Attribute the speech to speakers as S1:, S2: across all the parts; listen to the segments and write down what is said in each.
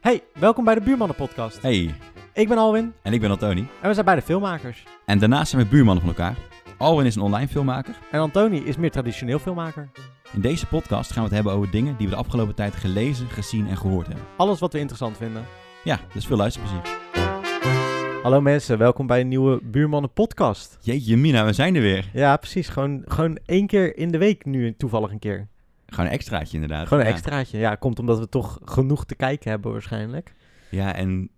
S1: Hey, welkom bij de Buurmannen Podcast.
S2: Hey,
S1: Ik ben Alwin
S2: en ik ben Antoni.
S1: en we zijn beide filmmakers.
S2: En daarnaast zijn we buurmannen van elkaar. Alwin is een online filmmaker.
S1: En Antoni is meer traditioneel filmmaker.
S2: In deze podcast gaan we het hebben over dingen die we de afgelopen tijd gelezen, gezien en gehoord hebben.
S1: Alles wat we interessant vinden.
S2: Ja, dus veel luisterplezier.
S1: Hallo mensen, welkom bij een nieuwe Buurmannen Podcast.
S2: Jeetje mina, we zijn er weer.
S1: Ja, precies. Gewoon, gewoon één keer in de week nu toevallig een keer.
S2: Gewoon een extraatje inderdaad.
S1: Gewoon een
S2: Ja.
S1: extraatje. Ja, komt omdat we toch genoeg te kijken hebben waarschijnlijk.
S2: Ja, en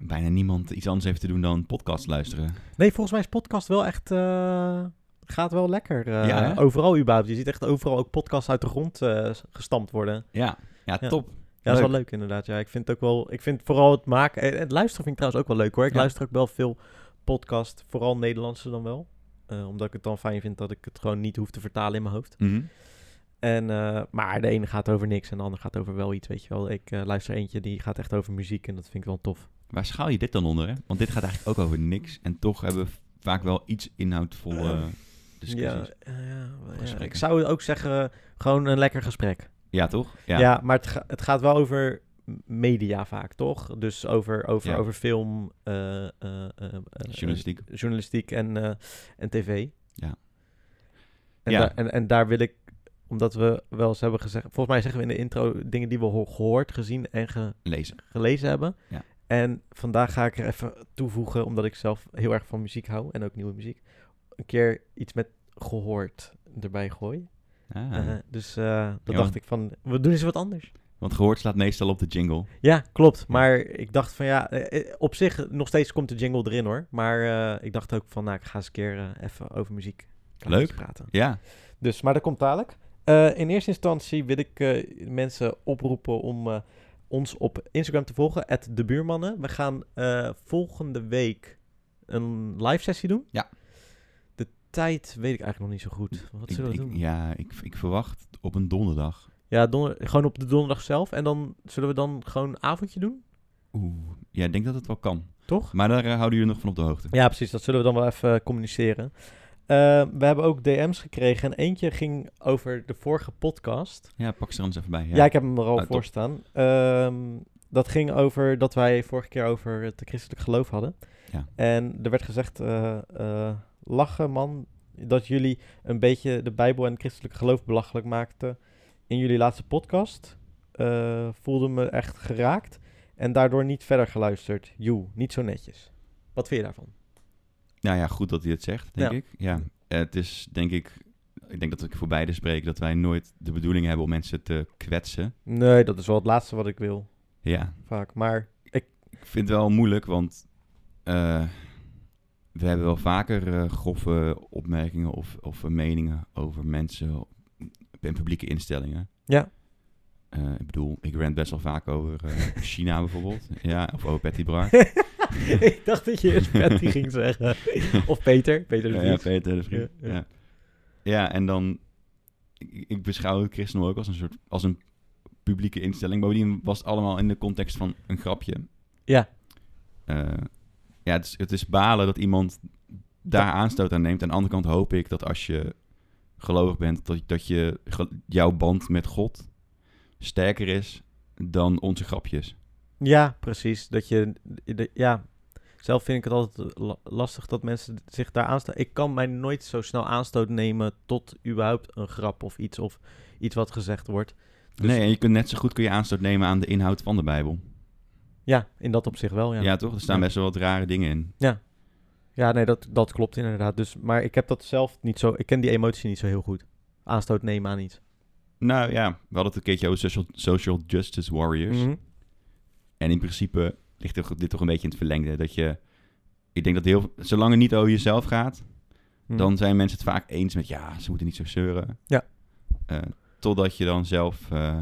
S2: bijna niemand iets anders heeft te doen dan podcast luisteren.
S1: Nee, volgens mij is podcast wel echt... eh, gaat wel lekker. eh,
S2: Ja, hè?
S1: overal überhaupt. Je ziet echt overal ook podcasts uit de grond eh, gestampt worden.
S2: Ja, ja,
S1: Ja.
S2: top.
S1: Ja, dat is
S2: Leuk.
S1: wel leuk inderdaad. Ja, ik vind het ook wel. Ik vind vooral het maken. eh, Het luisteren vind ik trouwens ook wel leuk hoor. Ik
S2: Ja.
S1: luister ook wel veel podcast, vooral Nederlandse dan wel. Eh, omdat ik het dan fijn vind dat ik het gewoon niet hoef te vertalen in mijn hoofd.
S2: Mhm.
S1: En, eh, maar de ene gaat over niks en de andere gaat over wel iets, weet je wel. Ik eh, luister eentje die gaat echt over muziek en dat vind ik wel tof.
S2: Waar schaal je dit dan onder, hè? Want dit gaat eigenlijk ook over niks. En toch hebben we vaak wel iets inhoudvolle
S1: Eh,
S2: discussies. Ja,
S1: Ja, eh, ja, wel, ja.
S2: Gesprekken.
S1: ik zou ook zeggen, gewoon een lekker gesprek.
S2: toch?
S1: Ja, maar het, ga- het gaat wel over m- media vaak, toch? Dus over, over,
S2: Ja.
S1: over film, eh, eh, eh, eh, eh,
S2: Journalistiek.
S1: journalistiek en, eh, en tv.
S2: Ja.
S1: En,
S2: Ja.
S1: daar- en, en daar wil ik, omdat we wel eens hebben gezegd, volgens mij zeggen we in de intro dingen die we ho- gehoord, gezien en ge-
S2: Lezen.
S1: gelezen hebben.
S2: Ja.
S1: En vandaag ga ik er even toevoegen, omdat ik zelf heel erg van muziek hou en ook nieuwe muziek, een keer iets met gehoord erbij gooi.
S2: Ah,
S1: Eh, dus eh dat
S2: Ja,
S1: dacht
S2: want-
S1: ik van, we doen eens wat anders.
S2: Want gehoord slaat meestal op de jingle.
S1: Ja, klopt. Maar ik dacht van ja, eh, eh, op zich eh, nog steeds komt de jingle erin hoor. Maar eh, ik dacht ook van, nou, ik ga eens een keer eh, even over muziek klaar
S2: Leuk.
S1: te praten.
S2: Ja,
S1: Dus, maar dat komt dadelijk. Eh, in eerste instantie wil ik eh, mensen oproepen om eh, ons op Instagram te volgen, de buurmannen. We gaan eh, volgende week een live sessie doen.
S2: Ja.
S1: De tijd weet ik eigenlijk nog niet zo goed. Wat
S2: Ik-
S1: zullen we
S2: ik-
S1: doen?
S2: Ja, ik, ik verwacht op een donderdag.
S1: Ja, donder- gewoon op de donderdag zelf. En dan zullen we dan gewoon een avondje doen,
S2: Oeh, ja, ik denk dat het wel kan.
S1: toch?
S2: Maar daar eh, houden jullie nog van op de hoogte.
S1: Ja, precies. Dat zullen we dan wel even eh, communiceren. Eh, we hebben ook DM's gekregen. En eentje ging over de vorige podcast.
S2: Ja, pak ze er anders even bij. Ja,
S1: Ja, ik heb hem er al
S2: Ah,
S1: voor
S2: top.
S1: staan. Ehm, dat ging over dat wij vorige keer over het christelijk geloof hadden.
S2: Ja.
S1: En er werd gezegd, eh, eh, lachen man, dat jullie een beetje de Bijbel en het christelijk geloof belachelijk maakten in jullie laatste podcast. Eh, voelde me echt geraakt en daardoor niet verder geluisterd. Joe, niet zo netjes. Wat vind je daarvan?
S2: Nou ja, goed dat hij het zegt, denk
S1: Ja.
S2: ik. Ja, Eh, het is denk ik... Ik denk dat ik voor beide spreek dat wij nooit de bedoeling hebben om mensen te kwetsen.
S1: Nee, dat is wel het laatste wat ik wil,
S2: Ja,
S1: vaak. Maar
S2: ik vind het wel moeilijk, want eh, we hebben wel vaker eh, grove opmerkingen of, of meningen over mensen en publieke instellingen.
S1: Ja.
S2: Eh, ik bedoel, ik rant best wel vaak over eh, China bijvoorbeeld. Ja, of over Patty Bra.
S1: ik dacht dat je eerst Patty ging zeggen. Of Peter, Peter de
S2: Ja,
S1: Vries.
S2: ja, Peter de Vries.
S1: Ja,
S2: Ja,
S1: ja.
S2: ja. en dan... Ik, ik beschouw het christendom ook als een soort... als een publieke instelling. Bovendien was het allemaal in de context van een grapje.
S1: Ja.
S2: Eh, ja, het is, het is balen dat iemand daar aanstoot aan neemt. Aan de andere kant hoop ik dat als je gelovig bent... dat, dat je, ge- jouw band met God sterker is dan onze grapjes.
S1: Ja, precies. Dat je, de- ja, zelf vind ik het altijd la- lastig dat mensen zich daar aanstoten. Ik kan mij nooit zo snel aanstoot nemen tot überhaupt een grap of iets of iets wat gezegd wordt. Dus-
S2: Nee, en je kunt net zo goed kun je aanstoot nemen aan de inhoud van de Bijbel.
S1: Ja, in dat opzicht wel. Ja,
S2: Ja,
S1: ja.
S2: toch? Er staan
S1: Ja.
S2: best wel wat rare dingen in.
S1: nee, dat, dat klopt inderdaad. Dus, maar ik heb dat zelf niet zo. Ik ken die emotie niet zo heel goed. Aanstoot nemen aan iets.
S2: Nou ja, we hadden het een keertje over social, social justice warriors.
S1: Mhm.
S2: En in principe ligt er- dit toch een beetje in het verlengde. Dat je, ik denk dat heel, zolang het niet over jezelf gaat,
S1: Mhm.
S2: dan zijn mensen het vaak eens met ja, ze moeten niet zo zeuren.
S1: Ja.
S2: Eh, totdat je dan zelf eh,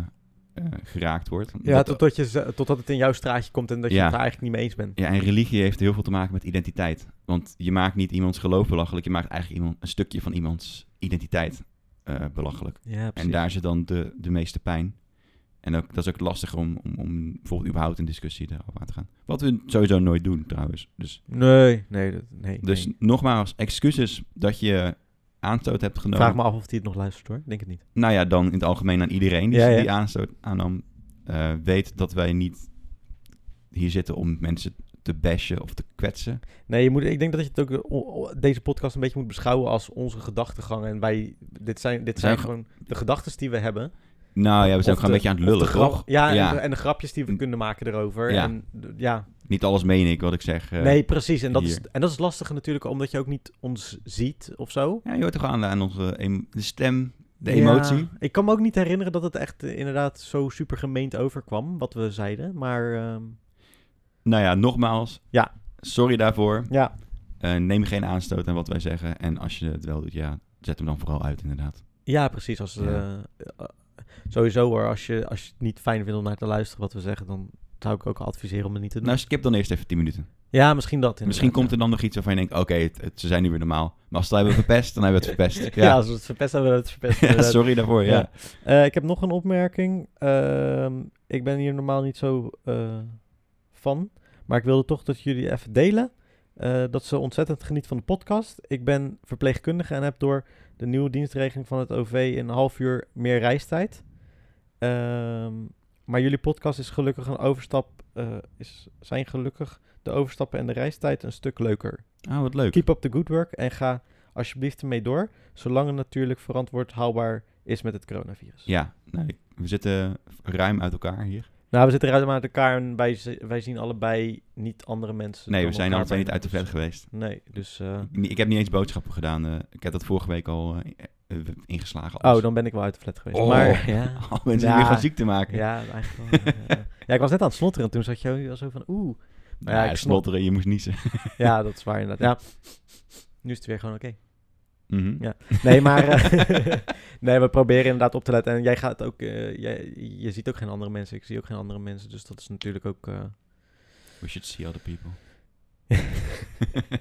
S2: eh, geraakt wordt.
S1: Ja,
S2: Dat-
S1: totdat, je, ze- totdat het in jouw straatje komt en dat je
S2: Ja.
S1: het daar eigenlijk niet mee eens bent.
S2: ja, en religie heeft heel veel te maken met identiteit. Want je maakt niet iemands geloof belachelijk, je maakt eigenlijk iemand, een stukje van iemands identiteit eh, belachelijk.
S1: Ja,
S2: En daar zit dan de, de meeste pijn. En ook, dat is ook lastiger om, om, om bijvoorbeeld überhaupt een discussie daarover aan te gaan. Wat we sowieso nooit doen trouwens. Dus,
S1: Nee, nee, dat- nee.
S2: dus
S1: nee.
S2: nogmaals, excuses dat je aanstoot hebt genomen.
S1: Vraag me af of hij het nog luistert hoor. Ik Denk het niet.
S2: Nou ja, dan in het algemeen aan iedereen die,
S1: Ja, ja.
S2: die aanstoot aannam. eh, weet dat wij niet hier zitten om mensen te bashen of te kwetsen.
S1: Nee, je moet, ik denk dat je het ook eh, o- o- deze podcast een beetje moet beschouwen als onze gedachtegang. En wij, dit zijn, dit zijn
S2: zijn
S1: gewoon de gedachten die we hebben.
S2: Nou ja, we zijn
S1: Of
S2: ook gewoon een
S1: de-
S2: beetje aan het
S1: of de
S2: lullen,
S1: grap-
S2: toch?
S1: Ja, en de- En, de grapjes die we kunnen maken erover.
S2: Ja.
S1: En, d- ja.
S2: Niet alles meen ik wat ik zeg. eh.
S1: nee, precies. En dat, is,
S2: hier.
S1: en dat is lastig natuurlijk, omdat je ook niet ons ziet of zo.
S2: Ja, je hoort toch aan, aan onze em- de stem,
S1: Ja.
S2: de emotie.
S1: Ik kan me ook niet herinneren dat het echt eh, inderdaad zo super gemeend overkwam, wat we zeiden. Maar ehm,
S2: Nou ja, nogmaals.
S1: Ja.
S2: Sorry daarvoor.
S1: ja,
S2: Eh, neem geen aanstoot aan wat wij zeggen. En als je het wel doet, ja, zet hem dan vooral uit, inderdaad.
S1: ja, precies. Als,
S2: Ja.
S1: eh, eh, sowieso hoor, als je, als je het niet fijn vindt om naar te luisteren wat we zeggen, dan zou ik ook adviseren om het niet te doen.
S2: Nou, skip dan eerst even 10 minuten.
S1: ja, misschien dat.
S2: Misschien
S1: inderdaad,
S2: komt er dan nog iets waarvan je denkt, oké, het- het- ze zijn nu weer normaal. Maar als ze het hebben verpest, dan hebben we het verpest.
S1: Ja,
S2: Ja,
S1: als we het verpest hebben, hebben we het verpest.
S2: Ja,
S1: inderdaad.
S2: sorry daarvoor, ja.
S1: Ja. Eh, ik heb nog een opmerking. Ehm, ik ben hier normaal niet zo eh, van. Maar ik wilde toch dat jullie even delen. eh, dat ze ontzettend genieten van de podcast. Ik ben verpleegkundige en heb door de nieuwe dienstregeling van het OV een half uur meer reistijd. Ehm, maar jullie podcast is gelukkig een overstap. eh, is, zijn gelukkig de overstappen en de reistijd een stuk leuker.
S2: Oh, wat leuk.
S1: Keep up the good work en ga alsjeblieft ermee door. Zolang het natuurlijk verantwoord haalbaar is met het coronavirus.
S2: Ja, nou, ik- we zitten ruim uit elkaar hier.
S1: Nou, we zitten ruim uit elkaar en wij, z- wij zien allebei niet andere mensen.
S2: Nee,
S1: dan
S2: we zijn
S1: elkaar
S2: alle twee niet
S1: bijna,
S2: uit de vet geweest.
S1: dus- Nee, dus... eh,
S2: Ik- Ik heb niet eens boodschappen gedaan. eh, ik heb dat vorige week al eh, eh, ingeslagen.
S1: oh,
S2: alles.
S1: dan ben ik wel uit de flat geweest.
S2: Oh.
S1: Maar ja,
S2: Al mensen
S1: Ja.
S2: die weer gaan ziek te maken.
S1: ja, eigenlijk wel. ja, ja. Ja, ik was net aan het slotteren toen zat je al zo van oeh.
S2: Nou,
S1: Ja,
S2: ja,
S1: ik snap-
S2: snotteren, je moest niezen.
S1: Ja, dat is waar inderdaad. Ja. Nu is het weer gewoon oké.
S2: Mhm.
S1: Ja. Nee, maar... eh, nee, we proberen inderdaad op te letten. En jij gaat ook... eh, jij, je ziet ook geen andere mensen. Ik zie ook geen andere mensen. Dus dat is natuurlijk ook... eh,
S2: We should see other people.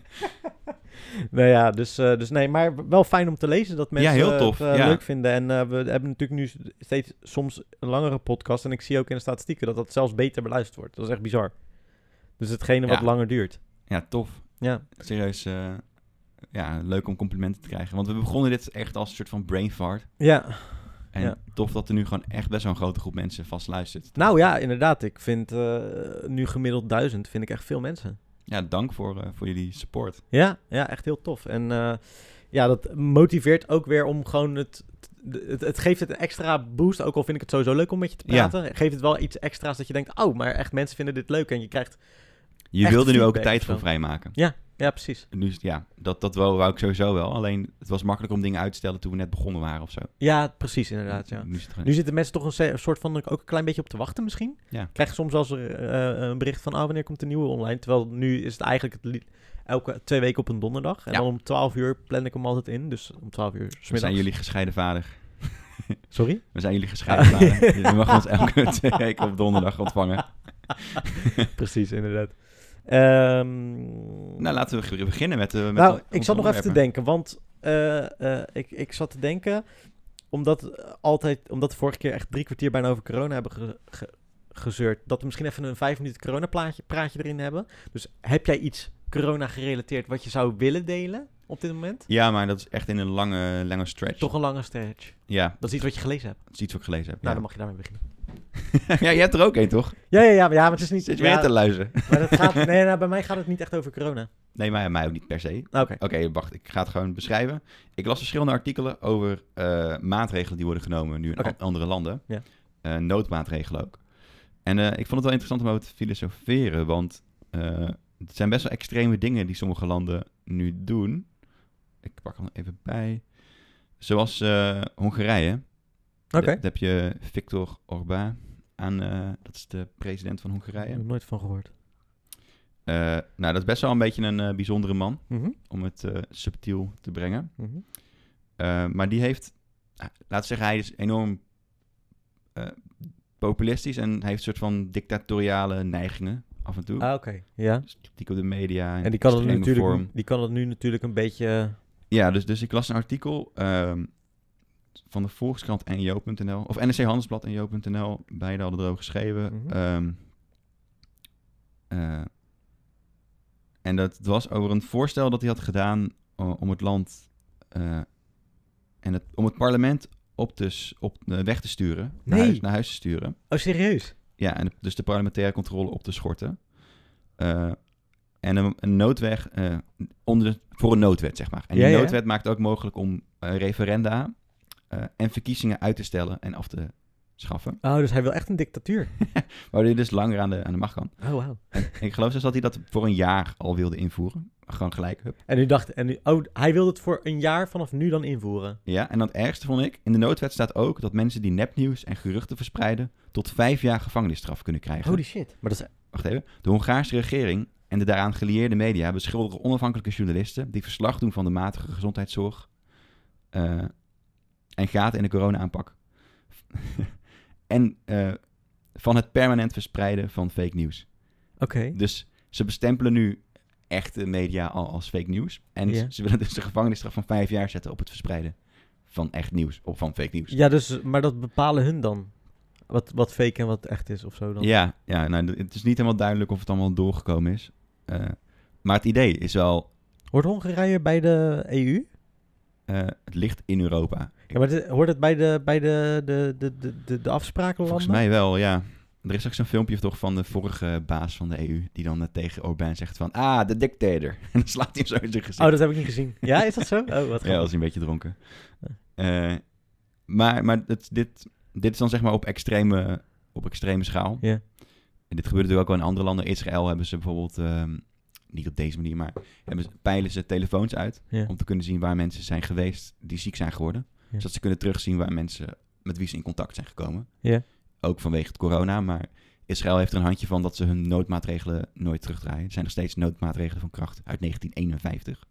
S1: Nou ja, dus, eh, dus nee, maar wel fijn om te lezen dat mensen
S2: heel
S1: het,
S2: tof,
S1: eh,
S2: ja.
S1: leuk vinden. En eh, we hebben natuurlijk nu steeds soms een langere podcast. En ik zie ook in de statistieken dat dat zelfs beter beluisterd wordt. Dat is echt bizar. Dus hetgene wat
S2: Ja.
S1: langer duurt.
S2: Ja, tof.
S1: Ja,
S2: Serieus, eh, ja, leuk om complimenten te krijgen. Want we begonnen dit echt als een soort van brain fart.
S1: ja.
S2: En
S1: Ja.
S2: tof dat er nu gewoon echt best wel een grote groep mensen vast luistert.
S1: nou ja, inderdaad. Ik vind eh, nu gemiddeld duizend, vind ik echt veel mensen.
S2: Ja, dank voor, eh, voor jullie support.
S1: Ja, ja echt heel tof. En eh, ja, dat motiveert ook weer om gewoon het, het... Het geeft het een extra boost, ook al vind ik het sowieso leuk om met je te
S2: Ja.
S1: praten. Geeft het wel iets extra's dat je denkt, oh, maar echt mensen vinden dit leuk. En je krijgt
S2: Je
S1: Echt
S2: wilde nu ook
S1: feedback
S2: tijd
S1: of
S2: voor
S1: zo.
S2: vrijmaken.
S1: Ja, precies.
S2: En Nu, is het- ja, dat, dat wou, wou ik sowieso wel. Alleen het was makkelijk om dingen uit te stellen toen we net begonnen waren of zo.
S1: Ja, precies, inderdaad. Ja.
S2: Nu is het gewoon-
S1: Nu zitten mensen toch een se- een soort van ook een klein beetje op te wachten misschien.
S2: Ja.
S1: Krijg je soms als er eh, een bericht van, oh, wanneer komt de nieuwe online? Terwijl nu is het eigenlijk het li- elke twee weken op een donderdag. En
S2: Ja.
S1: dan om 12 uur plan ik hem altijd in. Dus om 12 uur 's
S2: we zijn
S1: middags.
S2: jullie gescheiden vader.
S1: Sorry?
S2: We zijn jullie
S1: Ah.
S2: gescheiden vader. Dus je mag ons elke twee weken op donderdag ontvangen.
S1: precies, inderdaad. Ehm,
S2: Nou, laten we ge- beginnen met... eh, met
S1: nou,
S2: onze
S1: ik zat nog even te
S2: onderwerpen.
S1: denken, want eh, eh, ik, ik zat te denken, omdat, eh, altijd, omdat we vorige keer echt drie kwartier bijna over corona hebben ge- ge- gezeurd, dat we misschien even een vijf minuten corona-praatje praatje erin hebben. Dus heb jij iets corona-gerelateerd wat je zou willen delen op dit moment?
S2: Ja, maar dat is echt in een lange, lange stretch.
S1: Toch een lange stretch.
S2: Ja,
S1: Dat is iets wat je gelezen hebt.
S2: dat is iets wat ik gelezen heb.
S1: Nou,
S2: ja.
S1: dan mag je daarmee beginnen.
S2: ja, je hebt er ook één, toch?
S1: Ja, ja, ja, maar, ja, maar het is niet...
S2: Zit je
S1: ja,
S2: weer te luisteren?
S1: maar dat gaat, nee, nou, bij mij gaat het niet echt over corona. Nou,
S2: Nee, maar mij ook niet per se.
S1: Oké.
S2: Oké, wacht. Ik ga het gewoon beschrijven. Ik las verschillende artikelen over eh, maatregelen die worden genomen nu in
S1: Oké.
S2: an- andere landen.
S1: Ja.
S2: Eh, noodmaatregelen ook. En eh, ik vond het wel interessant om over te filosoferen, want eh, het zijn best wel extreme dingen die sommige landen nu doen. Ik pak hem er even bij. Zoals eh, Hongarije.
S1: Oké.
S2: Dat heb je Viktor Orbán aan, eh, dat is de president van
S1: Ik
S2: Hongarije.
S1: heb er nooit van gehoord.
S2: Eh, nou, dat is best wel een beetje een eh, bijzondere man,
S1: Mhm,
S2: om het eh, subtiel te brengen.
S1: mhm.
S2: Eh, maar die heeft, eh, laten we zeggen, hij is enorm eh, populistisch en hij heeft een soort van dictatoriale neigingen af en toe.
S1: Ah, oké. Ja.
S2: Dus kritiek op de media.
S1: En die kan, het nu
S2: extreme
S1: natuurlijk,
S2: vorm.
S1: die kan het nu natuurlijk een beetje... eh,
S2: Ja, dus, dus ik las een artikel ehm, van de Volkskrant en Jo.nl, of NRC Handelsblad en Jo.nl, beide hadden erover geschreven.
S1: Mhm.
S2: Ehm, eh, en dat was over een voorstel dat hij had gedaan o- om het land eh, en het, om het parlement op te, s- op, eh, weg te sturen, naar,
S1: Nee.
S2: huis, naar huis te sturen.
S1: Oh, serieus?
S2: ja, en dus de parlementaire controle op te schorten. Eh, en een, een noodweg eh, onder de- voor een noodwet, zeg maar. En die
S1: Ja, ja.
S2: noodwet maakt ook mogelijk om eh, referenda eh, en verkiezingen uit te stellen en af te schaffen.
S1: Oh, dus hij wil echt een dictatuur.
S2: Waardoor je dus langer aan de, aan de macht kan.
S1: Oh, wauw.
S2: En ik geloof zelfs dat hij dat voor een jaar al wilde invoeren. Gewoon gelijk, hup.
S1: En u dacht, en nu, oh, hij wil het voor een jaar vanaf nu dan invoeren.
S2: Ja, en dan het ergste vond ik, in de noodwet staat ook dat mensen die nepnieuws en geruchten verspreiden tot vijf jaar gevangenisstraf kunnen krijgen.
S1: Holy shit. Maar dat is,
S2: Wacht even. De Hongaarse regering en de daaraan gelieerde media beschuldigen onafhankelijke journalisten die verslag doen van de matige gezondheidszorg eh, en gaten in de corona-aanpak. en eh, van het permanent verspreiden van fake nieuws.
S1: oké.
S2: Dus ze bestempelen nu echte media al als fake nieuws. En
S1: Ja.
S2: ze- ze willen dus de gevangenisstraf van vijf jaar zetten op het verspreiden van echt nieuws of van fake nieuws.
S1: Ja, dus, maar dat bepalen hun dan. Wat, wat fake en wat echt is of zo dan.
S2: Ja, ja nou, d- het is niet helemaal duidelijk of het allemaal doorgekomen is. Eh, maar het idee is wel
S1: Hoort Hongarije bij de EU?
S2: Eh, het ligt in Europa.
S1: Ja, maar dit- hoort het bij de, bij de, de, de, de, de, de afsprakenlanden?
S2: Volgens mij wel, ja. Er is ook zo'n filmpje toch van de vorige baas van de EU... die dan eh, tegen Orbán zegt van... Ah, de dictator. En dan slaat hij hem zo in zijn gezicht.
S1: Oh, dat heb ik niet gezien. Ja, is dat zo? Oh, wat
S2: ja,
S1: grappig.
S2: was hij een beetje dronken.
S1: Ja.
S2: Eh, maar maar het, dit, dit is dan zeg maar op extreme, op extreme schaal.
S1: Ja.
S2: En dit gebeurt natuurlijk ook wel in andere landen. Israël hebben ze bijvoorbeeld... ehm, niet op deze manier, maar hebben ze, peilen ze telefoons uit...
S1: Ja.
S2: om te kunnen zien waar mensen zijn geweest die ziek zijn geworden.
S1: Ja.
S2: Zodat ze kunnen terugzien waar mensen met wie ze in contact zijn gekomen.
S1: Ja.
S2: Ook vanwege het corona, maar Israël heeft er een handje van dat ze hun noodmaatregelen nooit terugdraaien. Er zijn nog steeds noodmaatregelen van kracht uit 1951.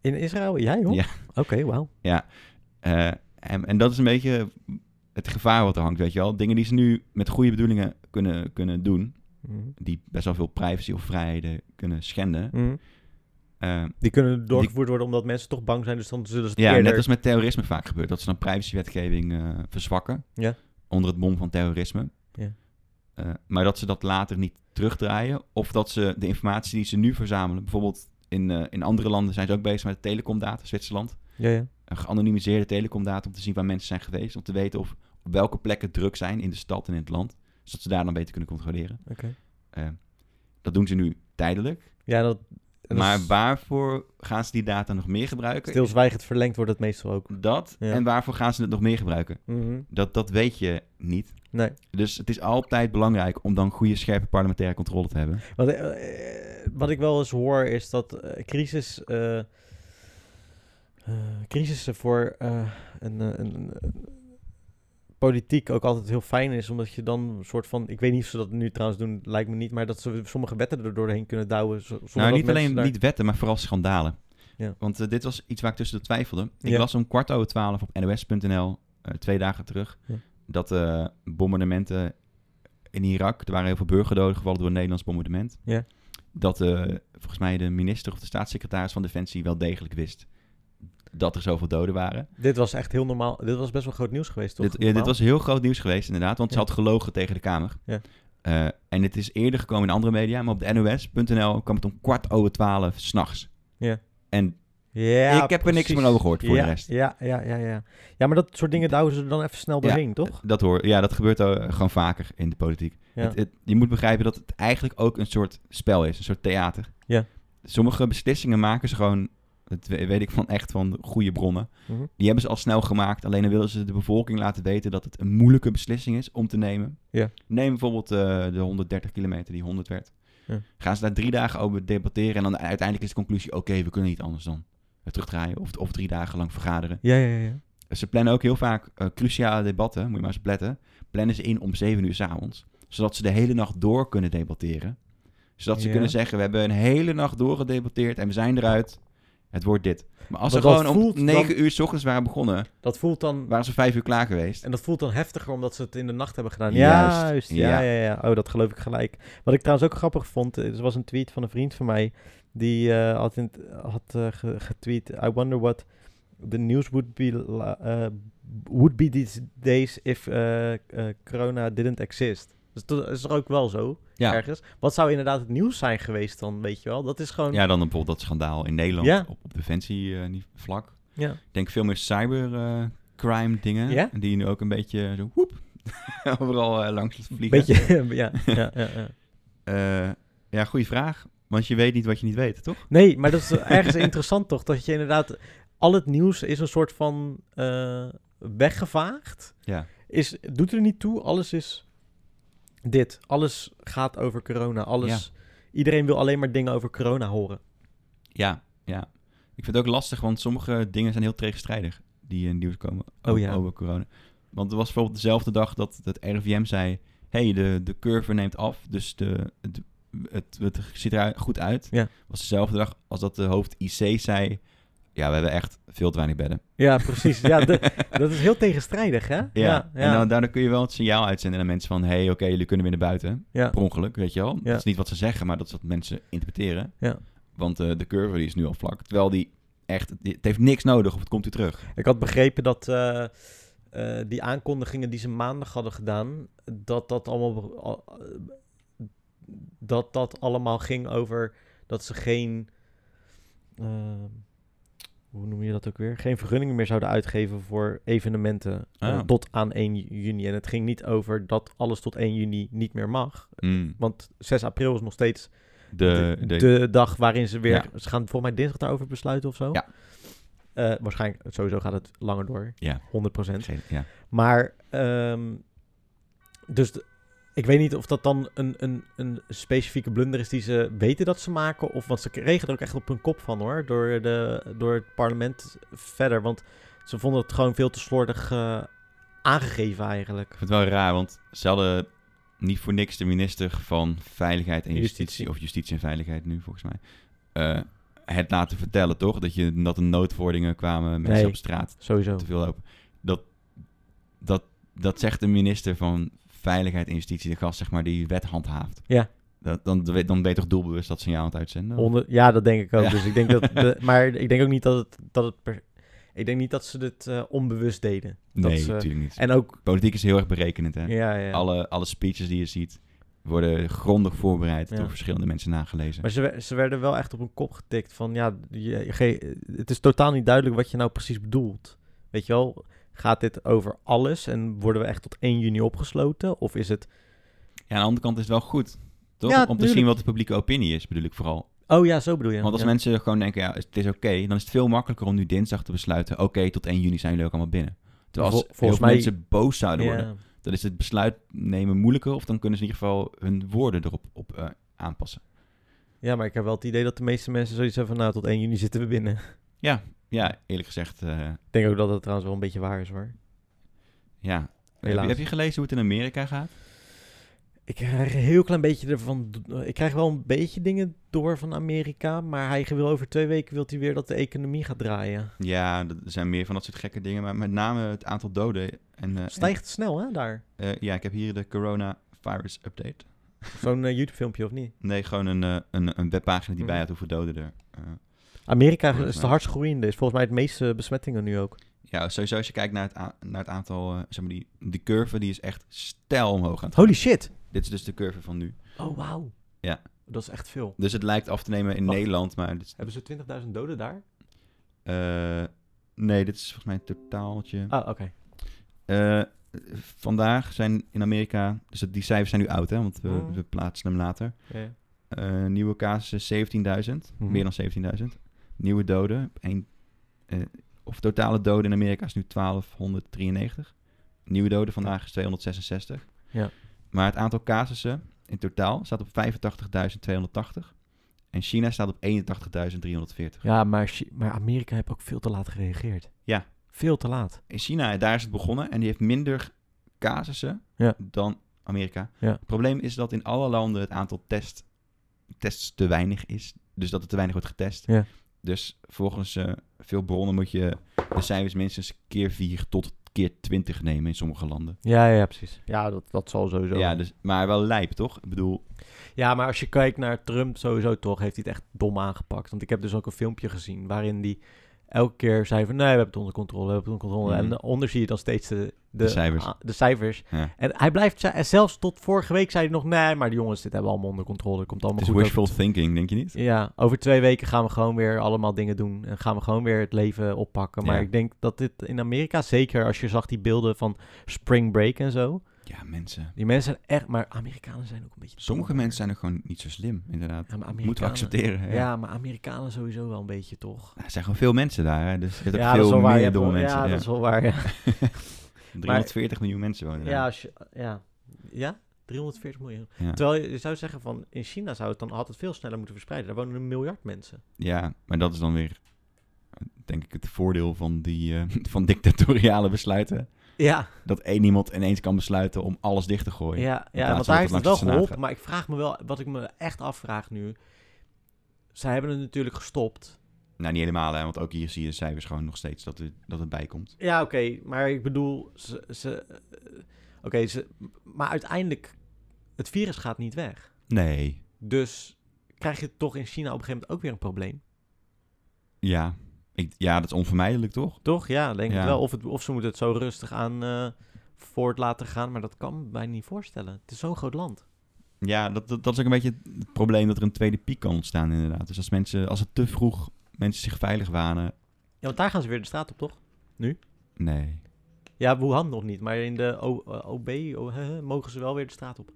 S1: In Israël? Jij hoor?
S2: Ja.
S1: Oké, wauw.
S2: Eh, en, en dat is een beetje het gevaar wat er hangt, weet je wel. Dingen die ze nu met goede bedoelingen kunnen, kunnen doen,
S1: Mhm.
S2: die best wel veel privacy of vrijheden kunnen schenden.
S1: Mhm.
S2: Eh,
S1: Die kunnen doorgevoerd worden omdat mensen toch bang zijn, dus dan zullen ze het
S2: ja,
S1: eerder...
S2: net als met terrorisme vaak gebeurt, dat ze dan privacywetgeving eh, verzwakken
S1: Ja.
S2: onder het mom van terrorisme.
S1: Ja.
S2: Eh, maar dat ze dat later niet terugdraaien. Of dat ze de informatie die ze nu verzamelen, bijvoorbeeld in, eh, in andere landen zijn ze ook bezig met telecomdata, Zwitserland.
S1: Ja, ja.
S2: een geanonimiseerde telecomdata om te zien waar mensen zijn geweest. Om te weten of op welke plekken druk zijn in de stad en in het land. Zodat ze daar dan beter kunnen controleren.
S1: Oké.
S2: Eh, dat doen ze nu tijdelijk.
S1: Ja, dat... en
S2: maar
S1: als
S2: waarvoor gaan ze die data nog meer gebruiken?
S1: Stilzwijgend verlengd wordt het meestal ook.
S2: Dat.
S1: Ja.
S2: En waarvoor gaan ze het nog meer gebruiken?
S1: Mhm.
S2: Dat, dat weet je niet.
S1: Nee.
S2: Dus het is altijd belangrijk om dan goede, scherpe parlementaire controle te hebben.
S1: Wat, eh, eh, wat ik wel eens hoor is dat eh, crisis. eh, eh, crisissen voor eh, een, eh, een, een- een politiek ook altijd heel fijn is, omdat je dan een soort van, ik weet niet of ze dat nu trouwens doen, lijkt me niet, maar dat ze sommige wetten er doorheen kunnen douwen. zo- zonder
S2: nou,
S1: dat
S2: niet
S1: mensen
S2: alleen
S1: daar-
S2: niet wetten, maar vooral schandalen.
S1: Ja.
S2: Want eh, dit was iets waar ik tussen de twijfelde. Ik
S1: Ja.
S2: las om kwart over twaalf op nos.nl, eh, twee dagen terug,
S1: Ja.
S2: dat eh, bombardementen in Irak, er waren heel veel burgerdoden gevallen door een Nederlands bombardement,
S1: Ja.
S2: dat eh, volgens mij de minister of de staatssecretaris van Defensie wel degelijk wist dat er zoveel doden waren.
S1: Dit was echt heel normaal. Dit was best wel groot nieuws geweest, toch?
S2: Dit, ja, dit was heel groot nieuws geweest, inderdaad, want ze
S1: Ja.
S2: had gelogen tegen de Kamer.
S1: Ja.
S2: Eh, en het is eerder gekomen in andere media, maar op de nos.nl kwam het om kwart over twaalf s'nachts.
S1: Ja.
S2: En
S1: Ja,
S2: ik heb er niks meer over gehoord voor
S1: ja,
S2: de rest.
S1: Ja, ja, ja, ja. Ja, maar dat soort dingen douwen ze er dan even snel
S2: Ja,
S1: doorheen, toch?
S2: Dat hoor, ja, dat gebeurt eh, gewoon vaker in de politiek.
S1: Ja.
S2: Het, het- je moet begrijpen dat het eigenlijk ook een soort spel is, een soort theater.
S1: Ja.
S2: Sommige beslissingen maken ze gewoon, dat we- weet ik van echt van goede bronnen.
S1: Mhm.
S2: Die hebben ze al snel gemaakt, alleen dan willen ze de bevolking laten weten dat het een moeilijke beslissing is om te nemen.
S1: Ja.
S2: Neem bijvoorbeeld eh, de 130 kilometer die 100 werd.
S1: Ja.
S2: Gaan ze daar drie dagen over debatteren en dan uiteindelijk is de conclusie, oké, we kunnen niet anders dan het terugdraaien of, of drie dagen lang vergaderen.
S1: Ja, ja, ja. ja.
S2: Ze plannen ook heel vaak eh, cruciale debatten, moet je maar eens op letten. Plannen ze in om 7 uur 's avonds, zodat ze de hele nacht door kunnen debatteren. Zodat ze
S1: Ja.
S2: kunnen zeggen, we hebben een hele nacht doorgedebatteerd en we zijn eruit. Het wordt dit. Maar als
S1: Maar
S2: ze
S1: dat
S2: gewoon
S1: voelt
S2: om 9
S1: dan-
S2: uur 's ochtends waren begonnen,
S1: Dat voelt dan
S2: waren ze 5 uur klaar geweest.
S1: En dat voelt dan heftiger omdat ze het in de nacht hebben gedaan.
S2: Juist,
S1: Ja, juist. Ja, ja. Ja, Oh, dat geloof ik gelijk. Wat ik trouwens ook grappig vond, eh, er was een tweet van een vriend van mij. Die eh, had, in, had eh, ge- getweet, I wonder what the news would be, la- eh, would be these days if eh, eh, corona didn't exist. Dus dat is er ook wel zo,
S2: Ja.
S1: ergens. Wat zou inderdaad het nieuws zijn geweest dan, weet je wel? Dat is gewoon...
S2: ja, dan bijvoorbeeld dat schandaal in Nederland
S1: Ja.
S2: op, op defensievlak.
S1: Ja.
S2: Ik denk veel meer cybercrime eh, dingen,
S1: Ja?
S2: die nu ook een beetje zo, woep, overal eh, langs vliegen.
S1: Beetje, ja, ja, ja, ja.
S2: Eh, ja, goede vraag. Want je weet niet wat je niet weet, toch?
S1: Nee, maar dat is ergens interessant toch? Dat je inderdaad, al het nieuws is een soort van eh, weggevaagd.
S2: Ja.
S1: Is, doet er niet toe, alles is dit. Alles gaat over corona. Alles, Iedereen wil alleen maar dingen over corona horen.
S2: Ja, ja. Ik vind het ook lastig, want sommige dingen zijn heel tegenstrijdig die in het nieuws komen
S1: Oh
S2: o-
S1: ja.
S2: over corona. Want er was bijvoorbeeld dezelfde dag dat het RIVM zei... hey, de, de curve neemt af, dus de, het, het, het ziet er goed uit.
S1: Ja.
S2: was dezelfde dag als dat de hoofd IC zei... ja, we hebben echt veel te weinig bedden.
S1: Ja, precies. Ja, de- dat is heel tegenstrijdig, hè?
S2: Ja, en dan, daardoor kun je wel het signaal uitzenden aan mensen van... hé, hey, oké, jullie kunnen weer naar buiten.
S1: Ja.
S2: Per ongeluk, weet je wel.
S1: Ja.
S2: Dat is niet wat ze zeggen, maar dat is wat mensen interpreteren.
S1: Ja.
S2: Want eh, de curve die is nu al vlak. Terwijl die echt... die- het heeft niks nodig of het komt weer terug.
S1: Ik had begrepen dat eh, eh, die aankondigingen die ze maandag hadden gedaan, dat dat allemaal, al- dat dat allemaal ging over dat ze geen, eh, hoe noem je dat ook weer, geen vergunningen meer zouden uitgeven voor evenementen eh,
S2: Ah.
S1: tot aan 1 juni. En het ging niet over dat alles tot 1 juni niet meer mag. Want 6 april is nog steeds
S2: De,
S1: Mm. de,
S2: Eh, de-
S1: de dag waarin ze weer...
S2: Ja.
S1: Ze gaan volgens mij dinsdag daarover besluiten of zo.
S2: Ja.
S1: Eh, waarschijnlijk, sowieso gaat het langer door.
S2: Ja.
S1: 100%.
S2: Geen- ja.
S1: Maar, ehm, dus de- ik weet niet of dat dan een, een, een specifieke blunder is die ze weten dat ze maken. Of, want ze kregen er ook echt op hun kop van hoor, door, de, door het parlement verder. Want ze vonden het gewoon veel te slordig eh, aangegeven eigenlijk.
S2: Ik vind het wel raar, want ze hadden niet voor niks de minister van Veiligheid en Justitie...
S1: Justitie.
S2: of Justitie en Veiligheid nu, volgens mij... eh, het laten vertellen, toch? Dat, je, dat er noodverordingen kwamen, mensen
S1: Nee.
S2: op straat
S1: Sowieso.
S2: te veel lopen. Dat, dat, dat zegt de minister van Veiligheid en Justitie, de gast zeg maar, die wet handhaaft.
S1: Ja.
S2: Dat, dan, weet- dan ben je toch doelbewust dat signaal aan het uitzenden?
S1: Onder, ja, dat denk ik ook.
S2: Ja.
S1: Dus ik denk dat de- maar ik denk ook niet dat het. Dat het per- ik denk niet dat ze dit eh, onbewust deden. Dat
S2: nee,
S1: ze-
S2: natuurlijk niet.
S1: En ook.
S2: Politiek is heel erg berekenend, hè?
S1: Ja, ja.
S2: Alle, alle speeches die je ziet worden grondig voorbereid
S1: Ja.
S2: door verschillende mensen nagelezen.
S1: Maar ze, we- ze werden wel echt op hun kop getikt van ja, je, ge- het is totaal niet duidelijk wat je nou precies bedoelt. Weet je wel, gaat dit over alles en worden we echt tot 1 juni opgesloten? Of is het,
S2: Ja, aan de andere kant is het wel goed, toch?
S1: Ja,
S2: Om te zien
S1: tuurlijk.
S2: wat de publieke opinie is, bedoel ik vooral.
S1: oh ja, zo bedoel je.
S2: Want als
S1: ja.
S2: mensen gewoon denken, ja, het is oké, dan is het veel makkelijker om nu dinsdag te besluiten, oké, tot 1 juni zijn jullie ook allemaal binnen. Terwijl als
S1: Vol- volgens
S2: heel veel
S1: mij-
S2: mensen boos zouden worden,
S1: Ja.
S2: dan is het besluit nemen moeilijker. Of dan kunnen ze in ieder geval hun woorden erop op, eh, aanpassen.
S1: ja, maar ik heb wel het idee dat de meeste mensen zoiets hebben van nou, tot 1 juni zitten we binnen.
S2: Ja, eerlijk gezegd, eh,
S1: ik denk ook dat dat trouwens wel een beetje waar is hoor.
S2: ja. Heb
S1: Helaas.
S2: je, heb je gelezen hoe het in Amerika gaat?
S1: Ik krijg een heel klein beetje ervan. Ik krijg wel een beetje dingen door van Amerika. Maar hij wil over twee weken wilt hij weer dat de economie gaat draaien.
S2: Ja, dat- er zijn meer van dat soort gekke dingen. Maar met name het aantal doden. En, eh,
S1: Stijgt snel hè daar.
S2: en, eh, ja, ik heb hier de coronavirus update.
S1: Zo'n eh, YouTube filmpje of niet?
S2: Nee, gewoon een, eh, een, een webpagina die
S1: Mhm.
S2: bij had hoeveel doden er... eh,
S1: Amerika
S2: Volgens
S1: is de
S2: mij.
S1: hardst groeiende. Is volgens mij het meeste besmettingen nu ook.
S2: ja, sowieso als je kijkt naar het, a- naar het aantal... eh, zeg maar, die, die curve die is echt stijl omhoog aan het
S1: Holy shit.
S2: Dit is dus de curve van nu.
S1: Oh, wauw.
S2: Ja.
S1: Dat is echt veel.
S2: Dus het lijkt af te nemen in
S1: Wacht.
S2: Nederland, maar... Dit, is-
S1: Hebben ze 20.000 doden daar?
S2: eh, nee, dit is volgens mij een totaaltje.
S1: Ah, oké.
S2: Eh, vandaag zijn in Amerika, dus die cijfers zijn nu oud, hè, want we,
S1: Mm.
S2: we plaatsen hem later. Eh, nieuwe casussen 17.000,
S1: Mhm.
S2: meer dan 17.000. Nieuwe doden, één, eh, of totale doden in Amerika is nu 1293. Nieuwe doden vandaag is 266.
S1: Ja.
S2: Maar het aantal casussen in totaal staat op 85.280. En China staat op 81.340.
S1: Ja, maar, Chi- maar Amerika heeft ook veel te laat gereageerd.
S2: Ja.
S1: Veel te laat.
S2: in China, daar is het begonnen en die heeft minder casussen
S1: Ja.
S2: dan Amerika.
S1: Ja.
S2: Het probleem is dat in alle landen het aantal test, tests te weinig is. Dus dat er te weinig wordt getest.
S1: Ja.
S2: Dus volgens eh, veel bronnen moet je de cijfers minstens keer 4 tot keer 20 nemen in sommige landen.
S1: Ja, ja, precies. Ja, dat, dat zal sowieso.
S2: Ja, dus, maar wel lijp, toch? Ik bedoel,
S1: Ja, maar als je kijkt naar Trump sowieso toch, heeft hij het echt dom aangepakt. Want ik heb dus ook een filmpje gezien waarin die elke keer zei van... nee, we hebben het onder controle, we hebben het onder controle.
S2: Mhm.
S1: En onder zie je dan steeds de, de,
S2: De cijfers.
S1: a- de cijfers.
S2: Ja.
S1: En hij blijft... ze- En zelfs tot vorige week zei hij nog... nee, maar die jongens, dit hebben we allemaal onder controle. Komt allemaal
S2: het is
S1: goed.
S2: wishful thinking, denk je niet?
S1: over- ja, over twee weken gaan we gewoon weer allemaal dingen doen. En gaan we gewoon weer het leven oppakken. Maar
S2: Ja.
S1: ik denk dat dit in Amerika, zeker als je zag die beelden van Spring Break en zo...
S2: Ja, mensen.
S1: Die mensen zijn echt... Maar Amerikanen zijn ook een beetje...
S2: Sommige
S1: dom, hoor.
S2: mensen zijn ook gewoon niet zo slim, inderdaad.
S1: Ja, maar
S2: Moeten we
S1: Amerikanen-
S2: accepteren. hè.
S1: Ja, maar Amerikanen sowieso wel een beetje, toch?
S2: Nou, er zijn gewoon veel mensen daar, hè? dus er zitten
S1: ja,
S2: ook veel
S1: Je
S2: meer
S1: hebt
S2: domme
S1: wel-
S2: mensen.
S1: Ja,
S2: Ja,
S1: dat is wel waar, ja.
S2: 340 miljoen mensen wonen daar.
S1: Ja, als je, ja. ja? 340 miljoen.
S2: Ja.
S1: Terwijl je, je zou zeggen van... In China zou het dan altijd veel sneller moeten verspreiden. Daar wonen een miljard mensen.
S2: Ja, maar dat is dan weer, denk ik, het voordeel van, die, eh, van dictatoriale besluiten.
S1: Ja,
S2: Dat één iemand ineens kan besluiten om alles dicht te gooien.
S1: ja, ja want
S2: plaats van
S1: daar
S2: dat
S1: heeft het
S2: het langs de
S1: wel geholpen.
S2: Senaat gaat.
S1: Maar ik vraag me wel... Wat ik me echt afvraag nu... Zij hebben het natuurlijk gestopt.
S2: Nou, niet helemaal, hè, want ook hier zie je cijfers gewoon nog steeds dat het, dat het bijkomt.
S1: Ja, oké, maar ik bedoel, ze, ze, eh, oké, ze, maar uiteindelijk, het virus gaat niet weg.
S2: Nee.
S1: Dus krijg je toch in China op een gegeven moment ook weer een probleem.
S2: Ja, ik, ja dat is onvermijdelijk, toch?
S1: Toch? Ja, denk ik
S2: Ja.
S1: wel. Of, het, of ze moeten het zo rustig aan eh, voort laten gaan, maar dat kan ik me bijna niet voorstellen. Het is zo'n groot land.
S2: Ja, dat, dat, dat is ook een beetje het probleem dat er een tweede piek kan ontstaan, inderdaad. Dus als mensen, als het te vroeg mensen zich veilig wanen,
S1: Ja, want daar gaan ze weer de straat op, toch?
S2: nee.
S1: Ja, Wuhan nog niet, maar in de O- eh, OB oh, hè, hè, mogen ze wel weer de straat op.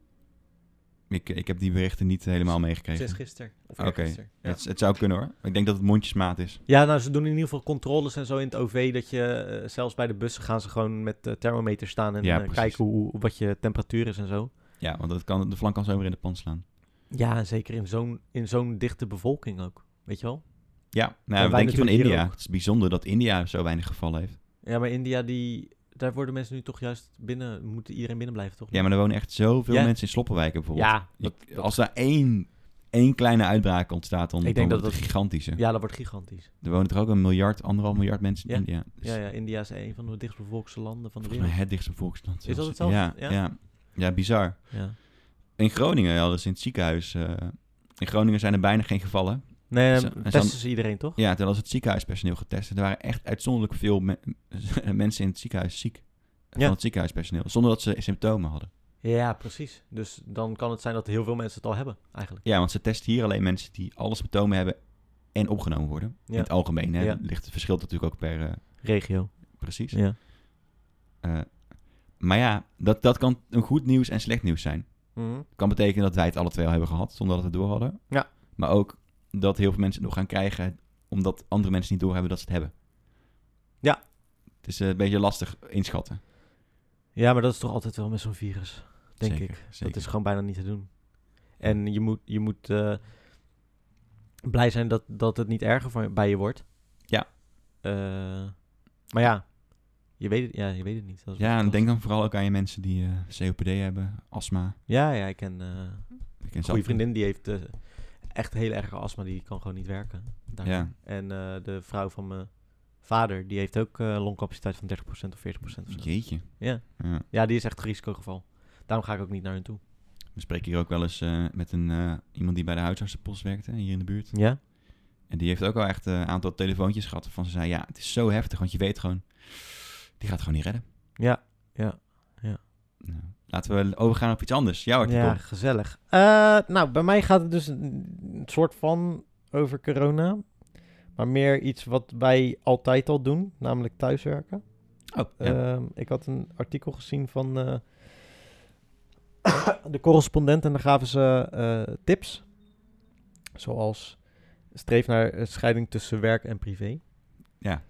S2: Ik, ik heb die berichten niet helemaal meegekregen.
S1: Sinds gisteren. Of
S2: Oké,
S1: eergisteren. Ja.
S2: het, het zou kunnen hoor. Ik denk dat het mondjesmaat is.
S1: Ja, nou, ze doen in ieder geval controles en zo in het OV. Dat je, eh, zelfs bij de bussen gaan ze gewoon met de thermometer staan en
S2: Ja,
S1: eh,
S2: precies.
S1: kijken hoe, wat je temperatuur is en zo.
S2: Ja, want dat kan, de vlam kan zo weer in de pan slaan.
S1: Ja, en zeker in zo'n, in zo'n dichte bevolking ook. Weet je wel?
S2: Ja,
S1: wij
S2: nou, wat denk je van
S1: natuurlijk hier
S2: India?
S1: ook.
S2: Het is bijzonder dat India zo weinig gevallen heeft.
S1: Ja, maar India, die, daar worden mensen nu toch juist binnen, moeten iedereen binnen blijven, toch?
S2: Ja, maar er wonen echt zoveel
S1: Ja.
S2: mensen in sloppenwijken bijvoorbeeld.
S1: ja, dat,
S2: Ik- als daar één, één kleine uitbraak ontstaat, dan,
S1: Ik denk
S2: dan
S1: dat
S2: wordt het gigantische.
S1: ja, dat wordt gigantisch.
S2: Er wonen er ook een miljard, anderhalf miljard mensen in
S1: Ja.
S2: India. Dus
S1: Ja, ja, India is een van de dichtstbevolkte landen van de
S2: Volgens mij
S1: wereld.
S2: het dichtste volksland.
S1: Is dat
S2: zelfs.
S1: hetzelfde?
S2: Ja,
S1: Ja.
S2: ja. ja. bizar.
S1: Ja.
S2: In Groningen hadden ze in het ziekenhuis... eh, in Groningen zijn er bijna geen gevallen.
S1: Nee,
S2: Zo-
S1: dan
S2: en
S1: testen
S2: zo-
S1: ze iedereen, toch?
S2: Ja, terwijl ze het ziekenhuispersoneel getest. En er waren echt uitzonderlijk veel me- mensen in het ziekenhuis ziek. Van
S1: Ja.
S2: het ziekenhuispersoneel. Zonder dat ze symptomen hadden.
S1: Ja, precies. Dus dan kan het zijn dat heel veel mensen het al hebben, eigenlijk.
S2: Ja, want ze testen hier alleen mensen die alle symptomen hebben en opgenomen worden.
S1: Ja.
S2: In het algemeen. Hè,
S1: Ja.
S2: ligt, het verschilt natuurlijk ook per eh,
S1: Regio.
S2: precies.
S1: Ja.
S2: Eh, maar ja, dat, dat kan een goed nieuws en slecht nieuws zijn.
S1: Mhm.
S2: kan betekenen dat wij het alle twee al hebben gehad, zonder dat we het door hadden.
S1: Ja.
S2: Maar ook dat heel veel mensen het nog gaan krijgen, omdat andere mensen niet doorhebben dat ze het hebben.
S1: Ja.
S2: Het is eh, een beetje lastig inschatten.
S1: Ja, maar dat is toch altijd wel met zo'n virus, denk
S2: Zeker,
S1: ik.
S2: zeker.
S1: Dat is gewoon bijna niet te doen. En je moet, je moet eh, blij zijn dat, dat het niet erger van, bij je wordt.
S2: Ja.
S1: Eh, maar ja, je weet het, ja, je weet het niet. Dat is
S2: Ja, en
S1: lastig.
S2: denk dan vooral ook aan je mensen die eh, COPD hebben, astma.
S1: Ja, ja, ik ken eh, een
S2: Ik ken
S1: goede
S2: zelf-
S1: vriendin die heeft eh, echt heel erg astma. Die kan gewoon niet werken. daar.
S2: Ja,
S1: En eh, de vrouw van mijn vader, die heeft ook eh, longcapaciteit van 30% of 40% of zo.
S2: jeetje.
S1: Ja.
S2: ja.
S1: Ja, die is echt een risicogeval. Daarom ga ik ook niet naar hun toe.
S2: We spreken hier ook wel eens eh, met een, eh, iemand die bij de huisartsenpost werkte, hier in de buurt.
S1: Ja?
S2: En die heeft ook al echt eh, een aantal telefoontjes gehad van ze zei, ja, het is zo heftig, want je weet gewoon, die gaat het gewoon niet redden.
S1: Ja.
S2: Nou, laten we overgaan op iets anders. Jouw artikel.
S1: Ja, gezellig. Eh, nou, bij mij gaat het dus een, een soort van over corona. Maar meer iets wat wij altijd al doen, namelijk thuiswerken.
S2: Oh, ja.
S1: Ehm, ik had een artikel gezien van eh, de correspondent en daar gaven ze eh, tips. Zoals streef naar eh, scheiding tussen werk en privé.
S2: Ja.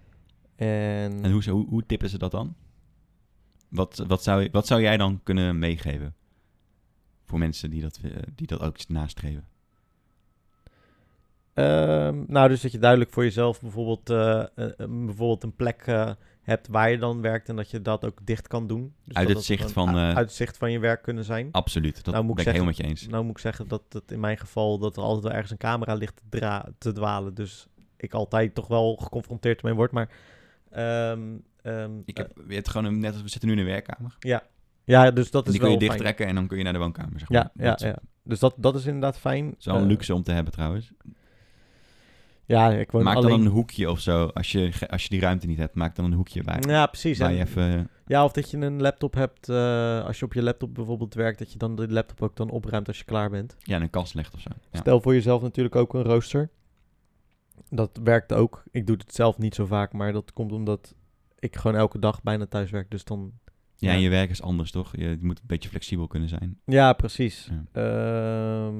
S1: En,
S2: En hoe, hoe, hoe tippen ze dat dan? Wat, wat, zou, wat zou jij dan kunnen meegeven voor mensen die dat, eh, die dat ook nastreven?
S1: Ehm, nou, dus dat je duidelijk voor jezelf bijvoorbeeld, eh, een- een- bijvoorbeeld een plek eh, hebt waar je dan werkt en dat je dat ook dicht kan doen. Dus
S2: Uit
S1: dat
S2: het
S1: dat
S2: zicht
S1: gewoon
S2: van,
S1: u-
S2: eh, Oh,
S1: uit het zicht van je werk kunnen zijn.
S2: Absoluut, dat
S1: Nou, moet
S2: ben
S1: ik
S2: ik helemaal met je eens.
S1: Nou moet ik zeggen dat het in mijn geval dat er altijd wel ergens een camera ligt te, dra- te dwalen. Dus ik altijd toch wel geconfronteerd mee word. Maar ehm, ehm,
S2: Ik
S1: eh,
S2: heb, je hebt gewoon een, net als we zitten nu in de werkkamer.
S1: ja, dus dat
S2: En
S1: is
S2: die
S1: wel fijn.
S2: kun je dichttrekken en dan kun je naar de woonkamer. Zeg
S1: Ja,
S2: maar.
S1: ja,
S2: dat,
S1: ja. Dus dat, dat is inderdaad fijn.
S2: is wel een
S1: Eh,
S2: luxe om te hebben trouwens.
S1: Ja, ik woon
S2: Maak
S1: alleen.
S2: dan een hoekje of zo. Als je, ge- als je die ruimte niet hebt, maak dan een hoekje waar,
S1: Ja, precies.
S2: waar
S1: En-
S2: je even...
S1: Ja, of dat je een laptop hebt. eh, als je op je laptop bijvoorbeeld werkt, dat je dan de laptop ook dan opruimt als je klaar bent.
S2: Ja, in een kast legt of zo. Ja.
S1: Stel voor jezelf natuurlijk ook een rooster. Dat werkt ook. Ik doe het zelf niet zo vaak, maar dat komt omdat ik gewoon elke dag bijna thuis werk. Dus dan
S2: Ja,
S1: Ja.
S2: en je werk is anders, toch? Je, je moet een beetje flexibel kunnen zijn.
S1: Ja, precies.
S2: Ja.
S1: Ehm,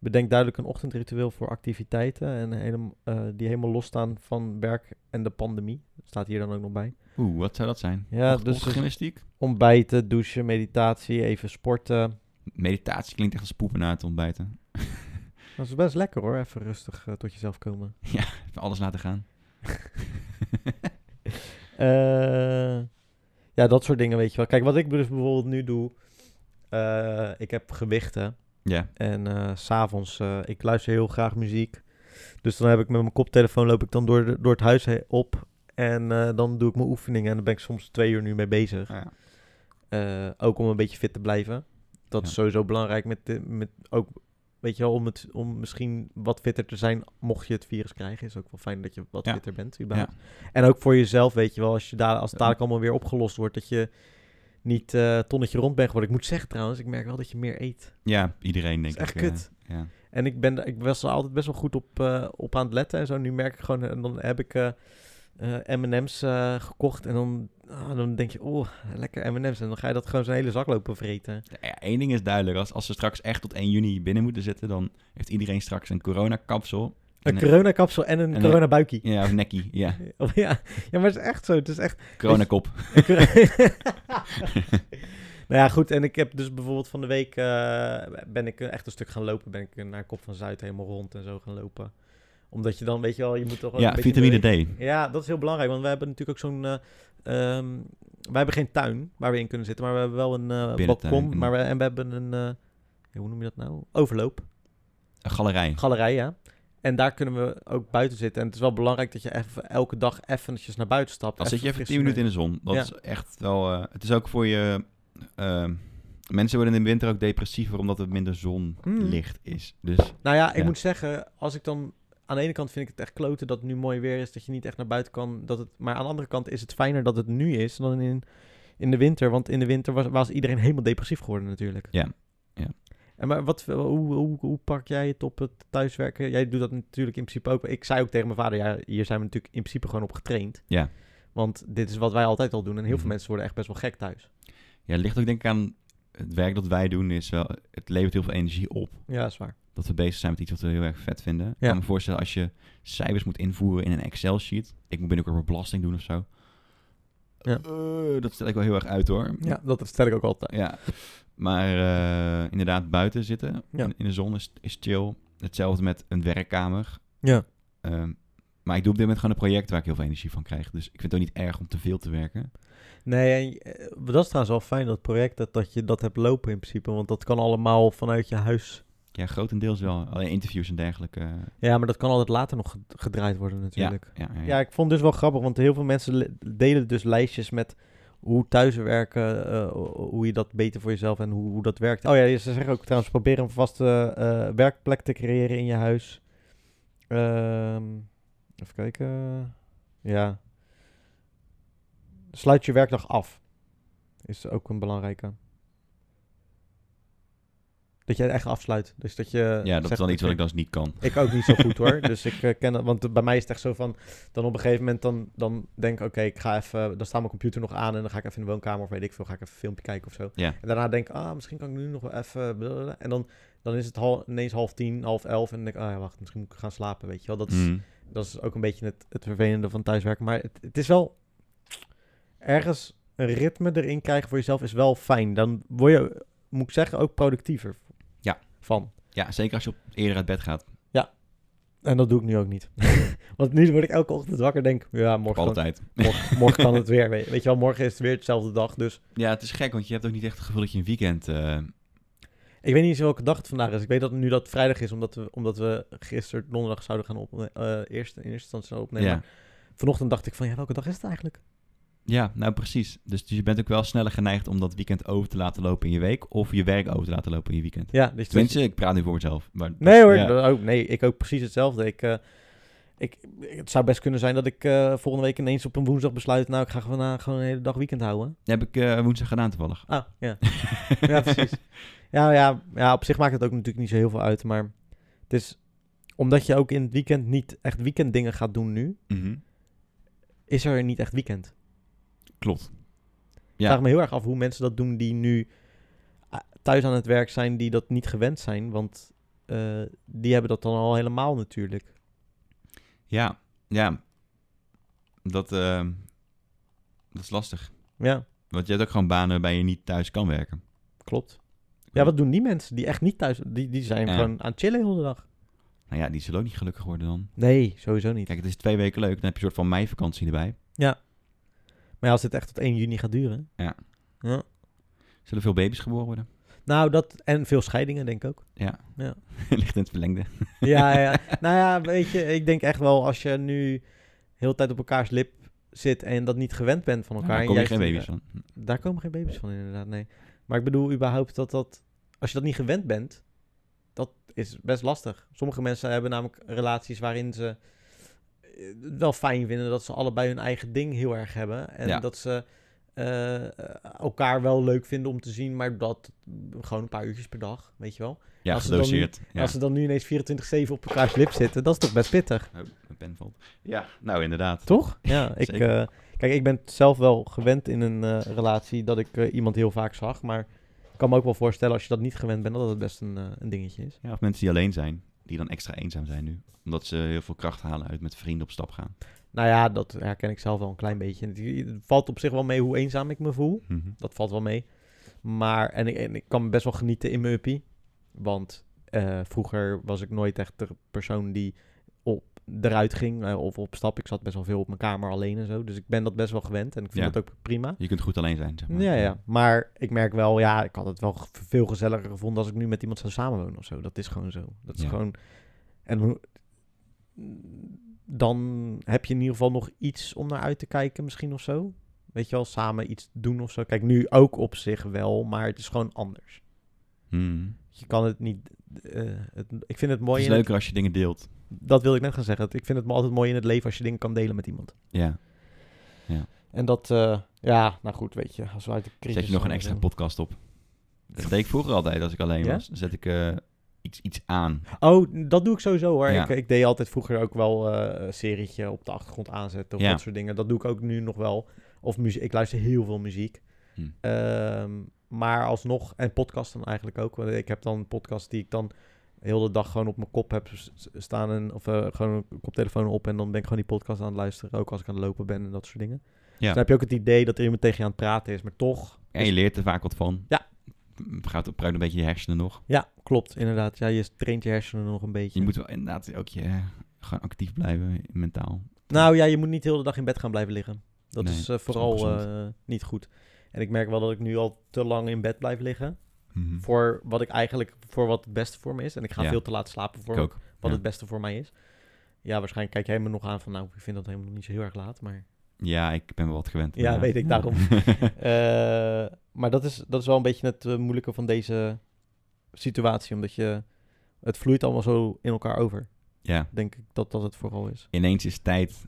S1: bedenk duidelijk een ochtendritueel voor activiteiten en helemaal, eh, die helemaal losstaan van werk en de pandemie. Staat hier dan ook nog bij.
S2: Oeh, wat zou dat zijn?
S1: Ja,
S2: Ocht-
S1: dus-
S2: ochtendgymnastiek?
S1: Ontbijten, douchen, meditatie, even sporten.
S2: Meditatie klinkt echt als poepen na het ontbijten.
S1: Dat is best lekker hoor, even rustig eh, tot jezelf komen.
S2: Even alles laten gaan.
S1: Eh, ja, dat soort dingen weet je wel. Kijk, wat ik dus bijvoorbeeld nu doe, eh, ik heb gewichten.
S2: Ja,
S1: En eh, s s'avonds, ik luister heel graag muziek. Dus dan heb ik met mijn koptelefoon loop ik dan door, de- door het huis he- op. En eh, dan doe ik mijn oefeningen. En daar ben ik soms twee uur nu mee bezig.
S2: ja.
S1: Eh, ook om een beetje fit te blijven. Dat
S2: Ja.
S1: is sowieso belangrijk. Met, de- met ook, weet je wel, om, het, om misschien wat fitter te zijn. Mocht je het virus krijgen, is ook wel fijn dat je wat
S2: Ja.
S1: fitter bent. überhaupt. En ook voor jezelf, weet je wel. Als, je daar, als het dadelijk allemaal weer opgelost wordt, dat je niet eh, tonnetje rond bent geworden. Ik moet zeggen trouwens, ik merk wel dat je meer eet.
S2: ja iedereen denk
S1: Dat is
S2: ik.
S1: echt
S2: eh,
S1: kut.
S2: ja.
S1: En ik ben daar- ik was er altijd best wel goed op, eh, op aan het letten en zo. Nu merk ik gewoon, en dan heb ik eh, eh, M&M's eh, gekocht en dan, ah, dan denk je, oh, lekker M&M's. En dan ga je dat gewoon zo'n hele zak lopen vreten.
S2: Nou Ja, één ding is duidelijk. Als, als ze straks echt tot 1 juni binnen moeten zitten, dan heeft iedereen straks een coronakapsel. En
S1: Een
S2: een-
S1: coronakapsel en een
S2: en een-
S1: coronabuikie.
S2: Ja, of nekkie. Ja,
S1: Oh, Ja. ja, maar het is echt zo. Het is echt...
S2: coronakop.
S1: nou ja, goed. En ik heb dus bijvoorbeeld van de week... eh, ben ik echt een stuk gaan lopen. Ben ik eh, naar Kop van Zuid helemaal rond en zo gaan lopen. Omdat je dan, weet je wel, je moet toch ook
S2: Ja,
S1: een beetje
S2: vitamine
S1: bewegen.
S2: D.
S1: Ja, dat is heel belangrijk, want wij hebben natuurlijk ook zo'n... eh ehm, wij hebben geen tuin waar we in kunnen zitten, maar we hebben wel een eh,
S2: Binnentuin,
S1: balkon.
S2: een-
S1: Maar we, en we hebben een... eh, hoe noem je dat nou? Overloop.
S2: Een galerij.
S1: Galerij, ja. En daar kunnen we ook buiten zitten. En het is wel belangrijk dat je even, elke dag eventjes naar buiten stapt.
S2: Dan zit je even 10
S1: frisse
S2: minuten in
S1: neus.
S2: de zon. Dat
S1: Ja.
S2: is echt wel... eh, het is ook voor je... eh, mensen worden in de winter ook depressiever omdat er minder
S1: Mm.
S2: zonlicht is. Dus
S1: Nou ja, ik
S2: Ja.
S1: moet zeggen, als ik dan... Aan de ene kant vind ik het echt kloten dat het nu mooi weer is, dat je niet echt naar buiten kan. Dat het, maar aan de andere kant is het fijner dat het nu is dan in, in de winter. Want in de winter was, was iedereen helemaal depressief geworden natuurlijk.
S2: Ja, ja.
S1: En maar wat, hoe, hoe, hoe pak jij het op het thuiswerken? Jij doet dat natuurlijk in principe ook. Ik zei ook tegen mijn vader, ja, hier zijn we natuurlijk in principe gewoon op getraind.
S2: Ja.
S1: Want dit is wat wij altijd al doen. En heel
S2: Mhm.
S1: veel mensen worden echt best wel gek thuis.
S2: ja, het ligt ook denk ik aan het werk dat wij doen. Is wel, het levert heel veel energie op.
S1: Ja, dat is waar.
S2: Dat we bezig zijn met iets wat we heel erg vet vinden. Ik
S1: Ja.
S2: kan me voorstellen als je cijfers moet invoeren in een Excel-sheet. Ik moet binnenkort weer belasting doen of zo.
S1: Ja.
S2: Eh, dat stel ik wel heel erg uit hoor.
S1: Ja, dat stel ik ook altijd.
S2: Ja. Maar eh, inderdaad, buiten zitten
S1: Ja.
S2: in, in de zon is, is chill. Hetzelfde met een werkkamer.
S1: Ja.
S2: Ehm, maar ik doe op dit moment gewoon een project waar ik heel veel energie van krijg. Dus ik vind het ook niet erg om te veel te werken.
S1: Nee, en, eh, dat is trouwens wel fijn, dat project, dat, dat je dat hebt lopen in principe. Want dat kan allemaal vanuit je huis.
S2: Ja, grotendeels wel. Alleen interviews en dergelijke. eh,
S1: Ja, maar dat kan altijd later nog ged- gedraaid worden natuurlijk.
S2: Ja, ja, ja.
S1: Ja, ik vond het dus wel grappig, want heel veel mensen le- delen dus lijstjes met hoe thuiswerken, eh, hoe je dat beter voor jezelf en hoe, hoe dat werkt. Oh ja, ze zeggen ook trouwens, probeer een vaste eh, werkplek te creëren in je huis. Ehm, even kijken. Ja. Sluit je werkdag af. Is ook een belangrijke. Dat je het echt afsluit. Dus dat je.
S2: Ja, dat is
S1: zegt,
S2: dan iets wat
S1: oké,
S2: ik dus niet kan.
S1: ik ook niet zo goed hoor. Dus ik eh, ken dat. Want eh, bij mij is het echt zo van. Dan op een gegeven moment dan, dan denk ik, oké, ik ga even. Dan staat mijn computer nog aan en dan ga ik even in de woonkamer of weet ik veel. Ga ik even een filmpje kijken of zo.
S2: Ja.
S1: En daarna denk ik, ah, misschien kan ik nu nog wel even. blablabla. En dan, dan is het hal, ineens half tien, half elf. En dan denk ik, ah ja, wacht, misschien moet ik gaan slapen. Weet je wel. Dat is,
S2: Mm.
S1: dat is ook een beetje het, het vervelende van thuiswerken. Maar het, het is wel. Ergens een ritme erin krijgen voor jezelf is wel fijn. Dan word je, moet ik zeggen, ook productiever
S2: Ja.
S1: van.
S2: Ja, zeker als je op, eerder uit bed gaat.
S1: En dat doe ik nu ook niet. Want nu word ik elke ochtend wakker en denk, ja,
S2: Op
S1: morgen
S2: alle
S1: kan,
S2: tijd.
S1: morgen, morgen kan het weer. Weet, weet je wel, morgen is het weer dezelfde dag. Dus
S2: Ja, het is gek, want je hebt ook niet echt het gevoel dat je een weekend... eh,
S1: ik weet niet eens welke dag het vandaag is. Ik weet dat het nu dat het vrijdag is, omdat we, omdat we gisteren donderdag zouden gaan opnemen. eerst, in eerste instantie zouden opnemen.
S2: ja.
S1: Maar Vanochtend dacht ik van, ja, welke dag is het eigenlijk?
S2: ja, nou precies. Dus, dus je bent ook wel sneller geneigd om dat weekend over te laten lopen in je week... of je werk over te laten lopen in je weekend.
S1: Ja, dus
S2: Tenminste, ik praat nu voor mezelf. Maar
S1: Nee hoor,
S2: Ja.
S1: dat ook, nee, ik ook precies hetzelfde. Ik, eh, ik, het zou best kunnen zijn dat ik eh, volgende week ineens op een woensdag besluit... nou, ik ga gewoon, eh, gewoon een hele dag weekend houden.
S2: Dat heb ik eh, woensdag gedaan toevallig.
S1: Ah, ja. ja, precies. Ja, ja, ja, op zich maakt het ook natuurlijk niet zo heel veel uit. Maar het is omdat je ook in het weekend niet echt weekenddingen gaat doen nu,
S2: Mhm.
S1: is er niet echt weekend.
S2: Klopt.
S1: Ik vraag me heel erg af hoe mensen dat doen die nu ah, thuis aan het werk zijn, die dat niet gewend zijn. Want eh, die hebben dat dan al helemaal natuurlijk.
S2: Ja, ja. Dat, ehm, dat is lastig.
S1: Ja,
S2: Want je hebt ook gewoon banen waarbij je niet thuis kan werken.
S1: klopt. Ja, wat doen die mensen die echt niet thuis... Die, die zijn
S2: Ja.
S1: gewoon aan het chillen heel de dag.
S2: Nou ja, die zullen ook niet gelukkig worden dan.
S1: Nee, sowieso niet.
S2: Kijk, het is twee weken leuk. Dan heb je een soort van meivakantie erbij.
S1: Maar ja, als dit echt tot 1 juni gaat duren...
S2: Zullen veel baby's geboren worden?
S1: Nou, dat... En veel scheidingen, denk ik ook.
S2: Ja.
S1: Ja.
S2: Ligt in het verlengde.
S1: Ja, ja. Nou ja, weet je, ik denk echt wel als je nu heel de tijd op elkaars lip zit en dat niet gewend bent van elkaar.
S2: Daar
S1: en
S2: kom je
S1: juist-
S2: geen baby's van.
S1: Daar komen geen baby's van, inderdaad, nee. Maar ik bedoel überhaupt dat dat, als je dat niet gewend bent, dat is best lastig. Sommige mensen hebben namelijk relaties waarin ze eh, het wel fijn vinden dat ze allebei hun eigen ding heel erg hebben. En
S2: Ja.
S1: dat ze eh, elkaar wel leuk vinden om te zien, maar dat gewoon een paar uurtjes per dag, weet je wel.
S2: Ja,
S1: Als ze dan
S2: gedoseerd. Ja.
S1: Als ze dan nu ineens 24-7 op elkaars lip zitten, dat is toch best pittig,
S2: Oh, mijn pen valt. Ja, nou inderdaad.
S1: toch? Ja, ik,
S2: Zeker.
S1: eh, kijk, ik ben zelf wel gewend in een eh, relatie dat ik eh, iemand heel vaak zag. Maar ik kan me ook wel voorstellen als je dat niet gewend bent, dat het best een, eh, een dingetje is.
S2: Ja, of mensen die alleen zijn, die dan extra eenzaam zijn nu. Omdat ze heel veel kracht halen uit met vrienden op stap gaan.
S1: Nou ja, dat herken ik zelf wel een klein beetje. Het- Het valt op zich wel mee hoe eenzaam ik me voel.
S2: Mhm.
S1: Dat valt wel mee. Maar, en ik, en ik kan best wel genieten in mijn uppie. Want eh, vroeger was ik nooit echt de persoon die op, eruit ging eh, of op stap. Ik zat best wel veel op mijn kamer alleen en zo. Dus ik ben dat best wel gewend en ik vind
S2: Ja.
S1: dat ook prima.
S2: Je kunt goed alleen zijn, zeg maar. eh,
S1: Ja, ja. Maar ik merk wel, ja, ik had het wel ge- veel gezelliger gevonden als ik nu met iemand zou samenwonen of zo. Dat is gewoon zo. Dat is
S2: Ja.
S1: gewoon... En hoe- dan heb je in ieder geval nog iets om naar uit te kijken misschien of zo. Weet je wel, samen iets doen of zo. Kijk, nu ook op zich wel, maar het is gewoon anders.
S2: Mhm.
S1: Je kan het niet... eh, het, ik vind het
S2: Het
S1: mooi...
S2: is
S1: in het-
S2: leuker als je dingen deelt.
S1: dat wilde ik net gaan zeggen. Ik vind het me altijd mooi in het leven als je dingen kan delen met iemand.
S2: Ja.
S1: En dat, eh, ja, nou goed, weet je. Als we uit de crisis...
S2: Zet je nog een extra podcast op. Dat deed ik vroeger altijd als ik alleen
S1: Ja?
S2: was. Dan zet ik eh, iets, iets aan.
S1: Oh, dat doe ik sowieso hoor.
S2: Ja.
S1: Ik, ik deed altijd vroeger ook wel eh, een serietje op de achtergrond aanzetten of
S2: Ja.
S1: dat soort dingen. Dat doe ik ook nu nog wel. Of muziek. Ik luister heel veel muziek.
S2: Hm.
S1: Ehm, maar alsnog, en podcast dan eigenlijk ook. Want ik heb dan een podcast die ik dan heel de dag gewoon op mijn kop heb s- s- staan. En, of eh, gewoon een koptelefoon op. En dan ben ik gewoon die podcast aan het luisteren. Ook als ik aan het lopen ben en dat soort dingen. Dus dan heb je ook het idee dat er iemand tegen je aan het praten is. Maar toch.
S2: En je leert er vaak wat van.
S1: Ja.
S2: M- Gaat op een beetje je hersenen nog.
S1: Ja, klopt. Inderdaad. Ja, je traint je hersenen nog een beetje.
S2: Je moet wel inderdaad ook je, eh, gewoon actief blijven mentaal.
S1: Nou ja, je moet niet heel de dag in bed gaan blijven liggen. Dat
S2: Nee,
S1: is eh,
S2: dat is
S1: vooral
S2: ongezond.
S1: eh, niet goed. En ik merk wel dat ik nu al te lang in bed blijf liggen.
S2: Mhm.
S1: Voor wat ik eigenlijk voor wat het beste voor me is. En ik ga
S2: Ja.
S1: veel te laat slapen voor
S2: Ik ook.
S1: wat
S2: ja.
S1: het beste voor mij is. Ja, waarschijnlijk kijk jij me nog aan van nou, ik vind dat helemaal nog niet zo heel erg laat. Maar
S2: Ja, ik ben wel wat gewend.
S1: ja,
S2: inderdaad.
S1: weet ik daarom. Eh, maar dat is, dat is wel een beetje het eh, moeilijke van deze situatie. Omdat je het vloeit allemaal zo in elkaar over.
S2: Ja,
S1: Denk ik dat dat het vooral is.
S2: ineens is tijd...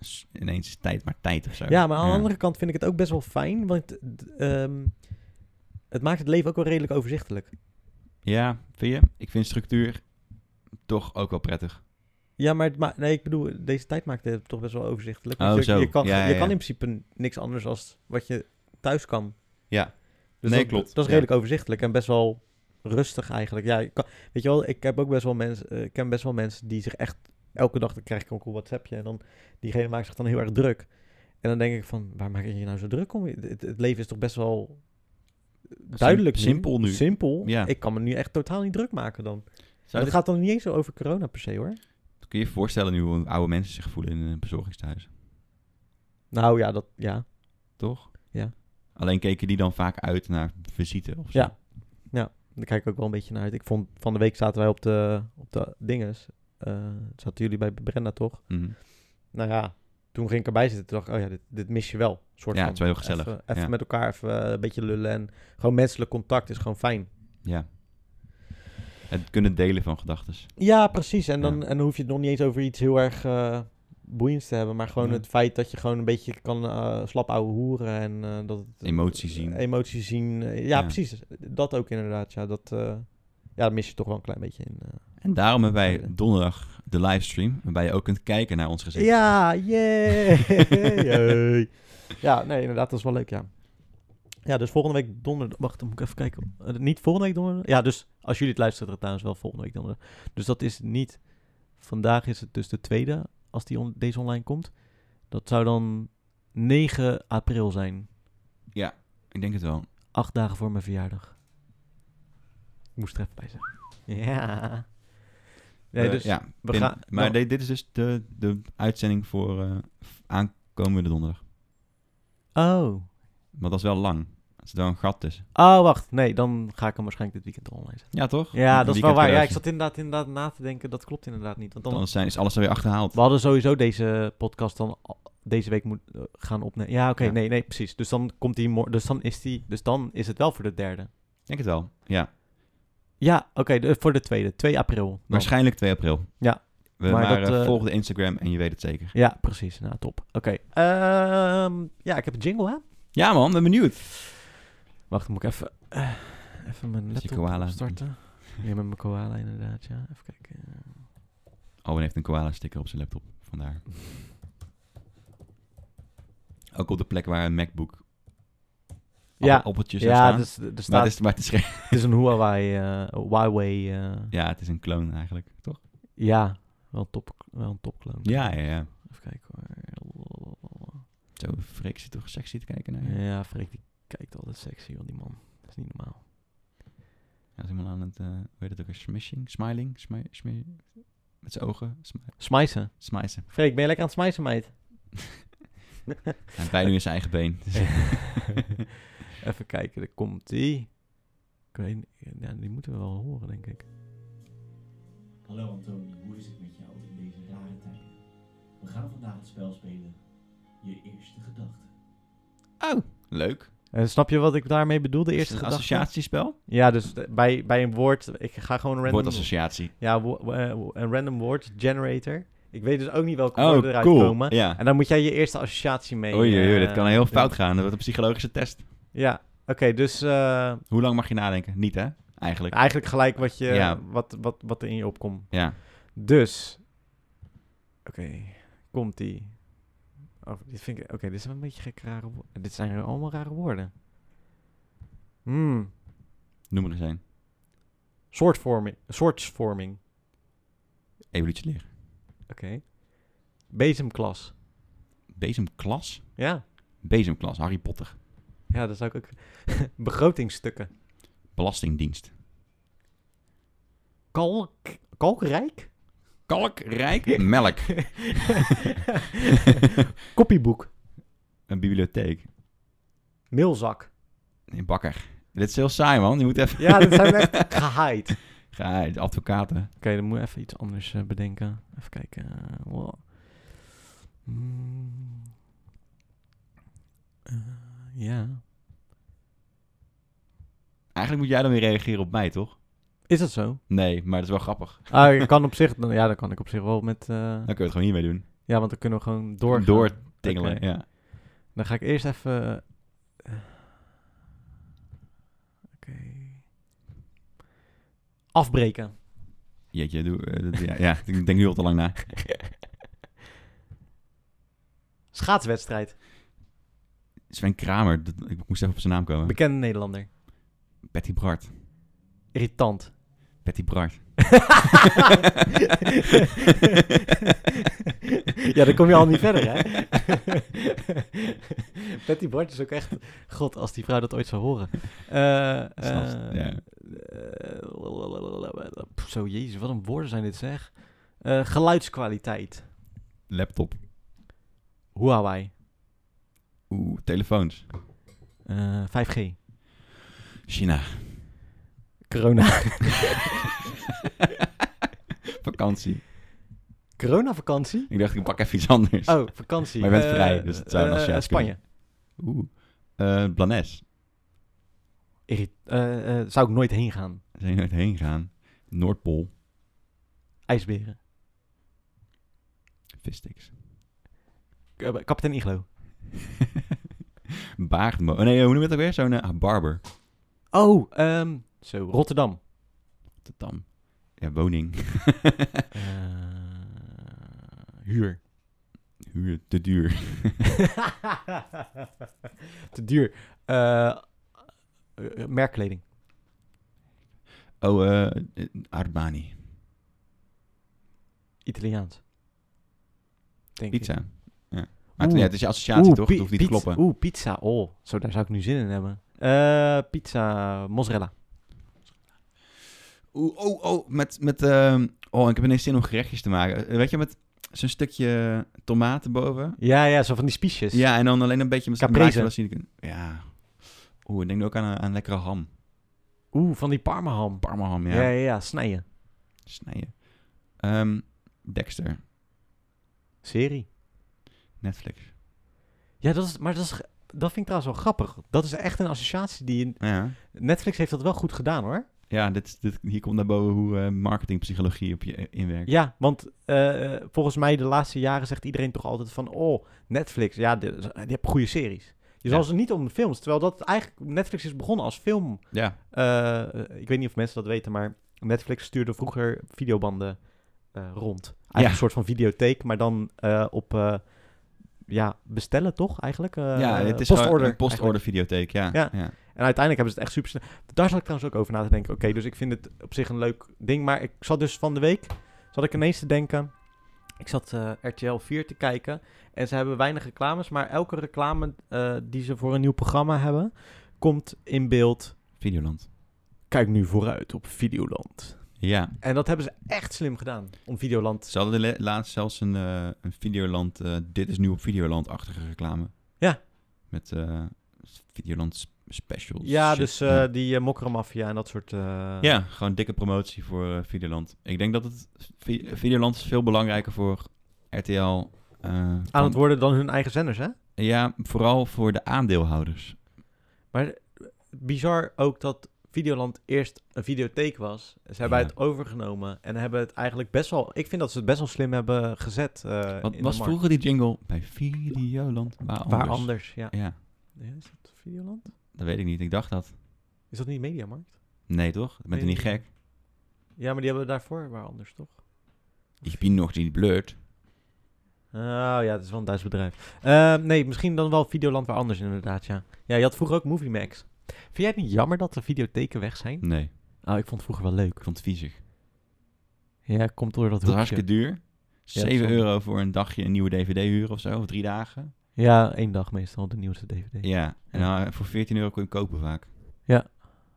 S2: s- Ineens is tijd maar tijd of zo.
S1: Ja, maar aan de andere kant vind ik het ook best wel fijn, want d- ehm, het maakt het leven ook wel redelijk overzichtelijk.
S2: Ja, vind je? Ik vind structuur toch ook wel prettig.
S1: Ja, maar het ma- nee, ik bedoel, deze tijd maakt het toch best wel overzichtelijk. want
S2: Oh,
S1: je,
S2: zo.
S1: je kan,
S2: Ja, ja,
S1: je
S2: ja.
S1: kan in principe niks anders dan wat je thuis kan.
S2: Ja.
S1: Dus
S2: Nee,
S1: dat,
S2: klopt.
S1: Dat is
S2: Ja.
S1: redelijk overzichtelijk en best wel rustig eigenlijk. Ja, ik kan- weet je wel, ik heb ook best wel mensen, eh, ik ken best wel mensen die zich echt elke dag, dan krijg ik ook een WhatsAppje en dan diegene maakt zich dan heel erg druk. En dan denk ik van, waar maak je je nou zo druk om? Het, het- het leven is toch best wel duidelijk.
S2: Sim- simpel nu.
S1: Simpel.
S2: Ja.
S1: Ik kan me nu echt totaal niet druk maken dan.
S2: Zou
S1: dat
S2: dit-
S1: gaat dan niet eens zo over corona per se hoor.
S2: Kun je je voorstellen nu hoe oude mensen zich voelen in een bezorgingstehuis?
S1: Nou ja, dat, ja.
S2: Toch?
S1: Ja.
S2: Alleen keken die dan vaak uit naar visite of zo?
S1: Ja. Daar kijk ik ook wel een beetje naar uit. Ik vond, van de week zaten wij op de, op de dinges. Eh, zaten jullie bij Brenda toch?
S2: Mhm.
S1: Nou ja, toen ging ik erbij zitten. Toen dacht ik, oh ja, dit, dit mis je wel. Een Soort
S2: Ja,
S1: van
S2: het is wel heel gezellig.
S1: Even, even
S2: Ja.
S1: met elkaar even eh, een beetje lullen. En gewoon menselijk contact is gewoon fijn.
S2: Ja. Het kunnen delen van gedachten.
S1: Ja, precies. En dan,
S2: Ja.
S1: en dan hoef je het nog niet eens over iets heel erg eh, boeiends te hebben. Maar gewoon
S2: Ja.
S1: het feit dat je gewoon een beetje kan eh slap ouwe hoeren. En eh, dat het,
S2: Emotie zien.
S1: Emotie zien. Eh, ja,
S2: Ja.
S1: precies. Dat ook inderdaad. Ja, dat, eh, ja, dat mis je toch wel een klein beetje in. eh.
S2: En daarom hebben wij
S1: Delen.
S2: donderdag de livestream, waarbij je ook kunt kijken naar ons gezicht.
S1: Ja, yeah. ja, nee, inderdaad. Dat is wel leuk, ja. Ja, dus volgende week donderdag. Wacht, dan moet ik even kijken. Eh, niet volgende week donderdag. Ja, dus als jullie het luisteren, trouwens wel volgende week donderdag. Dus dat is niet. Vandaag is het dus de tweede, als die on- deze online komt. Dat zou dan 9 april zijn.
S2: Ik denk het wel.
S1: Acht dagen voor mijn verjaardag. Ik moest er even bij zeggen. Ja. Nee,
S2: Eh,
S1: dus
S2: ja,
S1: we
S2: pin-
S1: gaan-
S2: maar
S1: nou-
S2: dit- dit is dus de, de uitzending voor eh, aankomende donderdag.
S1: Oh.
S2: Maar dat is wel lang. Er zit wel een gat dus. tussen.
S1: Oh, wacht. Nee, dan ga ik hem waarschijnlijk dit weekend online zetten.
S2: Ja, toch?
S1: Ja,
S2: Een
S1: dat is wel waar. Ja, ik
S2: weekendcadeautje.
S1: zat inderdaad, inderdaad na te denken. Dat klopt inderdaad niet. Want dan,
S2: Anders zijn, is alles alweer achterhaald.
S1: we hadden sowieso deze podcast dan al- deze week moet, eh, gaan opnemen. Ja, oké.
S2: Ja.
S1: Nee, nee, precies. Dus dan komt die mor- Dus dan is die... Dus dan is het wel voor de derde.
S2: Ik denk het wel. Ja,
S1: Ja, oké. de- voor de tweede. 2 april. dan.
S2: waarschijnlijk 2 april.
S1: Ja.
S2: We
S1: Maar
S2: maar
S1: dat,
S2: eh,
S1: eh,
S2: volg de Instagram en je weet het zeker.
S1: Ja, precies. Nou, top. Oké. Ehm, ja, ik heb een jingle, hè?
S2: Ja man, ben benieuwd.
S1: Wacht, dan moet ik even, eh, even mijn
S2: Met je
S1: laptop
S2: koala.
S1: starten. Ja, met mijn koala inderdaad, ja. Even kijken.
S2: Owen heeft een koala sticker op zijn laptop, vandaar. Ook op de plek waar een MacBook
S1: Ja,
S2: appel- appeltjes in
S1: ja
S2: staan.
S1: dus, er
S2: maar
S1: staat,
S2: het is, maar het is geen-
S1: het is een Huawei. eh, Huawei eh,
S2: Ja, het is een clone eigenlijk, toch?
S1: ja, wel een top, wel een topclone.
S2: Ja, ja, ja.
S1: Even kijken hoor.
S2: Zo, Freek zit toch sexy te kijken naar je?
S1: Ja, Freek die kijkt altijd sexy, want die man. Dat is niet normaal.
S2: Hij is helemaal aan het, eh hoe heet het ook, weer? smishing, smiling, smi- smi- met zijn ogen, smi-
S1: Smijzen.
S2: smijzen.
S1: Freek, ben je lekker aan het smijzen, meid?
S2: Hij bijt nu in zijn eigen been. Dus-
S1: Even kijken, daar komt die. Ik weet niet, ja, die moeten we wel horen, denk ik.
S3: Hallo Antonie, hoe is het met jou in deze rare tijden? We gaan vandaag het spel spelen. Je eerste gedachte.
S2: Oh, leuk.
S1: Eh, snap je wat ik daarmee bedoel, de
S2: Is het
S1: eerste
S2: een
S1: gedachte?
S2: associatiespel?
S1: Ja, dus de- bij, bij een woord, ik ga gewoon een random,
S2: Woordassociatie.
S1: ja, wo- wo- eh, wo- een random woord generator. Ik weet dus ook niet welke
S2: Oh,
S1: woorden eruit
S2: cool.
S1: komen.
S2: Ja.
S1: En dan moet jij je eerste associatie mee.
S2: Oei, oei, oei, dat
S1: eh,
S2: kan heel
S1: doen.
S2: fout gaan. Dat wordt een psychologische test.
S1: Ja, oké, dus eh,
S2: Hoe lang mag je nadenken? Niet, hè? Eigenlijk.
S1: eigenlijk gelijk wat, je,
S2: Ja.
S1: wat, wat, wat er in je opkomt.
S2: Ja.
S1: Dus, oké, komt die. Oh, dit vind ik, oké, dit zijn een beetje gekke rare woorden. Dit zijn allemaal rare woorden. Hmm,
S2: Noem er eens een.
S1: soortvorming, soortsvorming,
S2: Evolutieleer.
S1: oké. Bezemklas,
S2: Bezemklas?
S1: ja.
S2: Bezemklas. Harry Potter.
S1: Ja, dat zou ik ook... Begrotingstukken.
S2: Belastingdienst.
S1: Kalk... Kalkrijk?
S2: Kalkrijk. Melk.
S1: Kopieboek.
S2: Een bibliotheek.
S1: Mailzak.
S2: Een bakker. Dit is heel saai, man. Je moet even...
S1: Ja, dat zijn echt gehaaid. Oké,
S2: Ga, advocaten.
S1: dan moet je even iets anders eh, bedenken. Even kijken. eh, wow. Hmm. Eh, ja.
S2: Eigenlijk moet jij dan weer reageren op mij, toch?
S1: Is dat zo?
S2: Nee, maar dat is wel grappig.
S1: Ah, ik kan op zich... dan- Ja, dan kan ik op zich wel met... eh,
S2: Dan kun je het gewoon hiermee doen.
S1: ja, want dan kunnen we gewoon doorgaan.
S2: Doortingelen,
S1: Oké.
S2: ja.
S1: Dan ga ik eerst even... eh, Oké. Afbreken.
S2: Jeetje, doe, eh, dat- ja, ja, ik denk nu al te lang na.
S1: Schaatswedstrijd.
S2: Sven Kramer, dat- ik moest even op zijn naam komen.
S1: Bekende Nederlander.
S2: Patty Bart.
S1: Irritant.
S2: Patty Bart.
S1: ja, dan kom je al niet verder, hè? Betty Bart is ook echt... God, als die vrouw dat ooit zou horen. Eh, eh,
S2: Snaps, ja.
S1: eh, lalalala. Pff, Zo, jezus, wat een woorden zijn dit, zeg. Eh, geluidskwaliteit.
S2: Laptop.
S1: Huawei.
S2: Oeh, telefoons.
S1: Eh, 5G.
S2: China.
S1: Corona.
S2: Vakantie.
S1: Corona-vakantie?
S2: Ik dacht, ik pak even iets anders.
S1: Oh, vakantie.
S2: Maar je bent
S1: Eh,
S2: vrij, dus het zou een
S1: eh,
S2: associatie
S1: Spanje.
S2: Oeh. Eh Blanes.
S1: Irrit- eh, eh, zou ik nooit heen gaan.
S2: Daar zijn we nooit heen gegaan. Noordpool.
S1: IJsberen.
S2: Vistix.
S1: K- eh, Kapitein Iglo.
S2: Baardmo. oh, Nee, hoe noem je het ook weer? Zo'n eh, ah, barber.
S1: Oh, ehm, zo, Rotterdam.
S2: Rotterdam. Ja, woning.
S1: Eh, huur.
S2: Huur. Te duur.
S1: Te duur. Eh, eh, merkkleding.
S2: Oh, eh, eh, Armani.
S1: Italiaans. Denk ik.
S2: Pizza. Ja. Maar het,
S1: Oeh.
S2: ja, het is je associatie,
S1: Oeh,
S2: toch?
S1: pi-
S2: Het hoeft niet
S1: pizza.
S2: te kloppen.
S1: Oeh, pizza. Oh, zo, daar zou ik nu zin in hebben. Eh, pizza, mozzarella.
S2: Oeh, oh, oh, met, met ehm, oh, ik heb ineens zin om gerechtjes te maken. Eh, Weet je, met zo'n stukje tomaten boven.
S1: Ja, ja, zo van die spiesjes.
S2: Ja, en dan alleen een beetje met zo'n
S1: Caprese.
S2: maagje, zodat je- Ja. Oeh, ik denk nu ook aan, aan lekkere ham.
S1: Oeh, van die parmaham.
S2: Parmaham,
S1: Ja,
S2: ja.
S1: ja, ja, snijden.
S2: Snijden. Ehm, Dexter,
S1: Serie.
S2: Netflix.
S1: Ja, dat is, maar dat, is, ge- dat vind ik trouwens wel grappig. Dat is echt een associatie die... in-
S2: Nou Ja,
S1: Netflix heeft dat wel goed gedaan, hoor.
S2: ja dit, is- dit, hier komt naar boven hoe eh, marketingpsychologie op je inwerkt.
S1: Ja, want eh, eh, volgens mij de laatste jaren zegt iedereen toch altijd van... Oh, Netflix, ja, die, die hebben goede series. Je zal
S2: Ja.
S1: ze niet om de films. Terwijl dat eigenlijk... Netflix is begonnen als film...
S2: Ja,
S1: Eh, ik weet niet of mensen dat weten, maar Netflix stuurde vroeger videobanden eh, rond. Eigenlijk
S2: Ja.
S1: een soort van videotheek, maar dan eh, op eh, ja, bestellen toch eigenlijk? Eh,
S2: ja het is
S1: postorder.
S2: gewoon een
S1: eigenlijk.
S2: postorder videotheek, ja.
S1: Ja.
S2: ja.
S1: En uiteindelijk hebben ze het echt super snel. Daar zat ik trouwens ook over na te denken. Oké, dus ik vind het op zich een leuk ding. Maar ik zat dus van de week, zat ik ineens te denken. Ik zat eh, RTL 4 te kijken. En ze hebben weinig reclames. Maar elke reclame eh, die ze voor een nieuw programma hebben, komt in beeld.
S2: Videoland.
S1: Kijk nu vooruit op Videoland.
S2: Ja,
S1: En dat hebben ze echt slim gedaan om Videoland.
S2: ze hadden de le- laatst zelfs een, eh, een Videoland, eh, dit is nu op Videoland-achtige reclame.
S1: Ja.
S2: Met eh, Videoland sp- specials.
S1: Ja,
S2: shit.
S1: dus eh,
S2: ja.
S1: die eh, mokkermafia en dat soort. eh,
S2: Ja, gewoon dikke promotie voor eh, Videoland. Ik denk dat het, Vi- Videoland is veel belangrijker voor RTL. eh,
S1: Aan
S2: van-
S1: het worden dan hun eigen zenders, hè?
S2: Ja, vooral voor de aandeelhouders.
S1: Maar eh, bizar ook dat Videoland eerst een videotheek was. Ze hebben
S2: Ja.
S1: het overgenomen en hebben het eigenlijk best wel. Ik vind dat ze het best wel slim hebben gezet. eh,
S2: Wat
S1: in
S2: was
S1: de markt.
S2: vroeger die jingle bij Videoland? Waar anders?
S1: Waar nou anders, ja.
S2: Ja,
S1: Ja, Is dat Videoland?
S2: dat weet ik niet. Ik dacht dat.
S1: Is dat niet Mediamarkt?
S2: Nee, toch? Ik ben er
S1: Nee.
S2: niet gek.
S1: Ja, maar die hebben we daarvoor waar anders, toch?
S2: Ik ben nog niet blurred.
S1: Oh ja, het is wel een Duits bedrijf. Eh, nee, misschien dan wel Videoland waar anders inderdaad, ja. Ja, je had vroeger ook Movie Max. Vind jij het niet jammer dat de videotheken weg zijn?
S2: Nee,
S1: Oh, ik vond het vroeger wel leuk.
S2: ik vond het viezig.
S1: Ja, komt door dat
S2: Het was
S1: hoekje.
S2: hartstikke duur.
S1: Ja,
S2: 7
S1: dat is
S2: euro voor een dagje een nieuwe DVD huren of zo, of drie dagen.
S1: Ja, één dag meestal, de nieuwste DVD. Ja,
S2: Ja, en dan, eh, voor 14 euro kon je hem kopen vaak.
S1: Ja.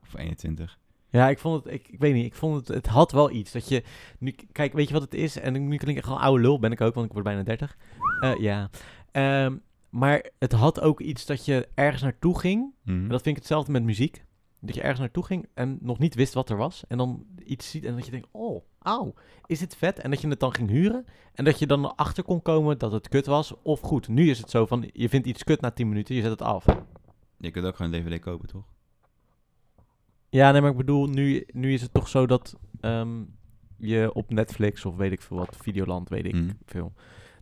S2: Of 21.
S1: ik vond het, ik, ik weet niet, ik vond het, het had wel iets. Dat je, nu, kijk, weet je wat het is? En nu klink ik echt wel oude lul, ben ik ook, want ik word bijna 30. Eh, ja. Ehm, maar het had ook iets dat je ergens naartoe ging
S2: Mhm.
S1: En dat vind ik hetzelfde met muziek. Dat je ergens naartoe ging en nog niet wist wat er was. En dan iets ziet en dat je denkt, oh, auw, is dit vet? En dat je het dan ging huren. En dat je dan erachter kon komen dat het kut was of goed. Nu is het zo van, je vindt iets kut na 10 minuten, je zet het af.
S2: Je kunt ook gewoon een DVD kopen, toch?
S1: Ja, nee, maar ik bedoel, nu, nu is het toch zo dat ehm, je op Netflix of weet ik veel wat, Videoland, weet ik
S2: Mhm.
S1: veel.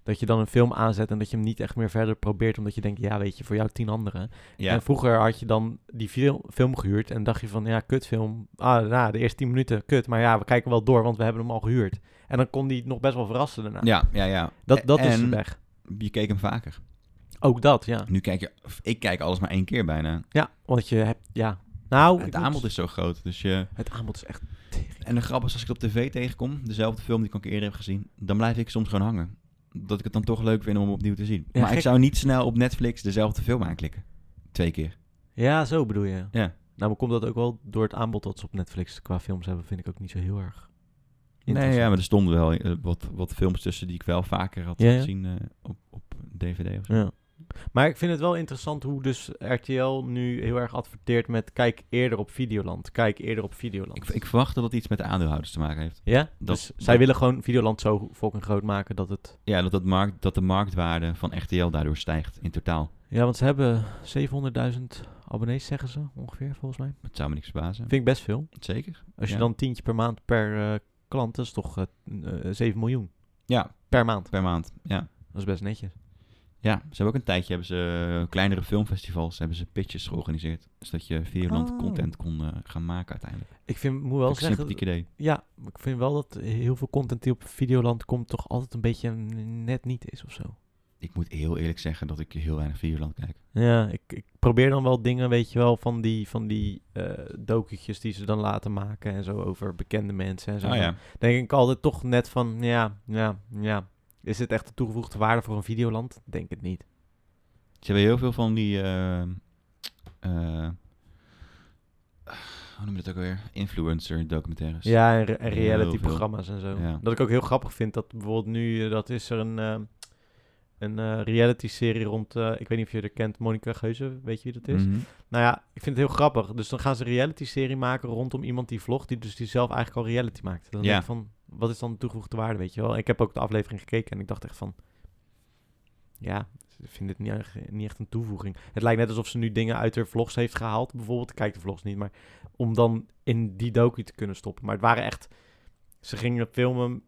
S1: Dat je dan een film aanzet en dat je hem niet echt meer verder probeert. Omdat je denkt, ja, weet je, voor jou tien anderen.
S2: Ja,
S1: En vroeger had je dan die fil- film gehuurd en dacht je van, ja, kutfilm. Ah, nou, de eerste 10 minuten, kut. Maar ja, we kijken wel door, want we hebben hem al gehuurd. En dan kon die nog best wel verrassen daarna.
S2: ja, ja. ja.
S1: Dat, dat is
S2: En-
S1: weg.
S2: Je keek hem vaker.
S1: Ook dat, ja.
S2: Nu kijk je, of ik kijk alles maar één keer bijna.
S1: Ja, want je hebt, ja. Nou,
S2: het
S1: ik moet-
S2: aanbod is zo groot, dus je...
S1: het aanbod is echt...
S2: En de grap is, als ik het op tv tegenkom, dezelfde film die ik al een keer heb gezien, dan blijf ik soms gewoon hangen. Dat ik het dan toch leuk vind om hem opnieuw te zien.
S1: Ja,
S2: maar
S1: gek.
S2: ik zou niet snel op Netflix dezelfde film aanklikken. Twee keer.
S1: Ja, zo bedoel je.
S2: Ja.
S1: Nou, maar komt dat ook wel door het aanbod dat ze op Netflix qua films hebben, vind ik ook niet zo heel erg
S2: Nee,
S1: interessant.
S2: ja, maar er stonden wel eh, wat, wat films tussen die ik wel vaker had
S1: Ja, ja.
S2: gezien eh, op, op DVD of zo.
S1: Ja. Maar ik vind het wel interessant hoe dus RTL nu heel erg adverteert met kijk eerder op Videoland, kijk eerder op Videoland.
S2: Ik, ik verwacht dat het iets met de aandeelhouders te maken heeft.
S1: Ja,
S2: Dat-
S1: dus zij
S2: dat-
S1: willen gewoon Videoland zo fucking groot maken dat het...
S2: Ja, dat, dat, markt, dat de marktwaarde van RTL daardoor stijgt in totaal.
S1: Ja, want ze hebben 700.000 abonnees, zeggen ze ongeveer, volgens mij.
S2: Dat zou me niks verbazen.
S1: Vind ik best veel.
S2: Zeker.
S1: Als je
S2: Ja.
S1: dan tientje per maand per eh, klant, dat is toch eh, eh, 7 miljoen
S2: Ja,
S1: per maand.
S2: per maand. Ja.
S1: Dat is best netjes.
S2: Ja, ze hebben ook een tijdje hebben ze eh, kleinere filmfestivals, hebben ze pitches georganiseerd. Zodat je Videoland
S1: Oh.
S2: content kon eh, gaan maken uiteindelijk.
S1: Ik vind, moet wel
S2: Dat is een
S1: zeggen...
S2: sympathiek idee.
S1: Ja, ik vind wel dat heel veel content die op Videoland komt toch altijd een beetje net niet is of zo.
S2: ik moet heel eerlijk zeggen dat ik heel weinig Videoland kijk.
S1: Ja, ik, ik probeer dan wel dingen, weet je wel, van die, van die eh dokentjes die ze dan laten maken en zo over bekende mensen en zo.
S2: Ah ja,
S1: Dan Denk ik altijd toch net van, ja, ja, ja. Is dit echt de toegevoegde waarde voor een videoland? Denk het niet.
S2: ze hebben heel veel van die... eh, eh, hoe noem je dat ook alweer? Influencer documentaires.
S1: Ja, en, re- en
S2: heel
S1: reality-programma's en zo.
S2: Ja.
S1: Dat ik ook heel grappig vind dat bijvoorbeeld nu, eh, dat is er een, eh, een eh, reality-serie rond, eh, ik weet niet of je er kent, Monica Geuze, weet je wie dat is?
S2: Mhm.
S1: Nou ja, ik vind het heel grappig. Dus dan gaan ze een reality-serie maken rondom iemand die vlogt, die dus die zelf eigenlijk al reality maakt. Dan
S2: Ja.
S1: denk ik van, wat is dan de toegevoegde waarde, weet je wel? Ik heb ook de aflevering gekeken en ik dacht echt van, ja, ik vind dit niet, erg- niet echt een toevoeging. Het lijkt net alsof ze nu dingen uit haar vlogs heeft gehaald, bijvoorbeeld. Ik kijk de vlogs niet, maar om dan in die docu te kunnen stoppen. Maar het waren echt, ze gingen filmen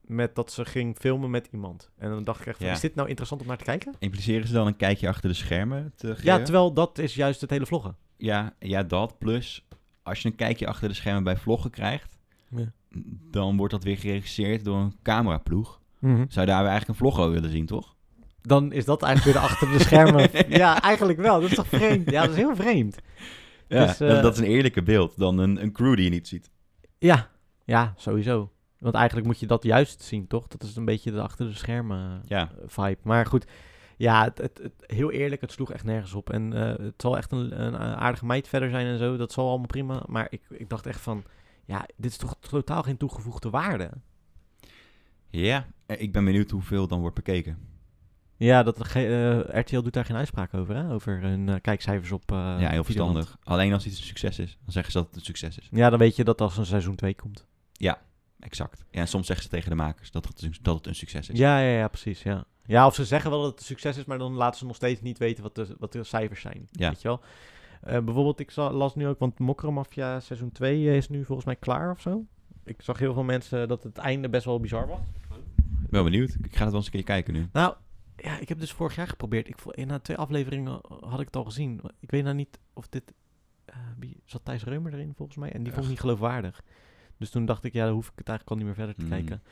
S1: met dat ze ging filmen met iemand. En dan dacht ik echt van,
S2: Ja.
S1: is dit nou interessant om naar te kijken?
S2: Impliceren ze dan een kijkje achter de schermen te geven?
S1: Ja, terwijl dat is juist het hele vloggen.
S2: Ja, ja, dat. Plus, als je een kijkje achter de schermen bij vloggen krijgt,
S1: Ja.
S2: dan wordt dat weer geregisseerd door een cameraploeg. Zou je daar eigenlijk een vlogger willen zien, toch?
S1: dan is dat eigenlijk weer de achter de schermen. ja, eigenlijk wel. Dat is toch vreemd? Ja, dat is heel vreemd.
S2: Ja,
S1: Dus,
S2: dat-
S1: eh,
S2: dat is een eerlijker beeld dan een, een crew die je niet ziet.
S1: Ja, ja, sowieso. Want eigenlijk moet je dat juist zien, toch? Dat is een beetje de achter de schermen
S2: Ja,
S1: eh, vibe. Maar goed, ja, het, het, het- heel eerlijk, het sloeg echt nergens op. En eh, het zal echt een, een aardige meid verder zijn en zo. Dat zal allemaal prima. Maar ik, ik dacht echt van, ja, dit is toch totaal geen toegevoegde waarde?
S2: ja. Eh, Ik ben benieuwd hoeveel dan wordt bekeken.
S1: Ja, dat, ge- eh, RTL doet daar geen uitspraak over, hè? Over hun eh, kijkcijfers op eh,
S2: ja, heel
S1: Videoland.
S2: verstandig. Alleen als iets een succes is, dan zeggen ze dat het een succes is.
S1: Ja, dan weet je dat als een seizoen 2 komt.
S2: Exact. Ja, en soms zeggen ze tegen de makers dat het, een- dat het een succes is.
S1: Ja, ja, ja, precies. Ja. ja, of ze zeggen wel dat het een succes is, maar dan laten ze nog steeds niet weten wat de, wat de cijfers zijn.
S2: Ja.
S1: Weet je wel? Eh, bijvoorbeeld, ik za- las nu ook, want Mokkermafia seizoen 2 is nu volgens mij klaar of zo. Ik zag heel veel mensen dat het einde best wel bizar was.
S2: Ik ben wel benieuwd. Ik ga het wel eens een keer kijken nu.
S1: Nou, ja, ik heb dus vorig jaar geprobeerd. Ik, vo- in na twee afleveringen had ik het al gezien. Ik weet nou niet of dit... eh, wie, zat Thijs Reumer erin volgens mij? En die vond ik niet geloofwaardig. Dus toen dacht ik, ja, dan hoef ik het eigenlijk al niet meer verder te
S2: Mm.
S1: kijken.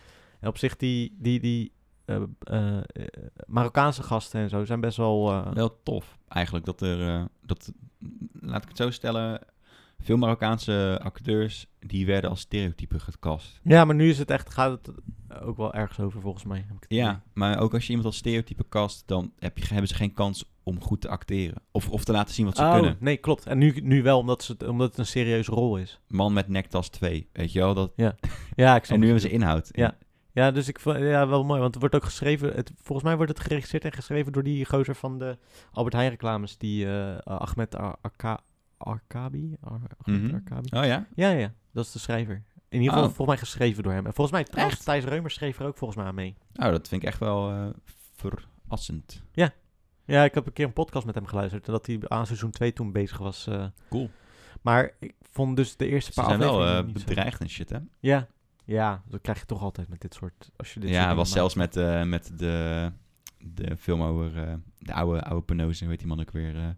S1: En op zich, die, die, die eh, eh, eh, Marokkaanse gasten en zo zijn best wel... eh,
S2: Wel tof eigenlijk dat er, eh, dat, laat ik het zo stellen, veel Marokkaanse acteurs die werden als stereotype gecast.
S1: Ja, maar nu is het echt, gaat het ook wel ergens over volgens mij. heb ik het idee.
S2: Ja, maar ook als je iemand als stereotype kast, dan heb je, hebben ze geen kans om goed te acteren. Of, of te laten zien wat ze
S1: Oh,
S2: kunnen.
S1: nee, klopt. En nu, nu wel, omdat, ze het, omdat het een serieuze rol is.
S2: Man met nektas 2, weet je wel? Dat,
S1: Ja, ik snap wat
S2: en nu
S1: je
S2: hebben ze inhoud.
S1: Ja. Ja, dus ik vond ja, wel mooi, want het wordt ook geschreven. Het, volgens mij wordt het geregisseerd en geschreven door die gozer van de Albert Heijn reclames, die eh, eh, Ahmed Ar- Arka- Arkabi. Ar- Ahmed
S2: Mhm.
S1: Arkabi.
S2: Oh ja?
S1: Ja, ja, ja, dat is de schrijver. In ieder geval
S2: Oh.
S1: volgens mij geschreven door hem. En volgens mij trouwens, Thijs Reumer schreef er ook volgens mij aan mee.
S2: Nou, dat vind ik echt wel eh, verrassend.
S1: Ja, ik heb een keer een podcast met hem geluisterd en dat hij aan seizoen 2 toen bezig was. eh.
S2: Cool.
S1: Maar ik vond dus de eerste
S2: Ze
S1: paar
S2: zijn wel
S1: afleveringen
S2: eh,
S1: niet zo-
S2: bedreigd en shit, hè?
S1: Ja, ja, dat krijg je toch altijd met dit soort... Als je dit soort
S2: ja,
S1: dingen
S2: was
S1: maakt.
S2: zelfs met, eh, met de, de film over eh, de oude, oude penose, weet die man ook weer? eh,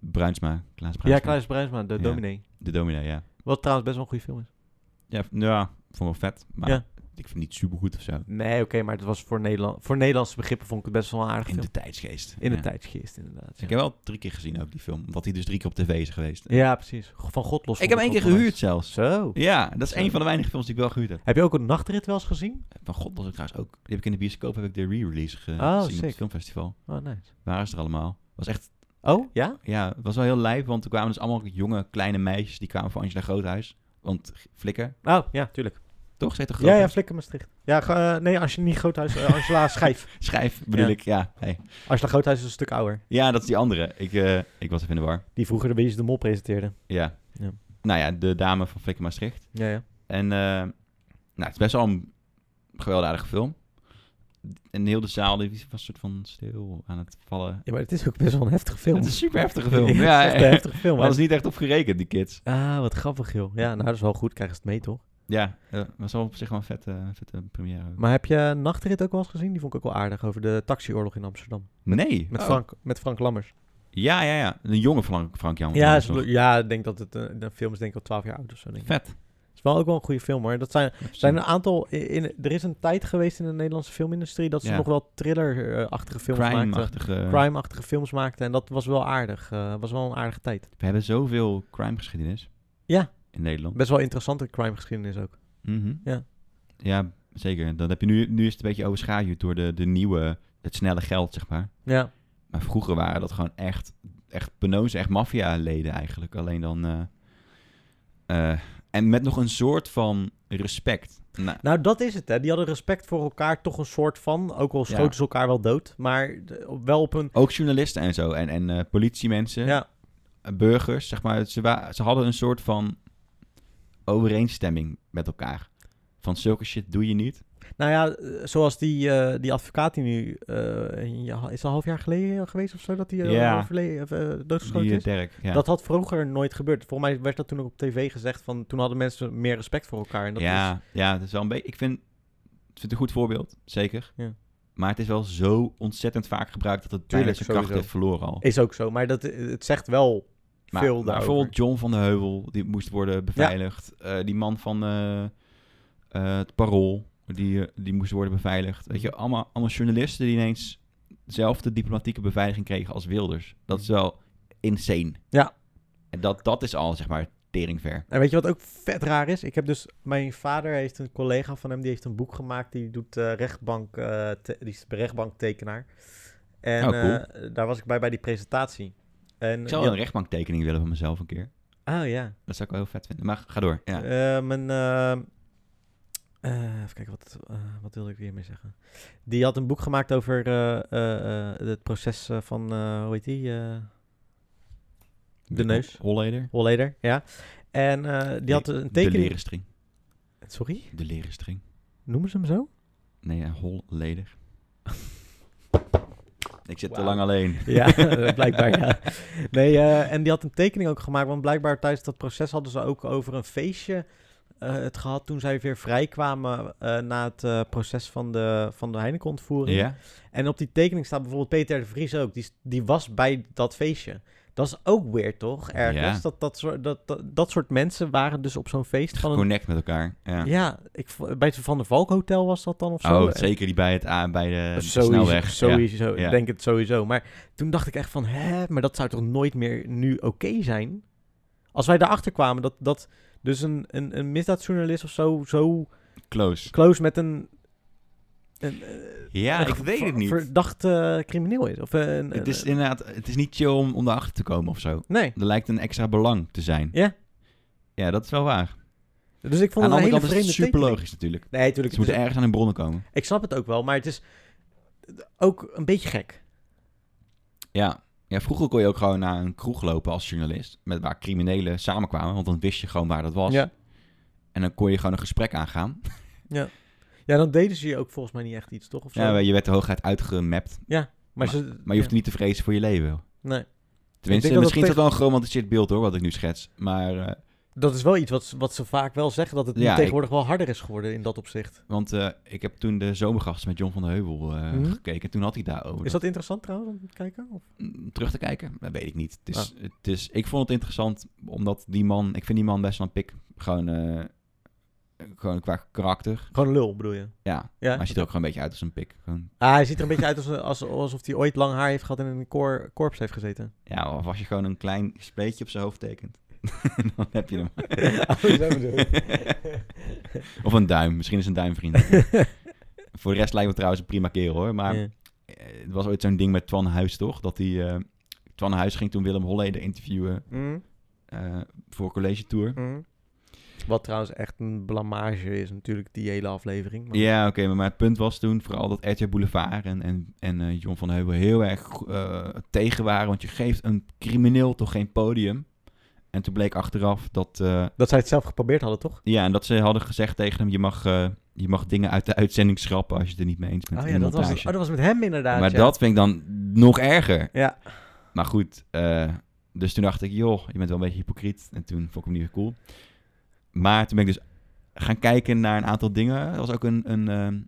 S2: Bruinsma, Klaas Bruinsma.
S1: Ja, Klaas Bruinsma, de
S2: Ja.
S1: dominee.
S2: De dominee, ja.
S1: Wat trouwens best wel een goede film is.
S2: Ja, v- ja vond ik wel vet, maar
S1: Ja.
S2: ik vind het niet supergoed of zo.
S1: Nee, oké, maar het was voor, Nederland, voor Nederlandse begrippen vond ik het best wel een aardig
S2: In
S1: film.
S2: de tijdsgeest.
S1: in de
S2: ja.
S1: tijdsgeest, inderdaad. Ja,
S2: Ik heb wel drie keer gezien ook die film, omdat hij dus drie keer op tv is geweest.
S1: Ja, precies. Van God los.
S2: ik
S1: vond
S2: heb één
S1: het
S2: keer
S1: wel
S2: gehuurd zelfs.
S1: nice. Zo.
S2: Ja, dat is
S1: Zo.
S2: één van de weinige films die ik wel gehuurd heb. Eh,
S1: Heb je ook een nachtrit wel eens gezien?
S2: Van god, was ik trouwens ook. Die heb ik in de bioscoop heb ik de re-release ge-
S1: Oh,
S2: gezien op
S1: sick.
S2: het filmfestival.
S1: Oh, nice.
S2: Waar is er allemaal? Was echt
S1: Oh, ja?
S2: Ja, het was wel heel lijp, want er kwamen dus allemaal jonge, kleine meisjes die kwamen voor Angela Groothuis. Want g- Flikker,
S1: Oh, ja, tuurlijk.
S2: toch? Zij toch
S1: Ja, ja,
S2: Groothuis?
S1: Flikker Maastricht. Ja, ge- eh, nee, als je niet Groothuis... eh, Angela Schijf.
S2: Schijf, bedoel
S1: Ja.
S2: ik, ja. Hey.
S1: Angela Groothuis is een stuk ouder.
S2: Ja, dat is die andere. Ik, eh, ik was even in de war.
S1: Die vroeger de Wees de Mol presenteerde.
S2: Ja.
S1: Ja.
S2: Nou ja, de dame van Flikker Maastricht.
S1: Ja, ja.
S2: En eh, nou, het is best wel een geweldige film. En heel de zaal die was een soort van stil aan het vallen.
S1: Ja, maar het is ook best wel een heftige film.
S2: Het is een super heftige film.
S1: Ja,
S2: Ja,
S1: het is echt een
S2: daar
S1: heftige film.
S2: was niet echt op gerekend, die kids.
S1: Ah, wat grappig, joh. Ja, nou, dat is wel goed. Krijgen ze het mee, toch?
S2: Ja, eh, was wel op zich wel een vette, vette première. ook.
S1: Maar heb je Nachtrit ook wel eens gezien? Die vond ik ook wel aardig. Over de taxioorlog in Amsterdam.
S2: nee.
S1: Met,
S2: Oh.
S1: Frank, met Frank Lammers.
S2: Ja, ja, ja. Een jonge Frank, Frank Jan.
S1: Ja,
S2: Jan
S1: is,
S2: Oh, toch?
S1: eh, ja, ik denk dat het een, een film is denk ik al 12 jaar oud of zo. Denk ik.
S2: Vet. Hm.
S1: Is is wel ook wel een goede film hoor. Dat zijn, zijn een aantal. i- In, er is een tijd geweest in de Nederlandse filmindustrie dat ze
S2: Ja.
S1: nog wel thriller-achtige films maakten.
S2: crime-achtige... eh.
S1: Crime-achtige films maakten. En dat was wel aardig. eh, was wel een aardige tijd.
S2: We hebben zoveel crime-geschiedenis.
S1: Ja.
S2: In Nederland.
S1: Best wel interessante crime-geschiedenis ook.
S2: Mhm.
S1: Ja.
S2: Ja, zeker. Dat heb je nu, nu is het een beetje overschaduwd door de, de nieuwe, het snelle geld, zeg maar.
S1: Ja,
S2: Maar vroeger waren dat gewoon echt, echt peneuzen, echt maffialeden eigenlijk. Alleen dan... eh, eh, en met nog een soort van respect. Nou,
S1: nou dat is het hè. Die hadden respect voor elkaar, toch een soort van. Ook al schoten
S2: Ja.
S1: ze elkaar wel dood, maar de- wel op een...
S2: ook journalisten en zo. En, en eh, politiemensen.
S1: Ja,
S2: eh, burgers, zeg maar, ze, wa- ze hadden een soort van overeenstemming met elkaar. Van zulke shit doe je niet.
S1: nou ja, eh, zoals die, eh, die advocaat die nu... eh, een ja- is al een half jaar geleden geweest of zo dat hij eh,
S2: Ja.
S1: overleden- of, eh, doodgeschoten
S2: Die
S1: is?
S2: eh, Dirk, ja.
S1: Dat had vroeger nooit gebeurd. Volgens mij werd dat toen ook op tv gezegd van toen hadden mensen meer respect voor elkaar. En dat
S2: ja,
S1: is,
S2: ja, dat is wel een beetje... Ik vind, ik vind het een goed voorbeeld, zeker.
S1: Ja.
S2: Maar het is wel zo ontzettend vaak gebruikt dat het
S1: Tuurlijk,
S2: bijna zijn kracht
S1: sowieso.
S2: heeft verloren al.
S1: is ook zo. Maar dat, eh, het zegt wel
S2: maar,
S1: veel
S2: maar
S1: daarover.
S2: bijvoorbeeld John van de Heuvel, die moest worden beveiligd. Eh, die man van eh, eh, het parool, die, eh, die moest worden beveiligd. Weet je, allemaal, allemaal journalisten die ineens zelf de diplomatieke beveiliging kregen als Wilders. Dat is wel insane.
S1: Ja.
S2: En dat, dat is al, zeg maar, teringver.
S1: En weet je wat ook vet raar is? Ik heb dus, mijn vader heeft een collega van hem, die heeft een boek gemaakt. Die doet eh, rechtbank, eh, te- die is rechtbanktekenaar. En
S2: Oh, cool.
S1: eh, daar was ik bij, bij die presentatie. En,
S2: Ik zou wel een rechtbanktekening willen van mezelf een keer.
S1: Ah ja.
S2: Dat zou ik wel heel vet vinden. Maar ga door. Ja.
S1: Eh, mijn, eh, eh, even kijken, wat, eh, wat wilde ik hiermee zeggen? Die had een boek gemaakt over eh, eh, eh, het proces eh, van, eh, hoe heet die? eh, de neus.
S2: Holleder.
S1: Holleder, ja. En eh, die had een
S2: De
S1: tekening...
S2: leren string.
S1: Sorry?
S2: De leren string.
S1: Noemen ze hem zo?
S2: Nee, eh, ja, Holleder. ik zit te
S1: Wauw.
S2: lang alleen.
S1: Ja, eh, blijkbaar ja. Nee, eh, en die had een tekening ook gemaakt, want blijkbaar tijdens dat proces hadden ze ook over een feestje eh, het gehad toen zij weer vrijkwamen eh, na het eh, proces van de, van de Heineken-ontvoering.
S2: Ja?
S1: En op die tekening staat bijvoorbeeld Peter de Vries ook, die, die was bij dat feestje. Dat is ook weird, toch? Ergens.
S2: Ja.
S1: Dat, dat, soort- dat, dat, dat soort mensen waren dus op zo'n feest van een...
S2: Connect met elkaar. Ja.
S1: Ja, ik, vo- bij het Van der Valk Hotel was dat dan of zo. eh,
S2: Oh,
S1: En-
S2: zeker die bij, het, A- bij de, de
S1: Sowieso,
S2: snelweg. Ja.
S1: Sowieso, ik
S2: ja.
S1: denk het sowieso. Maar toen dacht ik echt van, hè, maar dat zou toch nooit meer nu oké zijn? Als wij daarachter kwamen dat, dat dus een, een, een misdaadjournalist of zo, zo
S2: Close.
S1: close met een... een eh,
S2: Ja,
S1: een
S2: ik
S1: ge-
S2: weet het niet.
S1: Verdachte crimineel is. Of eh, een,
S2: het is
S1: een-
S2: inderdaad, het is niet chill om, om erachter te komen of zo.
S1: nee.
S2: Er lijkt een extra belang te zijn.
S1: Ja.
S2: Ja, dat is wel waar.
S1: Dus ik vond
S2: aan
S1: het
S2: de
S1: een hele
S2: andere kant is
S1: vreemde dus-
S2: het super
S1: tekening.
S2: logisch natuurlijk.
S1: Nee, natuurlijk.
S2: Ze moeten ergens aan hun bronnen komen.
S1: Ik snap het ook wel, maar het is ook een beetje gek.
S2: Ja. ja, vroeger kon je ook gewoon naar een kroeg lopen als journalist. Met waar criminelen samenkwamen, want dan wist je gewoon waar dat was.
S1: Ja.
S2: En dan kon je gewoon een gesprek aangaan.
S1: ja, dan deden ze je ook volgens mij niet echt iets, toch? Of zo?
S2: Ja, je werd de hoogheid uitgemapt,
S1: maar, ze,
S2: maar je hoeft niet te vrezen voor je leven.
S1: Nee.
S2: Tenminste,
S1: dat het
S2: misschien is dat
S1: tegen-
S2: wel een geromantiseerd beeld hoor, wat ik nu schets. Maar eh,
S1: Dat is wel iets wat, ze- wat ze vaak wel zeggen, dat het nu
S2: Ja, ik-
S1: tegenwoordig wel harder is geworden in dat opzicht.
S2: Want eh, ik heb toen de zomergast met John van den Heuvel eh,
S1: Mhm.
S2: gekeken. Toen had hij daarover.
S1: Is dat interessant trouwens om te kijken? Of?
S2: Mm, Terug te kijken? Dat weet ik niet. Het is,
S1: Ah.
S2: het is, ik vond het interessant, omdat die man... Ik vind die man best wel een pik. Gewoon, eh, gewoon qua karakter.
S1: Gewoon een lul bedoel je?
S2: Ja,
S1: Ja?
S2: maar hij ziet er ook gewoon een beetje uit als een pik. Gewoon,
S1: Ah, hij ziet er een beetje uit als, als, alsof hij ooit lang haar heeft gehad en in een koor, korps heeft gezeten.
S2: ja, of als je gewoon een klein spleetje op zijn hoofd tekent. dan heb je hem.
S1: Oh, zo bedoel
S2: of een duim. Misschien is een duim vriend. Voor de rest lijkt me trouwens een prima kerel hoor. Maar
S1: Ja.
S2: eh, het was ooit zo'n ding met Twan Huis, toch? Dat hij... eh, Twan Huis ging toen Willem Holleder interviewen
S1: Mm,
S2: eh, voor college tour.
S1: mm. Wat trouwens echt een blamage is natuurlijk, die hele aflevering. maar-
S2: Ja, oké, maar- maar het punt was toen vooral dat RTL Boulevard en, en, en eh, John van den Heuvel heel erg eh, tegen waren. Want je geeft een crimineel toch geen podium. En toen bleek achteraf dat... eh,
S1: Dat zij het zelf geprobeerd hadden, toch?
S2: ja, en dat ze hadden gezegd tegen hem, je mag, eh, je mag dingen uit de uitzending schrappen als je het er niet mee eens bent.
S1: Oh
S2: in
S1: ja,
S2: de
S1: dat was, het.
S2: montage.
S1: oh, dat was met hem inderdaad.
S2: maar
S1: ja.
S2: dat vind ik dan nog erger.
S1: Ja.
S2: Maar goed, eh, dus toen dacht ik, joh, je bent wel een beetje hypocriet. En toen vond ik hem niet meer cool. Maar toen ben ik dus gaan kijken naar een aantal dingen. Er was ook een, een ehm,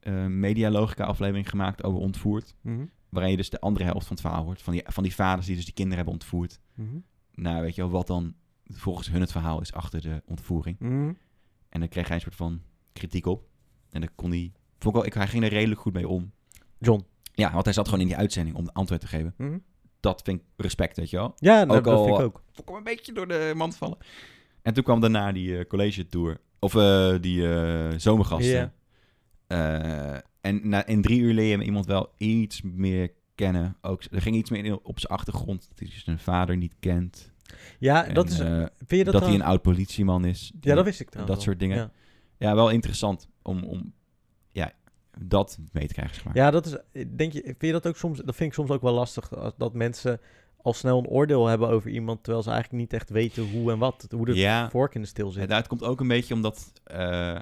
S2: eh, medialogica aflevering gemaakt over ontvoerd.
S1: Mhm,
S2: Waarin je dus de andere helft van het verhaal hoort. Van die, van die vaders die dus die kinderen hebben ontvoerd.
S1: mhm.
S2: Nou, weet je wel, wat dan volgens hun het verhaal is achter de ontvoering.
S1: Mhm.
S2: En daar kreeg hij een soort van kritiek op. En daar kon hij... Vond ik wel, ik, hij ging er redelijk goed mee om.
S1: John.
S2: Ja, want hij zat gewoon in die uitzending om de antwoord te geven.
S1: Mhm.
S2: Dat vind ik respect, weet je wel.
S1: Ja, nou,
S2: Ook
S1: dat
S2: al- eh,
S1: vind ik ook.
S2: Vond ik hem een beetje door de mand vallen. En toen kwam daarna die eh, college tour. Of eh, die eh, zomergasten.
S1: Ja.
S2: Eh, en na, in drie uur leer je hem iemand wel iets meer kennen. Ook, er ging iets meer in op zijn achtergrond. Dat hij zijn vader niet kent.
S1: Ja,
S2: En,
S1: dat is...
S2: eh,
S1: vind je dat,
S2: dat
S1: dan-
S2: hij een oud politieman is.
S1: Ja, dat wist ik trouwens
S2: dat
S1: wel.
S2: soort dingen.
S1: Ja.
S2: Ja, wel interessant om, om ja, dat mee te krijgen, zeg maar.
S1: Ja, dat is. Denk je, vind je dat ook soms? Dat vind ik soms ook wel lastig. als- Dat mensen al snel een oordeel hebben over iemand. Terwijl ze eigenlijk niet echt weten hoe en wat. Hoe de
S2: Ja.
S1: vork in de stil zit.
S2: Ja, dat komt ook een beetje omdat eh,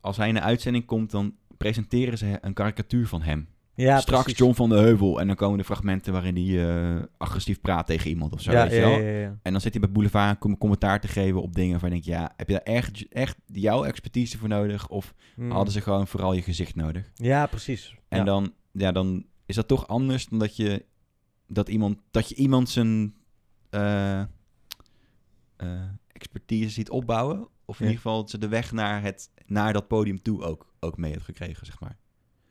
S2: als hij in de uitzending komt, dan presenteren ze een karikatuur van hem.
S1: ja,
S2: Straks
S1: precies.
S2: John van de Heuvel en dan komen de fragmenten waarin hij eh, agressief praat tegen iemand of zo.
S1: Ja,
S2: weet je
S1: ja,
S2: wel?
S1: ja, ja, ja.
S2: En dan zit hij bij Boulevard om commentaar te geven op dingen waarvan je denkt, ja, heb je daar echt, echt jouw expertise voor nodig? Of
S1: Mm.
S2: hadden ze gewoon vooral je gezicht nodig?
S1: Ja, precies.
S2: En
S1: ja.
S2: dan, ja, dan is dat toch anders dan dat je, dat iemand, dat je iemand zijn eh, eh, expertise ziet opbouwen. Of in
S1: Ja.
S2: ieder geval dat ze de weg naar, het, naar dat podium toe ook, ook mee hebt gekregen, zeg maar.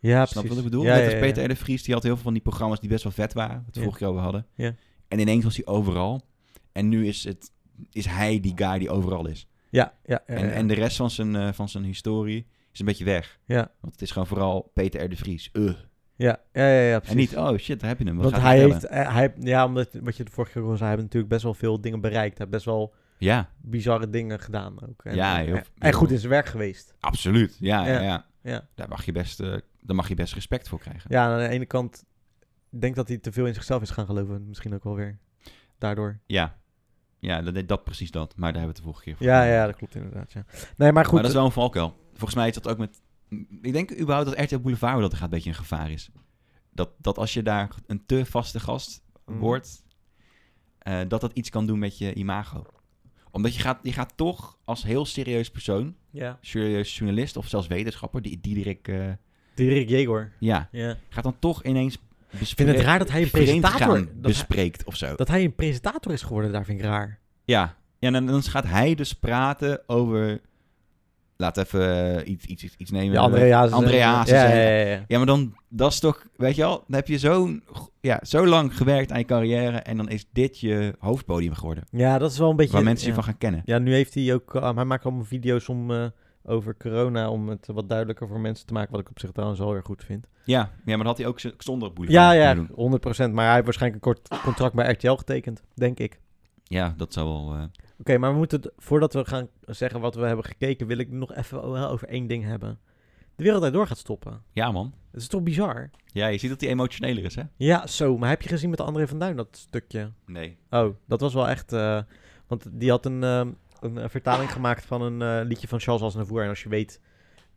S1: ja,
S2: Snap je
S1: precies.
S2: wat ik bedoel?
S1: Ja,
S2: Net
S1: ja,
S2: als
S1: ja,
S2: Peter
S1: ja.
S2: R. de Vries, die had heel veel van die programma's die best wel vet waren. Wat we
S1: Ja.
S2: vorige keer over hadden.
S1: Ja.
S2: En ineens was hij overal. En nu is, het, is hij die guy die overal is.
S1: Ja, ja, ja,
S2: En,
S1: ja.
S2: en de rest van zijn, eh, van zijn historie is een beetje weg.
S1: Ja.
S2: Want het is gewoon vooral Peter R. de Vries. Ugh.
S1: ja, ja, ja, ja, precies.
S2: En niet, oh shit, daar heb je hem. Wat
S1: Want
S2: gaat
S1: hij
S2: vertellen?
S1: heeft, eh, hij, ja, omdat wat je de vorige keer kon zei, hij heeft natuurlijk best wel veel dingen bereikt. Hij heeft best wel
S2: Ja,
S1: bizarre dingen gedaan ook. En,
S2: Ja,
S1: en-
S2: heel-
S1: en, goed in zijn werk geweest.
S2: absoluut. Ja, ja.
S1: Ja.
S2: ja.
S1: Ja.
S2: Daar, mag je best, eh, daar mag je best respect voor krijgen.
S1: Ja, aan de ene kant ik denk dat hij te veel in zichzelf is gaan geloven. Misschien ook wel weer. Daardoor.
S2: Ja, ja dat, dat precies dat. Maar daar hebben we het de vorige keer voor
S1: Ja,
S2: gedaan.
S1: ja, dat klopt inderdaad. Ja. Nee, maar goed.
S2: Maar dat is wel een valkuil. Volgens mij is dat ook met... Ik denk überhaupt dat RTL Boulevard dat er gaat een beetje een gevaar is. Dat, dat als je daar een te vaste gast
S1: Mm.
S2: wordt, eh, dat dat iets kan doen met je imago. Omdat je gaat, je gaat toch als heel serieus persoon,
S1: mm, Ja.
S2: serieus journalist of zelfs wetenschapper, die, die direct... eh,
S1: Die Rick Jegor.
S2: ja,
S1: Ja.
S2: gaat dan toch ineens
S1: Ik vind het
S2: bespreken.
S1: raar dat hij een
S2: vreemd gaan
S1: presentator... Dat hij,
S2: bespreekt of zo.
S1: dat hij een presentator is geworden, daar vind ik raar.
S2: Ja, ja en dan, dan gaat hij dus praten over... Laat even eh, iets, iets, iets nemen.
S1: Ja, Andreas. eh,
S2: Andreas is
S1: Ja, ja,
S2: een-
S1: ja, ja.
S2: Ja, maar dan, dat is toch, weet je wel, dan heb je zo, ja, zo lang gewerkt aan je carrière en dan is dit je hoofdpodium geworden.
S1: Ja, dat is wel een beetje...
S2: Waar mensen
S1: ja.
S2: je van gaan kennen.
S1: Ja, nu heeft hij ook... eh, hij maakt allemaal video's om, eh, over corona, om het wat duidelijker voor mensen te maken. Wat ik op zich trouwens wel weer goed vind.
S2: Ja, ja maar dat had hij ook z- zonder boulevard
S1: Ja,
S2: kunnen
S1: ja, 100%.
S2: doen.
S1: Maar hij heeft waarschijnlijk een kort contract bij RTL getekend, denk ik.
S2: Ja, dat zou wel... eh,
S1: Oké, maar we moeten, het- voordat we gaan zeggen wat we hebben gekeken, wil ik nog even wel over één ding hebben. De wereld daardoor gaat stoppen.
S2: ja, man.
S1: Dat is toch bizar?
S2: Ja, je ziet dat hij emotioneler is, hè?
S1: Ja, zo. Maar heb je gezien met André van Duin dat stukje?
S2: Nee.
S1: Oh, dat was wel echt... eh, want die had een, ehm, een eh, vertaling gemaakt van een eh, liedje van Charles Aznavour. En als je weet,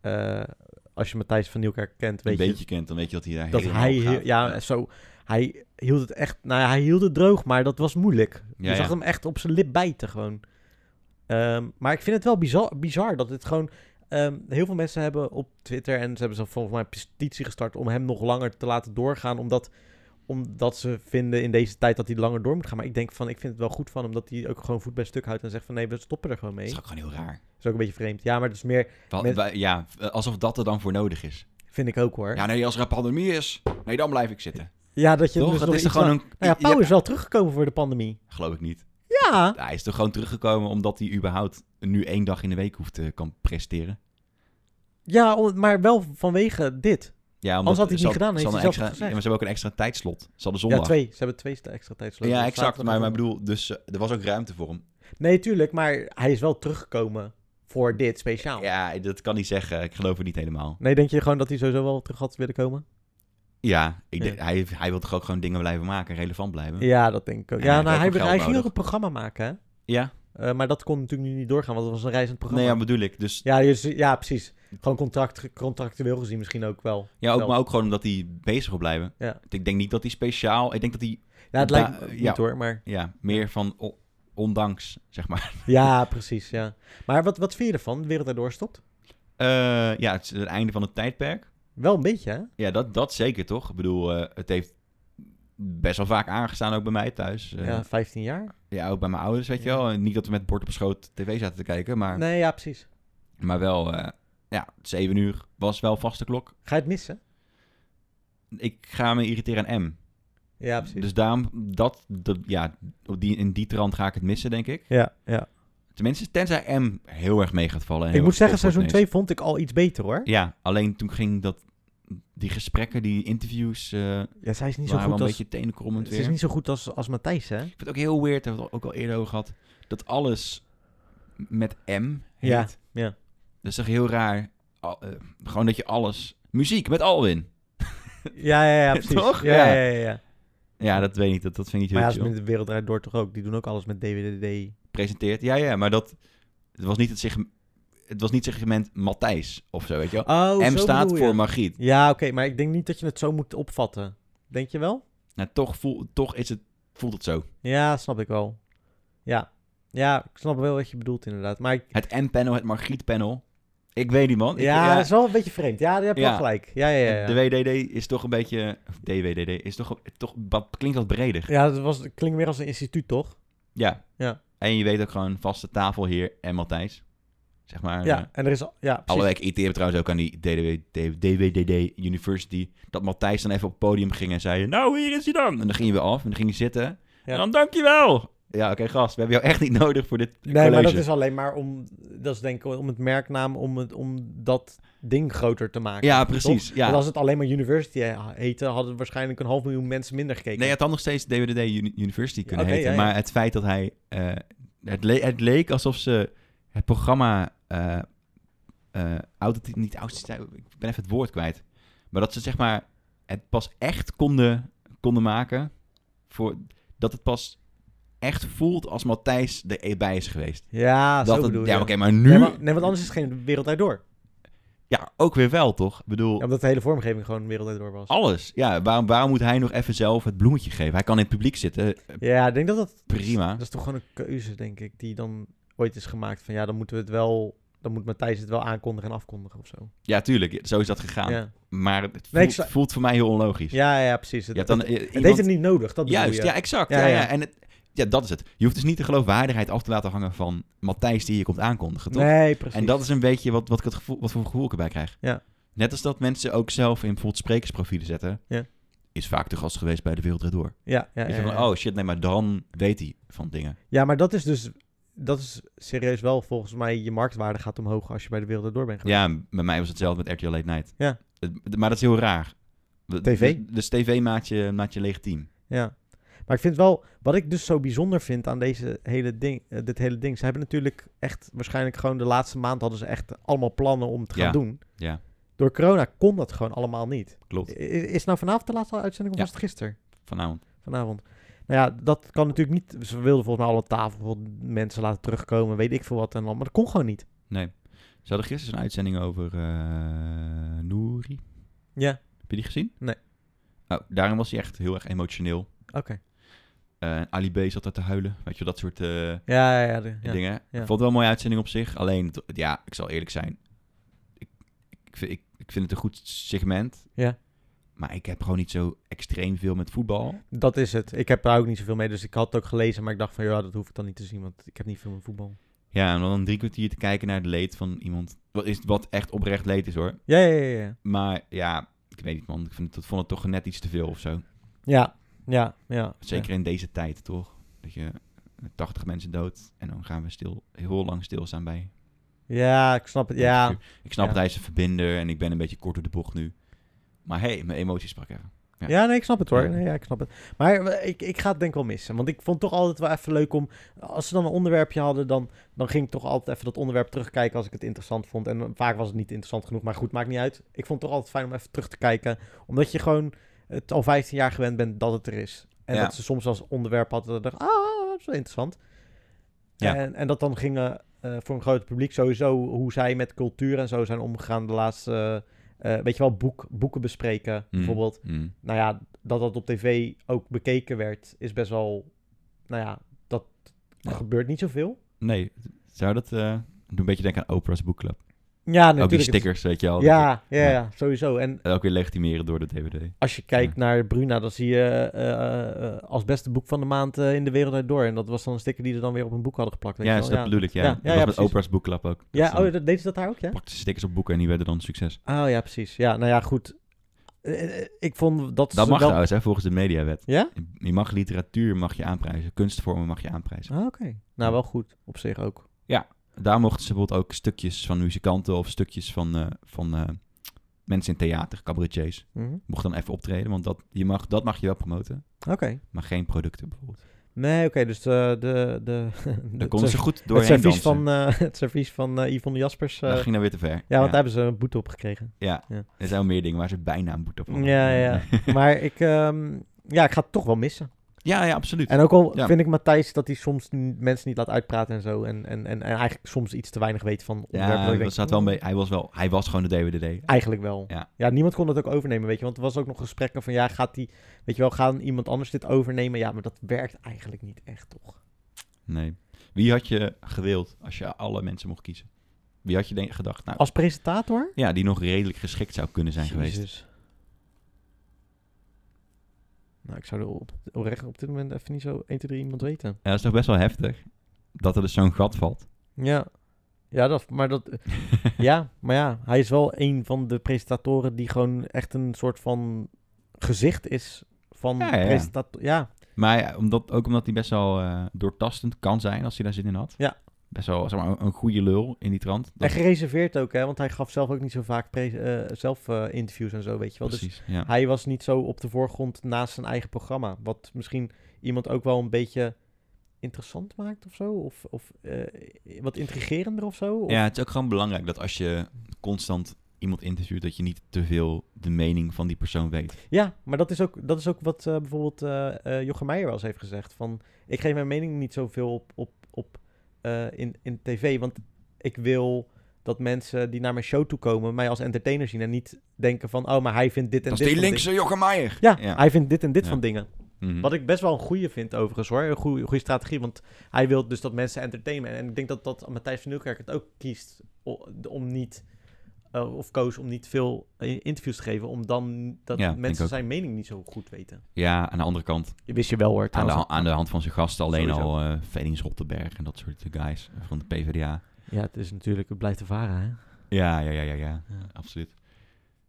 S1: eh, als je Matthijs van Nieuwkerk kent, weet
S2: een
S1: je
S2: beetje kent, dan weet je dat hij daar
S1: dat
S2: helemaal
S1: hij...
S2: op
S1: heel-
S2: gaat.
S1: Ja, zo... Hij hield het echt... Nou ja, hij hield het droog, maar dat was moeilijk.
S2: Ja,
S1: je zag
S2: ja.
S1: hem echt op zijn lip bijten gewoon. Ehm, maar ik vind het wel bizar, bizar dat het gewoon... ehm, heel veel mensen hebben op Twitter... en ze hebben zelf volgens mij een petitie gestart... om hem nog langer te laten doorgaan. Omdat, omdat ze vinden in deze tijd dat hij langer door moet gaan. Maar ik denk van, ik vind het wel goed van hem... dat hij ook gewoon voet bij stuk houdt en zegt van... nee, we stoppen er gewoon
S2: Dat
S1: mee.
S2: is ook gewoon heel raar.
S1: is ook een beetje vreemd. Ja, maar dat is meer...
S2: Wel-
S1: Met-
S2: wel- Ja, alsof dat er dan voor nodig is.
S1: vind ik ook hoor. Ja,
S2: Ja, nee, als er een pandemie is, nee, dan blijf ik zitten.
S1: dat je...
S2: Toch?
S1: dus
S2: Dat
S1: nog
S2: is
S1: iets
S2: toch gewoon
S1: la-
S2: een...
S1: Nou
S2: je-
S1: ja, Pauw is wel teruggekomen voor de pandemie.
S2: Geloof ik niet.
S1: Ja.
S2: Hij is toch gewoon teruggekomen omdat hij überhaupt nu één dag in de week hoeft te kan presteren.
S1: Ja, om- maar wel vanwege dit.
S2: Ja,
S1: Anders had hij het
S2: ze
S1: niet gedaan,
S2: ze
S1: heeft
S2: hadden
S1: hij zelf
S2: extra,
S1: gezegd.
S2: ja, maar ze hebben ook een extra tijdslot. Ze hadden
S1: Ja,
S2: zondag.
S1: twee. Ze hebben twee sta- extra tijdsloten.
S2: Ja,
S1: Dus
S2: exact.
S1: zaterdag
S2: Maar,
S1: en
S2: maar ik
S1: zondag.
S2: bedoel, dus eh, er was ook ruimte voor hem.
S1: Nee, tuurlijk, maar hij is wel teruggekomen voor dit speciaal.
S2: Ja, dat kan niet zeggen. Ik geloof het niet helemaal.
S1: Nee, denk je gewoon dat hij sowieso wel terug had willen komen?
S2: Ja, ik denk-
S1: Ja.
S2: Hij, hij wil toch ook gewoon dingen blijven maken en relevant blijven? Ja.
S1: Ja, dat denk ik ook.
S2: En
S1: Ja,
S2: hij heeft
S1: nou, hij,
S2: ook wel
S1: hij
S2: geld
S1: ging ook
S2: nodig.
S1: een programma maken, hè? Eh, maar dat kon natuurlijk nu niet doorgaan, want het was een reizend
S2: Nee,
S1: programma.
S2: ja, bedoel ik. Dus,
S1: ja, dus- ja, precies. Gewoon contract, contractueel gezien misschien ook wel.
S2: ja, ook,
S1: Wel.
S2: maar ook gewoon omdat hij bezig wil blijven.
S1: Ja.
S2: Ik denk niet dat hij speciaal... Ik denk dat hij
S1: Ja, het
S2: Da-
S1: lijkt me
S2: ja.
S1: niet hoor, maar...
S2: ja, meer van o- ondanks, zeg maar.
S1: Ja, precies, ja. Maar wat, wat vind je ervan? De wereld daardoor stopt?
S2: Eh, ja, het is het einde van het tijdperk.
S1: Wel een beetje, hè?
S2: Ja, dat, dat zeker toch? Ik bedoel, eh, het heeft best wel vaak aangestaan, ook bij mij thuis. Eh,
S1: ja,
S2: ja.
S1: 15 jaar?
S2: ook bij mijn ouders, weet je
S1: Ja.
S2: wel. En niet dat we met bord op schoot tv zaten te kijken, maar,
S1: Nee, ja, precies.
S2: maar wel, eh, ja, zeven uur was wel vaste klok.
S1: Ga je het missen?
S2: Ik ga me irriteren aan M.
S1: Ja, precies.
S2: Dus daarom, dat, dat, ja, op die, in die trant ga ik het missen, denk ik.
S1: ja, ja.
S2: Tenminste, tenzij M heel erg mee gaat vallen. en
S1: Ik
S2: heel
S1: moet
S2: erg
S1: zeggen,
S2: top
S1: seizoen
S2: wordt ineens.
S1: 2 vond ik al iets beter hoor.
S2: Ja, alleen toen ging dat, die gesprekken, die interviews, eh,
S1: Ja, zij is niet zo
S2: waren wel
S1: goed
S2: een
S1: als...
S2: beetje tenenkrommend
S1: Ze
S2: weer.
S1: is niet zo goed als, als Matthijs, hè?
S2: Ik vind het ook heel weird, hebben we het ook al eerder over gehad, dat alles met M heet.
S1: Ja, ja.
S2: Dat is toch heel raar. Al- eh, gewoon dat je alles... Muziek met Alwin.
S1: Ja, ja, ja, precies.
S2: Toch?
S1: Ja,
S2: Ja.
S1: ja, ja. ja.
S2: Ja, dat weet ik niet. Dat, dat vind ik niet
S1: Maar ja,
S2: heel
S1: als
S2: chill.
S1: met de wereld draait door toch ook. Die doen ook alles met DWDD.
S2: Presenteert. Ja, ja, maar dat... Het was niet het segment... Het was niet het segment Matthijs of zo, weet je wel.
S1: Oh,
S2: M staat
S1: bedoel
S2: voor
S1: je.
S2: Margriet.
S1: Ja, oké, maar ik denk niet dat je het zo moet opvatten. Denk je wel?
S2: Nou, toch, voel, toch is het, voelt het zo.
S1: Ja, snap ik wel. Ja. Ja, ik snap wel wat je bedoelt inderdaad. Maar ik,
S2: Het M-panel, het Margriet-panel. Ik weet niet, man. Ik-
S1: ja, dat is wel een beetje vreemd. Ja, daar heb je
S2: Ja.
S1: wel gelijk. Ja, ja, ja.
S2: De
S1: ja.
S2: WDD is toch een beetje... Of DWDD is toch, toch... wat- Klinkt wat breder.
S1: Ja, dat was, dat klinkt meer als een instituut, toch?
S2: Ja.
S1: Ja.
S2: En je weet ook gewoon vaste tafel hier en Matthijs. Zeg maar. eh,
S1: Ja, en er is... al- Ja, precies.
S2: alle weken irriteerde trouwens ook aan die DDW, DWDD University. Dat Matthijs dan even op het podium ging en zei... Nou, hier is hij dan. En dan ging je weer af en dan ging hij zitten. En dan dankjewel. Ja, oké gast. We hebben jou echt niet nodig voor dit
S1: Nee,
S2: college.
S1: maar dat is alleen maar om... Dat is denk ik om het merknaam, om, het, om dat ding groter te maken.
S2: Ja,
S1: Toch?
S2: precies. Ja.
S1: Want als het alleen maar university heette, hadden waarschijnlijk een half miljoen mensen minder gekeken.
S2: Nee, het had nog steeds DWDD Uni- University kunnen
S1: oké,
S2: heten.
S1: ja, ja.
S2: Maar het feit dat hij... eh, het, le- het leek alsof ze het programma... eh eh authentiek, niet authentiek, ik ben even het woord kwijt. Maar dat ze zeg maar het pas echt konden, konden maken. Voor, dat het pas echt voelt als Matthijs erbij is geweest.
S1: Ja,
S2: dat
S1: Ah, zo
S2: het-
S1: bedoel
S2: ja,
S1: je.
S2: oké, maar nu...
S1: nee, maar, nee, want anders is het geen wereldwijd door.
S2: Ja, ook weer wel, toch? Ik bedoel,
S1: Ja, omdat de hele vormgeving gewoon wereldwijd door was.
S2: alles. Ja, waarom, waarom moet hij nog even zelf het bloemetje geven? Hij kan in het publiek zitten. eh,
S1: Ja, ik denk dat dat...
S2: Prima.
S1: Dat is toch gewoon een keuze, denk ik, die dan ooit is gemaakt. Van ja, dan moeten we het wel... Dan moet Matthijs het wel aankondigen en afkondigen of zo.
S2: Ja, tuurlijk. Zo is dat gegaan.
S1: Ja,
S2: Maar het voelt,
S1: Nee, ik sla-
S2: voelt voor mij heel onlogisch.
S1: ja, ja, precies.
S2: Je
S1: Het,
S2: hebt dan,
S1: het,
S2: eh,
S1: het
S2: iemand-
S1: heeft het niet nodig, dat bedoel
S2: Juist,
S1: je.
S2: ja, exact. Ja,
S1: Ja,
S2: ja,
S1: ja.
S2: En het, ja, dat is het. Je hoeft dus niet de geloofwaardigheid af te laten hangen van Matthijs die je komt aankondigen, toch?
S1: nee, precies.
S2: en dat is een beetje wat, wat, ik het gevoel, wat voor gevoel ik erbij krijg.
S1: Ja.
S2: Net als dat mensen ook zelf in bijvoorbeeld sprekersprofielen zetten,
S1: Ja.
S2: is vaak de gast geweest bij de Wereld Draait Door.
S1: Ja, ja,
S2: Weet
S1: ja,
S2: je van,
S1: ja.
S2: oh shit, nee, maar dan weet hij van dingen.
S1: ja, maar dat is dus... Dat is serieus wel volgens mij... Je marktwaarde gaat omhoog als je bij de wereld door bent geweest.
S2: Ja, bij mij was hetzelfde met RTL Late Night.
S1: Ja.
S2: Het- maar dat is heel raar.
S1: TV?
S2: Dus, dus tv maakt je, maakt je legitiem.
S1: Ja. Maar ik vind wel, wat ik dus zo bijzonder vind aan deze hele ding, eh, dit hele ding. Ze hebben natuurlijk echt, waarschijnlijk gewoon de laatste maand hadden ze echt allemaal plannen om te gaan
S2: Ja,
S1: doen.
S2: ja.
S1: Door corona kon dat gewoon allemaal niet. I-
S2: Klopt.
S1: Is nou vanavond de laatste uitzending of
S2: Ja.
S1: was het gisteren?
S2: Vanavond.
S1: Vanavond. Nou ja, dat kan natuurlijk niet. Ze wilden volgens mij alle tafel bijvoorbeeld mensen laten terugkomen, weet ik veel wat en dan. Maar dat kon gewoon niet.
S2: Nee. Ze hadden gisteren een uitzending over eh Nouri.
S1: Ja,
S2: Heb je die gezien?
S1: Nee.
S2: Oh, daarin was hij echt heel erg emotioneel.
S1: oké.
S2: Eh, en Ali B zat daar te huilen. Weet je, wel, dat soort eh,
S1: Ja, ja, ja. de- ja.
S2: dingen. Ik
S1: ja.
S2: vond het wel een mooie uitzending op zich. Alleen, het- ja, ik zal eerlijk zijn. Ik, ik, vind- ik, ik vind het een goed segment.
S1: Ja.
S2: Maar ik heb gewoon niet zo extreem veel met voetbal.
S1: Dat is het. Ik heb daar ook niet zoveel mee, dus ik had het ook gelezen, maar ik dacht van ja, dat hoef ik dan niet te zien, want ik heb niet veel met voetbal.
S2: Ja, en dan drie kwartier te kijken naar het leed van iemand. Wat, is, wat echt oprecht leed is hoor.
S1: Ja, ja, ja. ja.
S2: Maar ja, ik weet niet man. Ik vind het, vond het toch net iets te veel of zo.
S1: Ja, ja, ja.
S2: Zeker in deze tijd, toch? Dat je 80 mensen dood en dan gaan we stil, heel lang stilstaan bij.
S1: Ja, ik snap het. Ja,
S2: Ik snap
S1: Ja.
S2: het, hij is een verbinder en ik ben een beetje kort door de bocht nu. Maar hé, hey, mijn emoties sprak
S1: Mm.
S2: even. Ja.
S1: ja nee, ik snap het hoor.
S2: Ja.
S1: Nee, ja, ik snap het. Maar eh, ik, ik ga het denk ik wel missen. Want ik vond het toch altijd wel even leuk om... Als ze dan een onderwerpje hadden, dan, dan ging ik toch altijd even dat onderwerp terugkijken als ik het interessant vond. En eh, vaak was het niet interessant genoeg, maar goed, maakt niet uit. Ik vond het toch altijd fijn om even terug te kijken. Omdat je gewoon het al 15 jaar gewend bent dat het er is. En
S2: Ja.
S1: dat ze soms als onderwerp hadden, dat ik dacht, ah, dat is wel interessant.
S2: Ja.
S1: En, en dat dan gingen eh, voor een groot publiek sowieso hoe zij met cultuur en zo zijn omgegaan de laatste... eh, weet je wel, boek, boeken bespreken, bijvoorbeeld
S2: Mm.
S1: nou ja, dat dat op tv ook bekeken werd, is best wel, nou ja, dat
S2: Ja.
S1: gebeurt niet zoveel.
S2: Nee, zou dat... eh doe een beetje denken aan Oprah's Book Club.
S1: Ja,
S2: Ook die
S1: natuurlijk.
S2: stickers, weet je al.
S1: Ja, ja,
S2: Ja.
S1: ja, sowieso. En
S2: Ook weer legitimeren door de DVD.
S1: als je kijkt naar Bruna, dan zie je eh, eh, als beste boek van de maand eh, in de wereld uit door. En dat was dan een sticker die ze dan weer op een boek hadden geplakt. Weet
S2: Ja,
S1: je
S2: dus
S1: wel?
S2: dat bedoel ik, ja.
S1: Ja, ja,
S2: dat
S1: ja,
S2: was met
S1: precies.
S2: Oprah's boekklap ook.
S1: ja.
S2: Dat ze
S1: oh, dat, deden ze dat daar ook, ja?
S2: pakten stickers op boeken en die werden dan succes.
S1: Oh ja, precies. Ja, nou ja, goed. Eh, eh, ik vond dat...
S2: Dat
S1: ze
S2: mag
S1: wel-
S2: trouwens, hè, volgens de mediawet.
S1: Ja?
S2: Je mag literatuur mag je aanprijzen, kunstvormen mag je aanprijzen.
S1: Ah, Oké. Nou, wel goed. Op zich ook.
S2: Daar mochten ze bijvoorbeeld ook stukjes van muzikanten of stukjes van, eh, van eh, mensen in theater, cabaretiers,
S1: Mhm.
S2: mocht dan even optreden. Want dat, je mag, dat mag je wel promoten,
S1: Oké.
S2: maar geen producten bijvoorbeeld.
S1: Nee, oké, dus de... de, de,
S2: Daar
S1: de
S2: konden ze
S1: het
S2: goed doorheen
S1: servies
S2: dansen.
S1: van, eh, het servies van eh, Yvonne Jaspers... eh,
S2: dat ging dan weer te ver.
S1: ja, want daar
S2: ja.
S1: hebben ze een boete op gekregen.
S2: Ja.
S1: Ja.
S2: er zijn wel meer dingen waar ze bijna een boete op hadden.
S1: Ja, ja. maar ik, ehm, ja, ik ga het toch wel missen.
S2: ja, ja, absoluut.
S1: En ook al
S2: Ja.
S1: vind ik Matthijs dat hij soms n- mensen niet laat uitpraten en zo. En, en, en, en eigenlijk soms iets te weinig weet van onderwerpen. dat
S2: Ja,
S1: ik denk,
S2: dat staat wel
S1: "Mm,
S2: mee. Hij was, wel, hij was gewoon de DWDD.
S1: Eigenlijk wel.
S2: Ja.
S1: niemand kon dat ook overnemen, weet je. Want er was ook nog gesprekken van, ja, gaat die... Weet je wel, gaan iemand anders dit overnemen? Ja, maar dat werkt eigenlijk niet echt, toch?
S2: Nee. Wie had je gewild als je alle mensen mocht kiezen? Wie had je denk, gedacht, nou,
S1: Als presentator?
S2: ja, die nog redelijk geschikt zou kunnen zijn geweest?
S1: Jezus. Nou, ik zou er op, oprecht op dit moment even niet zo 1, 2, 3 iemand weten.
S2: Ja, dat is toch best wel heftig, dat er dus zo'n gat valt.
S1: Ja. Ja, dat, maar dat... ja, maar ja. Hij is wel een van de presentatoren die gewoon echt een soort van gezicht is van
S2: Ja, ja.
S1: presentator. Ja,
S2: Maar ja, omdat, ook omdat hij best wel eh, doortastend kan zijn als hij daar zin in had.
S1: Ja.
S2: Best wel zeg maar, een- een goede lul in die trant. Dat-
S1: en gereserveerd ook, hè. Want hij gaf zelf ook niet zo vaak pre- eh, zelf eh, interviews en zo, weet je wel. Dus
S2: precies, ja.
S1: hij was niet zo op de voorgrond naast zijn eigen programma. Wat misschien iemand ook wel een beetje interessant maakt of zo. Of, of eh, wat intrigerender of zo. Of,
S2: ja, het is ook gewoon belangrijk dat als je constant iemand interviewt, dat je niet te veel de mening van die persoon weet.
S1: Ja, maar dat is ook, dat is ook wat eh, bijvoorbeeld eh eh, Jochem Meijer wel eens heeft gezegd. Van, ik geef mijn mening niet zoveel op, op, op eh, in, in tv. Want ik wil dat mensen die naar mijn show toe komen... mij als entertainer zien en niet denken van... oh, maar hij vindt dit en
S2: Dat is
S1: dit
S2: die
S1: van
S2: linkse Jochem Meijer!
S1: dingen. Ja,
S2: Ja.
S1: hij vindt dit en dit
S2: Ja.
S1: van dingen.
S2: Mhm.
S1: Wat ik best wel een goede vind overigens hoor. Een goede, goede strategie, want hij wil dus dat mensen entertainen. En ik denk dat, dat Matthijs van Nieuwkerk het ook kiest o- om niet... eh, of koos om niet veel eh, interviews te geven, om dan dat
S2: Ja, denk ik
S1: mensen
S2: ook.
S1: zijn mening niet zo goed weten.
S2: Ja, aan de andere kant,
S1: Wist je wel hoor,
S2: Aan de,
S1: trouwens.
S2: ha- aan de hand van zijn gasten alleen
S1: Sowieso.
S2: al eh Felix Rottenberg en dat soort guys van de PvdA.
S1: Ja, het is natuurlijk, het blijft ervaren hè.
S2: Ja, ja, ja, ja, ja,
S1: Ja.
S2: absoluut.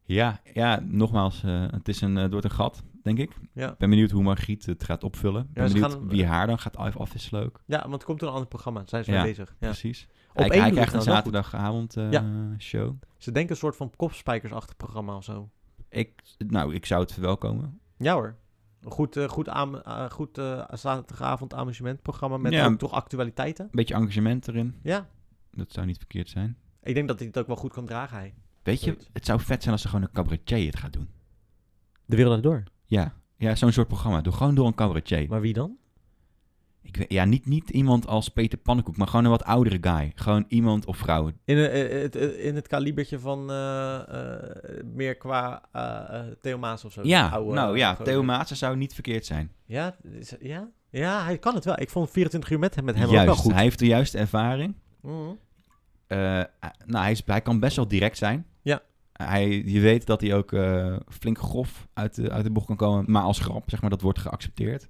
S2: Ja, ja, nogmaals, eh, het, is een, eh, het wordt een gat, denk ik.
S1: Ja.
S2: Ik ben benieuwd hoe Margriet het gaat opvullen. Ik ben
S1: ze
S2: benieuwd
S1: gaan-
S2: wie haar dan gaat af- afwisselen ook.
S1: Ja, want het komt door een ander programma, zijn ze
S2: Ja,
S1: mee bezig. Ja.
S2: Precies.
S1: Op
S2: Hij,
S1: één
S2: hij
S1: doet
S2: krijgt een
S1: het trouwens wel
S2: zaterdagavond eh, show.
S1: goed. Ze denken een soort van kopspijkersachtig programma of zo.
S2: Ik, nou, ik zou het verwelkomen.
S1: Ja hoor. Een goed, eh, goed, aan, eh, goed eh, zaterdagavond amusementprogramma met
S2: Ja.
S1: ook toch actualiteiten.
S2: Een beetje engagement erin.
S1: Ja,
S2: Dat zou niet verkeerd zijn.
S1: ik denk dat hij het ook wel goed kan dragen hij.
S2: Weet je,
S1: Zoiets.
S2: het zou vet zijn als er gewoon een cabaretier het gaat doen.
S1: De wereld uit door.
S2: Ja, ja zo'n soort programma. Doe gewoon door een cabaretier.
S1: Maar wie dan?
S2: Ik weet, ja, niet, niet iemand als Peter Pannenkoek, maar gewoon een wat oudere guy. Gewoon iemand of vrouw.
S1: In, eh, eh, het- eh, in het kalibertje van eh, eh, meer qua eh eh, Theo Maas of zo.
S2: ja,
S1: Oude,
S2: nou ja,
S1: oude-
S2: Theo Maassen zou niet verkeerd zijn.
S1: Ja, is- ja? ja, hij kan het wel. Ik vond 24 uur met hem, met hem ook
S2: Juist,
S1: wel goed.
S2: hij heeft de juiste ervaring.
S1: Mhm.
S2: Eh, nou, hij, is, hij kan best wel direct zijn.
S1: Ja.
S2: Hij, je weet dat hij ook eh, flink grof uit de, uit de bocht kan komen, maar als grap, zeg maar, dat wordt geaccepteerd.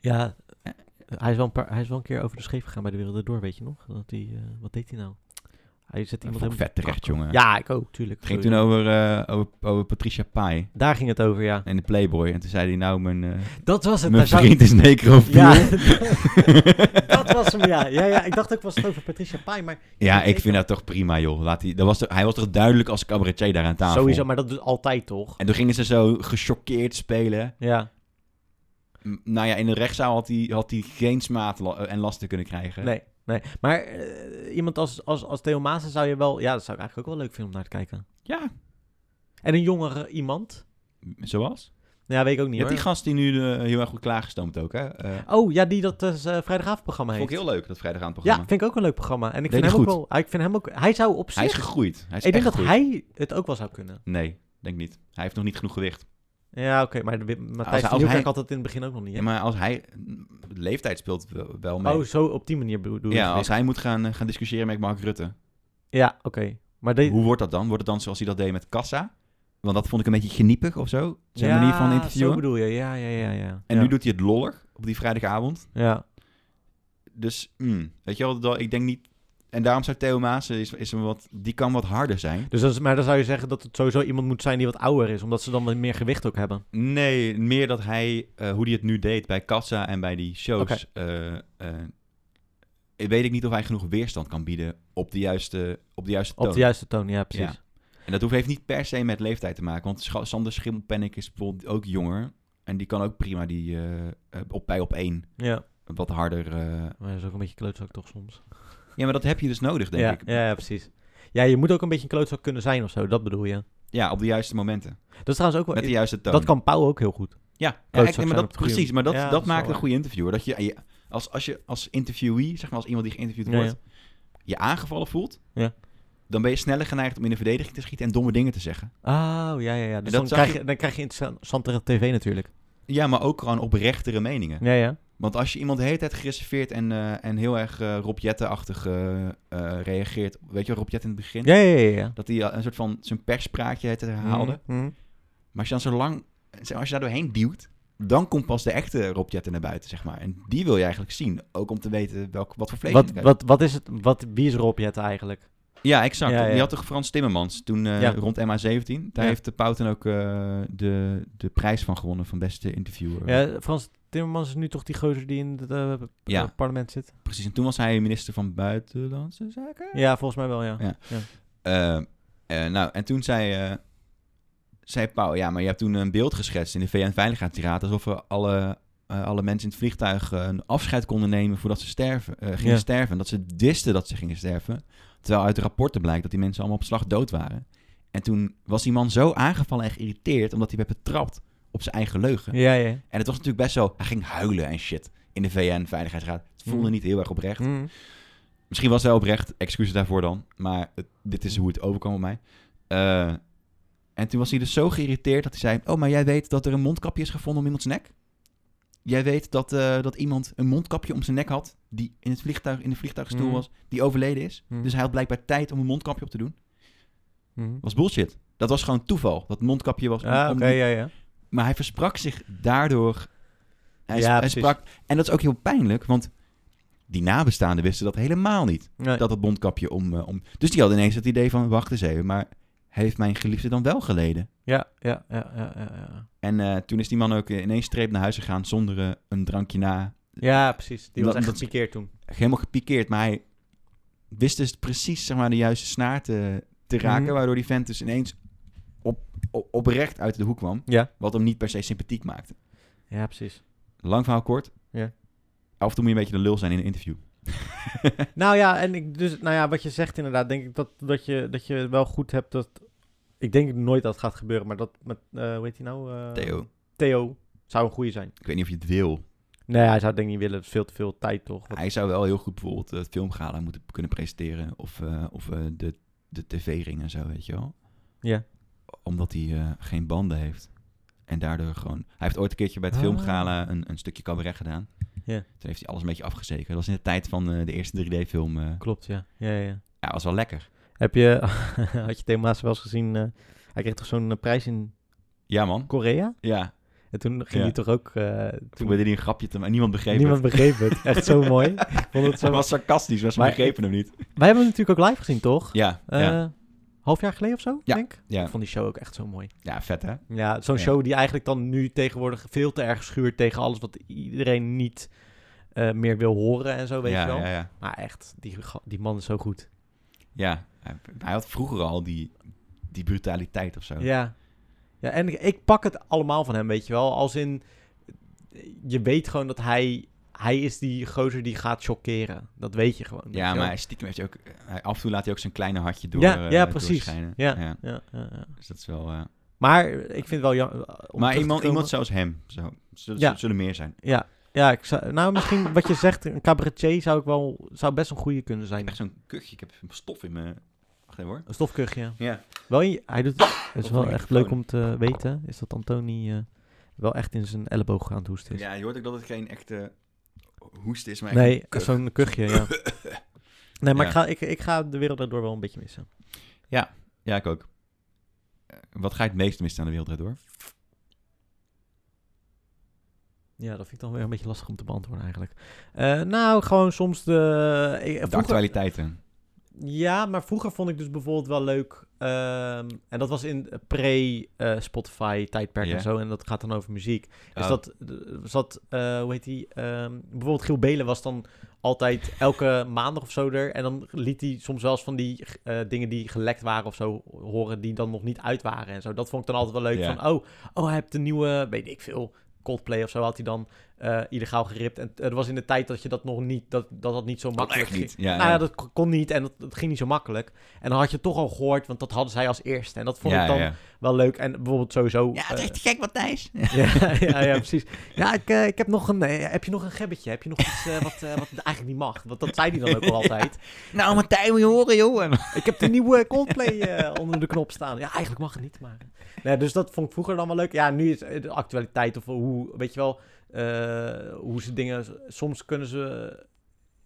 S1: Ja, eh, hij is, wel een paar, hij is wel een keer over de scheef gegaan bij de wereld door, weet je nog? Dat hij, eh, wat deed hij nou? Hij zet
S2: Dat
S1: iemand
S2: vond ik
S1: helemaal-
S2: vet terecht, jongen.
S1: Ja, ik ook, tuurlijk.
S2: Het ging toen
S1: Sowieso.
S2: over, eh, over, over Patricia Pai
S1: Daar ging het over, ja.
S2: en de Playboy. En toen zei hij, nou, mijn, eh,
S1: Dat was het.
S2: mijn
S1: daar zou-
S2: vriend is necrofiel.
S1: Ja,
S2: Ja,
S1: dat was hem, ja. ja, ja. Ik dacht ook, was het over Patricia Pai, maar...
S2: ik vind dat toch prima, joh. Laat hij, dat was toch- hij was toch duidelijk als cabaretier daar aan tafel.
S1: Sowieso, maar dat doet altijd, toch?
S2: En toen gingen ze zo gechoqueerd spelen.
S1: Ja,
S2: M- Nou ja, in de rechtszaal had hij, had hij geen smaad la- eh, en lasten kunnen krijgen.
S1: nee, nee. Maar eh, iemand als, als, als Theo Maassen zou je wel... Ja, dat zou ik eigenlijk ook wel leuk vinden om naar te kijken.
S2: Ja,
S1: En een jongere iemand?
S2: m- zoals?
S1: Nou, ja, weet ik ook
S2: Je
S1: niet,
S2: hebt die
S1: hoor.
S2: gast die nu eh, heel erg goed klaargestoomd ook, hè? Eh
S1: Oh, ja, die dat eh, vrijdagavondprogramma
S2: vond
S1: heeft.
S2: ik heel leuk, dat vrijdagavond
S1: Ja,
S2: programma.
S1: vind ik ook een leuk programma. En ik
S2: Deed
S1: vind hem
S2: hij
S1: ook
S2: goed.
S1: wel. ah, Ik vind hem ook. Hij zou op
S2: hij
S1: zich.
S2: is gegroeid. Hij is
S1: ik denk
S2: echt
S1: dat
S2: gegroeid.
S1: hij het ook wel zou kunnen.
S2: Nee, denk niet. Hij heeft nog niet genoeg gewicht.
S1: Ja, oké. maar de,
S2: hij-
S1: Matthijs
S2: als
S1: van Nieuwkerk
S2: hij-
S1: had het in het begin ook nog niet.
S2: Ja,
S1: hè?
S2: maar als hij... m, de Leeftijd speelt wel- wel mee.
S1: Oh, zo op die manier bedoel je.
S2: ja,
S1: het
S2: als
S1: weer.
S2: hij moet gaan, eh, gaan discussiëren met Mark Rutte.
S1: Ja, oké. Maar de,
S2: Hoe wordt dat dan? Wordt het dan zoals hij dat deed met Kassa? Want dat vond ik een beetje geniepig of zo. Zijn
S1: Ja,
S2: manier van
S1: Zo
S2: interviewen.
S1: bedoel je, ja, ja, ja. ja.
S2: En
S1: ja.
S2: nu doet hij het lollig op die vrijdagavond.
S1: Ja,
S2: Dus, mm, weet je wel, dat- ik denk niet... En daarom zou Theo Maassen, is, is een wat, die kan wat harder zijn.
S1: dus dat is, maar dan zou je zeggen dat het sowieso iemand moet zijn die wat ouder is, omdat ze dan wat meer gewicht ook hebben.
S2: Nee, meer dat hij, eh, hoe hij het nu deed bij Kassa en bij die shows.
S1: Oké.
S2: eh, eh, ik weet ik niet of hij genoeg weerstand kan bieden op de juiste, op de juiste toon.
S1: Op de juiste toon, ja, precies.
S2: En dat hoeft, heeft niet per se met leeftijd te maken. Want Scha- Sander Schimmelpennink is bijvoorbeeld ook jonger. En die kan ook prima die, eh, eh, op bij op één
S1: Ja.
S2: wat harder... eh,
S1: Maar dat is ook een beetje klootzak toch soms.
S2: Ja, maar dat heb je dus nodig, denk
S1: ja,
S2: ik.
S1: Ja, ja, precies. Ja, je moet ook een beetje een klootzak kunnen zijn of zo, dat bedoel je.
S2: Ja, op de juiste momenten.
S1: Dat is trouwens ook
S2: Met de
S1: wel...
S2: juiste toon.
S1: Dat kan Pauw ook heel goed.
S2: Ja, ja,
S1: klootzak
S2: echt, maar
S1: zijn op
S2: dat,
S1: het goede
S2: precies. Maar dat,
S1: moment. Ja,
S2: dat,
S1: dat is
S2: maakt
S1: wel
S2: een goede interviewer. Dat je, je- als, als je als interviewee, zeg maar als iemand die geïnterviewd
S1: Ja,
S2: wordt, je aangevallen voelt,
S1: Ja.
S2: dan ben je sneller geneigd om in de verdediging te schieten en domme dingen te zeggen.
S1: Oh, ja, ja, ja. Dus
S2: dat
S1: dan,
S2: zag
S1: krijg
S2: je-
S1: je, dan krijg je interessantere tv natuurlijk.
S2: Ja, maar ook gewoon oprechtere meningen.
S1: Ja, ja.
S2: Want als je iemand de hele tijd gereserveerd en, eh, en heel erg eh Rob Jetten-achtig eh, eh, reageert. Weet je wel, Rob Jetten in het begin?
S1: Ja, ja, ja. ja.
S2: Dat hij eh, een soort van zijn perspraatje het herhaalde.
S1: Mhm.
S2: Maar als je dan zo lang, zeg, als je daar doorheen duwt, dan komt pas de echte Rob Jetten naar buiten, zeg maar. En die wil je eigenlijk zien. Ook om te weten welk, wat voor vlees
S1: Wat,
S2: hij heeft.
S1: wat, wat is het... Wat, wie is Rob Jette eigenlijk?
S2: Ja, exact.
S1: Ja, ja.
S2: Je had toch Frans Timmermans toen eh,
S1: Ja.
S2: rond MA17. Daar
S1: Ja.
S2: heeft de Pouten ook eh, de, de prijs van gewonnen van beste interviewer.
S1: Ja, Frans Timmermans is nu toch die gozer die in het eh,
S2: Ja.
S1: parlement zit?
S2: Precies. En toen was hij minister van Buitenlandse Zaken.
S1: Ja, volgens mij wel, ja.
S2: Ja. Eh, eh, nou, en toen zei, eh, zei Pauw, ja, maar je hebt toen een beeld geschetst in de VN-veiligheidsraad... alsof we alle, eh, alle mensen in het vliegtuig eh, een afscheid konden nemen voordat ze sterven, eh, gingen
S1: Ja.
S2: sterven. En dat ze wisten dat ze gingen sterven. Terwijl uit de rapporten blijkt dat die mensen allemaal op slag dood waren. En toen was die man zo aangevallen en geïrriteerd omdat hij werd betrapt op zijn eigen leugen.
S1: Ja, ja.
S2: En het was natuurlijk best wel, hij ging huilen en shit in de VN-veiligheidsraad. Het voelde
S1: Mm.
S2: niet heel erg oprecht.
S1: Mhm.
S2: Misschien was hij oprecht, excuses daarvoor dan. Maar het- dit is hoe het overkwam op mij. Eh, en toen was hij dus zo geïrriteerd dat hij zei... Oh, maar jij weet dat er een mondkapje is gevonden om iemands nek? Jij weet dat, eh, dat iemand een mondkapje om zijn nek had... die in, het vliegtuig, in de vliegtuigstoel
S1: Mhm.
S2: was, die overleden is.
S1: Mhm.
S2: Dus hij had blijkbaar tijd om een mondkapje op te doen.
S1: Mhm.
S2: was bullshit. Dat was gewoon toeval. Dat mondkapje was... om-
S1: Ah,
S2: om
S1: oké,
S2: die-
S1: ja, ja.
S2: Maar hij versprak zich daardoor... Hij,
S1: Ja,
S2: hij
S1: precies.
S2: sprak, en dat is ook heel pijnlijk, want... die nabestaanden wisten dat helemaal niet
S1: Nee.
S2: dat het bondkapje om, eh, om... Dus die had ineens het idee van, wacht eens even, maar heeft mijn geliefde dan wel geleden?
S1: Ja, ja, ja, ja, ja, ja.
S2: En eh, toen is die man ook ineens streep naar huis gegaan zonder eh, een drankje na.
S1: Ja, precies. Die was
S2: Dat-
S1: echt
S2: dat-
S1: gepikeerd toen.
S2: Helemaal gepikeerd, maar hij wist dus precies zeg maar, de juiste snaar te, te raken,
S1: Mhm.
S2: waardoor die vent dus ineens op, op, oprecht uit de hoek kwam,
S1: Ja.
S2: wat hem niet per se sympathiek maakte.
S1: Ja, precies.
S2: Lang verhaal kort.
S1: Ja.
S2: Af en toe moet je een beetje de lul zijn in een interview.
S1: Nou ja, en ik, dus, nou ja, wat je zegt inderdaad, denk ik dat, dat, je, dat je wel goed hebt dat... Ik denk nooit dat het gaat gebeuren, maar dat met, eh hoe heet hij nou? Eh,
S2: Theo,
S1: Theo zou een goede zijn.
S2: ik weet niet of je het wil.
S1: Nee, hij zou het denk ik niet willen. Veel te veel tijd toch? Wat-
S2: Hij zou wel heel goed bijvoorbeeld eh, het filmgala moeten kunnen presenteren. Of, eh, of eh, de, de tv-ring en zo, weet je wel.
S1: Ja.
S2: Omdat hij eh, geen banden heeft. En daardoor gewoon... Hij heeft ooit een keertje bij het
S1: Ah.
S2: filmgala een, een stukje cabaret gedaan.
S1: Ja.
S2: Toen heeft hij alles een beetje afgezeken. Dat was in de tijd van eh, de eerste 3D-film. eh
S1: Klopt, ja. Ja, ja, ja.
S2: ja, was wel lekker.
S1: Heb je, had je Theo Maas wel eens gezien, eh, hij kreeg toch zo'n eh, prijs in
S2: Ja, man.
S1: Korea?
S2: Ja.
S1: En toen ging hij
S2: Ja.
S1: toch ook, eh,
S2: Toen
S1: toen
S2: wilde hij een grapje te maken. Niemand begreep
S1: niemand
S2: het.
S1: begreep het. Echt zo mooi. Ik vond het zo...
S2: Hij was sarcastisch, maar ze
S1: Maar-
S2: begrepen hem niet.
S1: Wij hebben hem natuurlijk ook live gezien, toch?
S2: Ja, ja,
S1: Eh, half jaar geleden of zo,
S2: Ja,
S1: denk ik.
S2: ja.
S1: Ik vond die show ook echt zo mooi.
S2: ja, vet hè?
S1: Ja, zo'n
S2: Ja.
S1: show die eigenlijk dan nu tegenwoordig veel te erg schuurt tegen alles wat iedereen niet eh, meer wil horen en zo, weet
S2: ja,
S1: je wel.
S2: ja, ja.
S1: Maar echt, die, ga- die man is zo goed.
S2: Ja, hij, hij had vroeger al die, die brutaliteit of zo.
S1: Ja. Ja, en ik, ik pak het allemaal van hem, weet je wel. Als in, je weet gewoon dat hij, hij is die gozer die gaat shockeren. Dat weet je gewoon. weet
S2: Ja,
S1: je wel.
S2: maar hij stiekem heeft hij ook... eh, Hij, af en toe laat hij ook zijn kleine hartje door,
S1: Ja,
S2: eh,
S1: ja, precies.
S2: doorschijnen.
S1: Ja. Ja, ja, ja.
S2: dus dat is wel... eh,
S1: Maar ik vind het wel jammer. om terug
S2: maar
S1: te
S2: iemand,
S1: komen.
S2: iemand zoals hem. Zo, zullen,
S1: Ja.
S2: zullen meer zijn.
S1: Ja, ja ik zou, nou misschien wat je zegt, een cabaretier zou ik wel, zou best een goede kunnen zijn.
S2: Echt zo'n kuchje. Ik heb stof in mijn... Wacht even hoor.
S1: Een stofkuchje.
S2: Ja.
S1: Wel, in je- hij doet, het is
S2: Op
S1: wel
S2: de
S1: echt
S2: microfoon.
S1: leuk om te weten, is dat Antoni eh, wel echt in zijn elleboog aan het hoesten is.
S2: Ja, je hoort ook dat het geen echte hoest is, maar echt
S1: nee,
S2: een kuch.
S1: zo'n kuchje, ja. Nee, maar
S2: Ja.
S1: ik, ga, ik, ik ga de wereld daardoor wel een beetje missen.
S2: Ja, Ja, ik ook. Eh, Wat ga je het meest missen aan de wereld Draait door?
S1: Ja, dat vind ik dan weer een beetje lastig om te beantwoorden eigenlijk. Eh, nou, gewoon soms de... eh,
S2: De
S1: vroeger-
S2: actualiteiten.
S1: Ja, maar vroeger vond ik dus bijvoorbeeld wel leuk. ehm, en dat was in pre-Spotify-tijdperk
S2: Ja.
S1: en zo. En dat gaat dan over muziek. Dus
S2: Oh,
S1: dat eh, zat, eh, hoe heet die? ehm, bijvoorbeeld Giel Belen was dan altijd elke maandag of zo er. En dan liet hij soms wel eens van die eh, dingen die gelekt waren of zo horen, die dan nog niet uit waren en zo. Dat vond ik dan altijd wel leuk.
S2: Ja.
S1: Van, oh, oh, hij heeft een nieuwe, weet ik veel, Coldplay of zo had hij dan eh, illegaal geript. En het was in de tijd dat je dat nog niet, dat dat, dat niet zo
S2: dat
S1: makkelijk
S2: echt
S1: ging.
S2: niet. Ja,
S1: Nou ja,
S2: ja.
S1: dat kon niet en dat, dat ging niet zo makkelijk. En dan had je het toch al gehoord, want dat hadden zij als eerste. En dat vond
S2: ja,
S1: ik dan
S2: ja.
S1: wel leuk. En bijvoorbeeld sowieso...
S2: Ja,
S1: eh,
S2: het is te gek, Matthijs.
S1: ja, ja, ja, precies. Ja, ik, eh, ik heb nog een... eh, heb je nog een gebbetje? Heb je nog iets eh, wat, eh, wat eigenlijk niet mag? Want dat zei hij dan ook wel altijd.
S2: Nou, Matthijs, moet je horen, joh. En-
S1: Ik heb de nieuwe Coldplay eh, onder de knop staan. Ja, eigenlijk mag het niet, maar... Nee, dus dat vond ik vroeger dan wel leuk. Ja, nu is eh, de actualiteit of hoe... Weet je wel, eh, hoe ze dingen... Soms kunnen ze...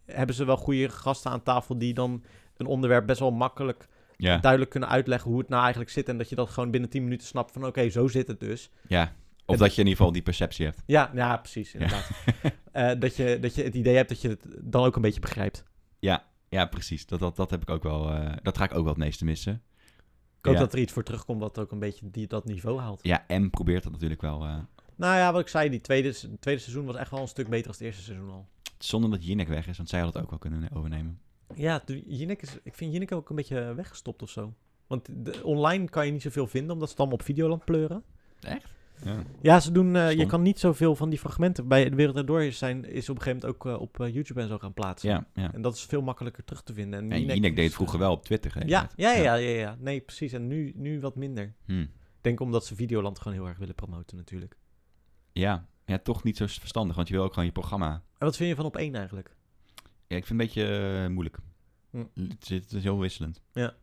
S1: Hebben ze wel goede gasten aan tafel die dan een onderwerp best wel makkelijk
S2: Ja,
S1: duidelijk kunnen uitleggen hoe het nou eigenlijk zit. En dat je dat gewoon binnen 10 minuten snapt van oké, zo zit het dus.
S2: ja. Of dat je in ieder geval die perceptie hebt.
S1: Ja, ja precies, inderdaad. Eh, dat, je, dat je het idee hebt dat je het dan ook een beetje begrijpt.
S2: Ja, precies. Dat, dat, dat heb ik ook wel. eh, dat ga ik ook wel het meeste missen.
S1: Ik hoop
S2: Ja.
S1: dat er iets voor terugkomt wat ook een beetje die, dat niveau haalt.
S2: Ja, M probeert dat natuurlijk wel. eh,
S1: Nou ja, wat ik zei, die tweede, se- tweede seizoen was echt wel een stuk beter dan het eerste seizoen al.
S2: zonder dat Jinek weg is, want zij had het ook wel kunnen overnemen.
S1: Ja, de- Jinek is, ik vind Jinek ook een beetje weggestopt of zo. Want de- online kan je niet zoveel vinden, omdat ze het allemaal op Videoland pleuren.
S2: Ja.
S1: Ja, ze doen, eh, je
S2: Stom.
S1: kan niet zoveel van die fragmenten. Bij De Wereld Daardoor is, zijn, is op een gegeven moment ook eh, op eh, YouTube en zo gaan plaatsen.
S2: Ja, ja.
S1: En dat is veel makkelijker terug te vinden.
S2: En Jinek deed het vroeger wel op Twitter. de hele
S1: eh, Ja,
S2: tijd.
S1: ja, ja, ja, ja, ja. Nee, precies. En nu, nu wat minder.
S2: Hm.
S1: Ik denk omdat ze Videoland gewoon heel erg willen promoten natuurlijk.
S2: Ja. ja, toch niet zo verstandig, want je wil ook gewoon je programma.
S1: En wat vind je van op één eigenlijk?
S2: Ja, ik vind het een beetje eh, moeilijk.
S1: Hm.
S2: Het, is, het is heel wisselend.
S1: Ja.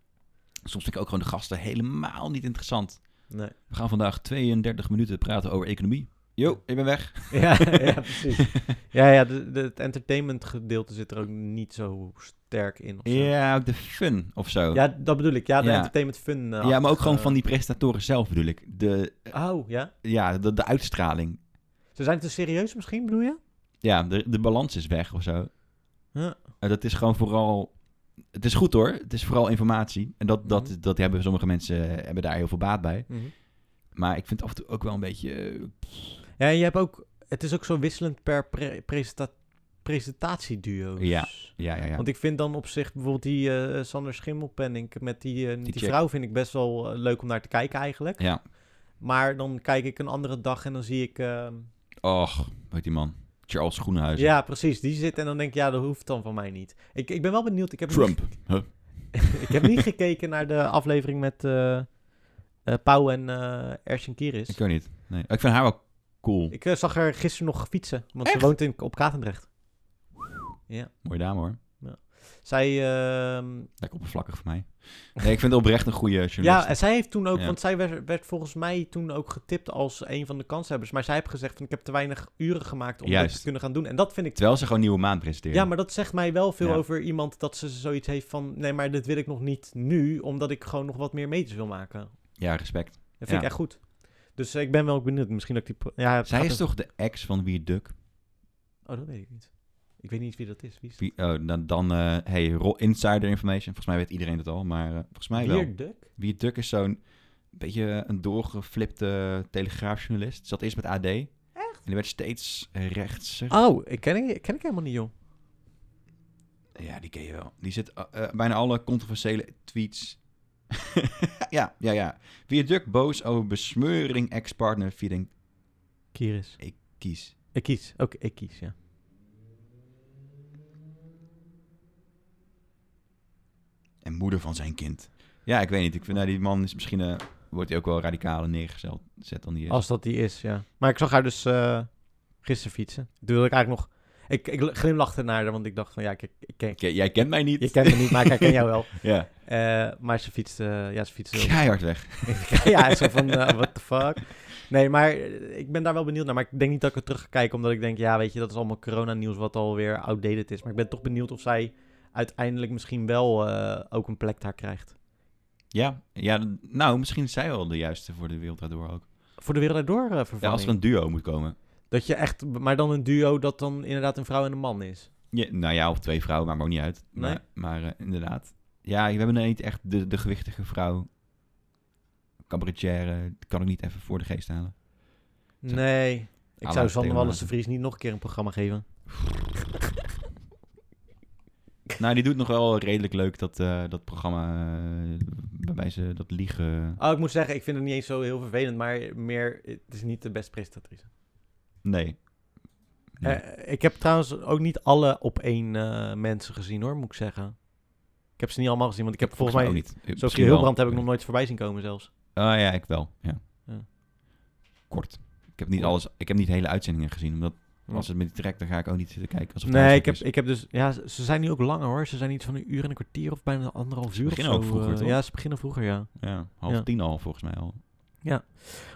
S2: Soms vind ik ook gewoon de gasten helemaal niet interessant.
S1: Nee.
S2: We gaan vandaag 32 minuten praten over economie. Jo, ik ben weg.
S1: Ja, ja precies. Ja, ja de, de- het entertainment gedeelte zit er ook niet zo sterk in. of zo.
S2: Ja, ook de fun of zo.
S1: ja, dat bedoel ik. Ja, de
S2: Ja.
S1: entertainment fun. eh,
S2: Ja, maar ook
S1: achtige-
S2: gewoon van die presentatoren zelf bedoel ik. De,
S1: Oh, ja?
S2: ja, de, de uitstraling.
S1: Ze zijn te serieus misschien, bedoel je?
S2: Ja, de, de balans is weg of zo.
S1: Ja.
S2: En dat is gewoon vooral... Het is goed hoor, het is vooral informatie. En dat, dat,
S1: Mhm.
S2: dat hebben sommige mensen eh, hebben daar heel veel baat bij. Maar ik vind het af en toe ook wel een beetje... eh,
S1: Ja, en je hebt ook... Het is ook zo wisselend per pre presenta presentatieduo's.
S2: Ja. ja, ja, ja.
S1: Want ik vind dan op zich bijvoorbeeld die eh, Sander Schimmelpenning met die, eh, met die
S2: chick.
S1: vrouw vind ik best wel eh, leuk om naar te kijken eigenlijk.
S2: Ja.
S1: Maar dan kijk ik een andere dag en dan zie ik... eh,
S2: Och, weet die man. Charles Groenhuizen.
S1: ja, precies. Die zit en dan denk ik, ja, dat hoeft dan van mij niet. Ik, ik ben wel benieuwd. Ik heb,
S2: Trump. Huh?
S1: Niet, ik heb niet gekeken naar de aflevering met eh eh, Pauw en eh Ersin Kiris.
S2: Ik
S1: Ik,
S2: weet niet. Nee. Ik vind haar wel cool.
S1: eh, zag haar gisteren nog fietsen, want ze woont in, op Katendrecht.
S2: Mooie dame hoor.
S1: Zij, ehm,
S2: Lekker oppervlakkig voor mij. Nee, ik vind het oprecht een goede journalist.
S1: Ja, en zij heeft toen ook,
S2: Ja.
S1: want zij werd, werd volgens mij toen ook getipt als een van de kanshebbers. Maar zij heeft gezegd: van, Ik heb te weinig uren gemaakt om dat
S2: Juist.
S1: te kunnen gaan doen. En dat vind ik.
S2: Terwijl ze gewoon Nieuwe Maand presenteert.
S1: Ja, maar dat zegt mij wel veel
S2: Ja.
S1: over iemand dat ze zoiets heeft van: Nee, maar dit wil ik nog niet nu, omdat ik gewoon nog wat meer meters wil maken.
S2: Ja, respect.
S1: Dat vind
S2: Ja.
S1: ik echt goed. Dus eh, ik ben wel benieuwd. Misschien dat ik die. pro- Ja, het
S2: Zij
S1: gaat
S2: is
S1: er-
S2: toch de ex van Wie Duck?
S1: Oh, dat weet ik niet. Ik weet niet wie dat is. Wie is
S2: Wie, oh, dan, dan eh, hey, ro- insider information. Volgens mij weet iedereen dat al, maar eh, volgens mij wel.
S1: Weer Duk?
S2: Wie Duck is zo'n beetje een doorgeflipte telegraafjournalist. Zat eerst met AD. Echt? En die werd steeds rechtser.
S1: Oh, ik ken, ik ken ik helemaal niet, joh.
S2: Ja, die ken je wel. Die zit eh, eh, bijna alle controversiële tweets. ja, ja, ja. Wie Duck boos over besmeuring ex-partner feeding
S1: Kiris.
S2: kies.
S1: Ik kies. Oké, ik kies, ja.
S2: En moeder van zijn kind. Ja, ik weet niet. Ik vind, nou, die man is misschien... eh, wordt hij ook wel radicaler neergezet zet dan die eh, is.
S1: Als dat die is, ja. Maar ik zag haar dus eh, gisteren fietsen. Toen wilde ik eigenlijk nog... Ik, ik glimlachte naar haar, want ik dacht van... Ja, kijk, ik ken,
S2: Oké, Jij kent mij niet.
S1: je kent me niet, maar ik ken jou wel.
S2: Ja.
S1: Eh, maar ze fietste... ja, ze fietste... heel-
S2: Keihard weg.
S1: ja, zo van... eh, what the fuck? Nee, maar eh, ik ben daar wel benieuwd naar. Maar ik denk niet dat ik er terug ga kijken, omdat ik denk... Ja, weet je, dat is allemaal coronanieuws wat alweer outdated is. Maar ik ben toch benieuwd of zij uiteindelijk misschien wel eh, ook een plek daar krijgt.
S2: Ja, ja, d- nou, misschien is zij wel de juiste voor de wereld daardoor ook.
S1: Voor de wereld door eh vervanging.
S2: Ja, als er een duo moet komen.
S1: Dat je echt, maar dan een duo dat dan inderdaad een vrouw en een man is.
S2: Ja, nou ja, of twee vrouwen, maar maakt niet uit.
S1: Nee.
S2: Maar, maar eh, inderdaad. Ja, we hebben niet echt de, de gewichtige vrouw. Cabaretière, die kan ik niet even voor de geest halen. Zo. Ah,
S1: Nee. Ik zou
S2: Alla
S1: Sander
S2: Timmerman.
S1: Wallis de Vries niet nog een keer een programma geven.
S2: Nou, die doet nog wel redelijk leuk dat, eh, dat programma eh, waarbij ze dat liegen.
S1: Oh, ik moet zeggen, ik vind het niet eens zo heel vervelend, maar meer, het is niet de beste presentatrice.
S2: Nee. Nee.
S1: Eh, ik heb trouwens ook niet alle op één eh, mensen gezien hoor, moet ik zeggen. Ik heb ze niet allemaal gezien, want ik heb volgens mij...
S2: ook niet. Eh,
S1: Sophie Hilbrand heb ik nog nooit voorbij zien komen zelfs.
S2: Oh ja, ik wel. Ja.
S1: Ja.
S2: Kort. Ik heb niet
S1: Kort.
S2: alles. Ik heb niet hele uitzendingen gezien, omdat
S1: Ja.
S2: als het me niet trekt, dan ga ik ook niet zitten kijken. Alsof het
S1: Nee,
S2: een
S1: ik heb,
S2: stuk is.
S1: ik heb dus... Ja, ze ze zijn nu ook langer hoor. Ze zijn iets van een uur en een kwartier of bijna anderhalf uur of
S2: beginnen
S1: zo,
S2: ook vroeger,
S1: eh,
S2: toch?
S1: Ja, ze beginnen vroeger, ja.
S2: Ja, half
S1: Ja.
S2: tien al volgens mij al.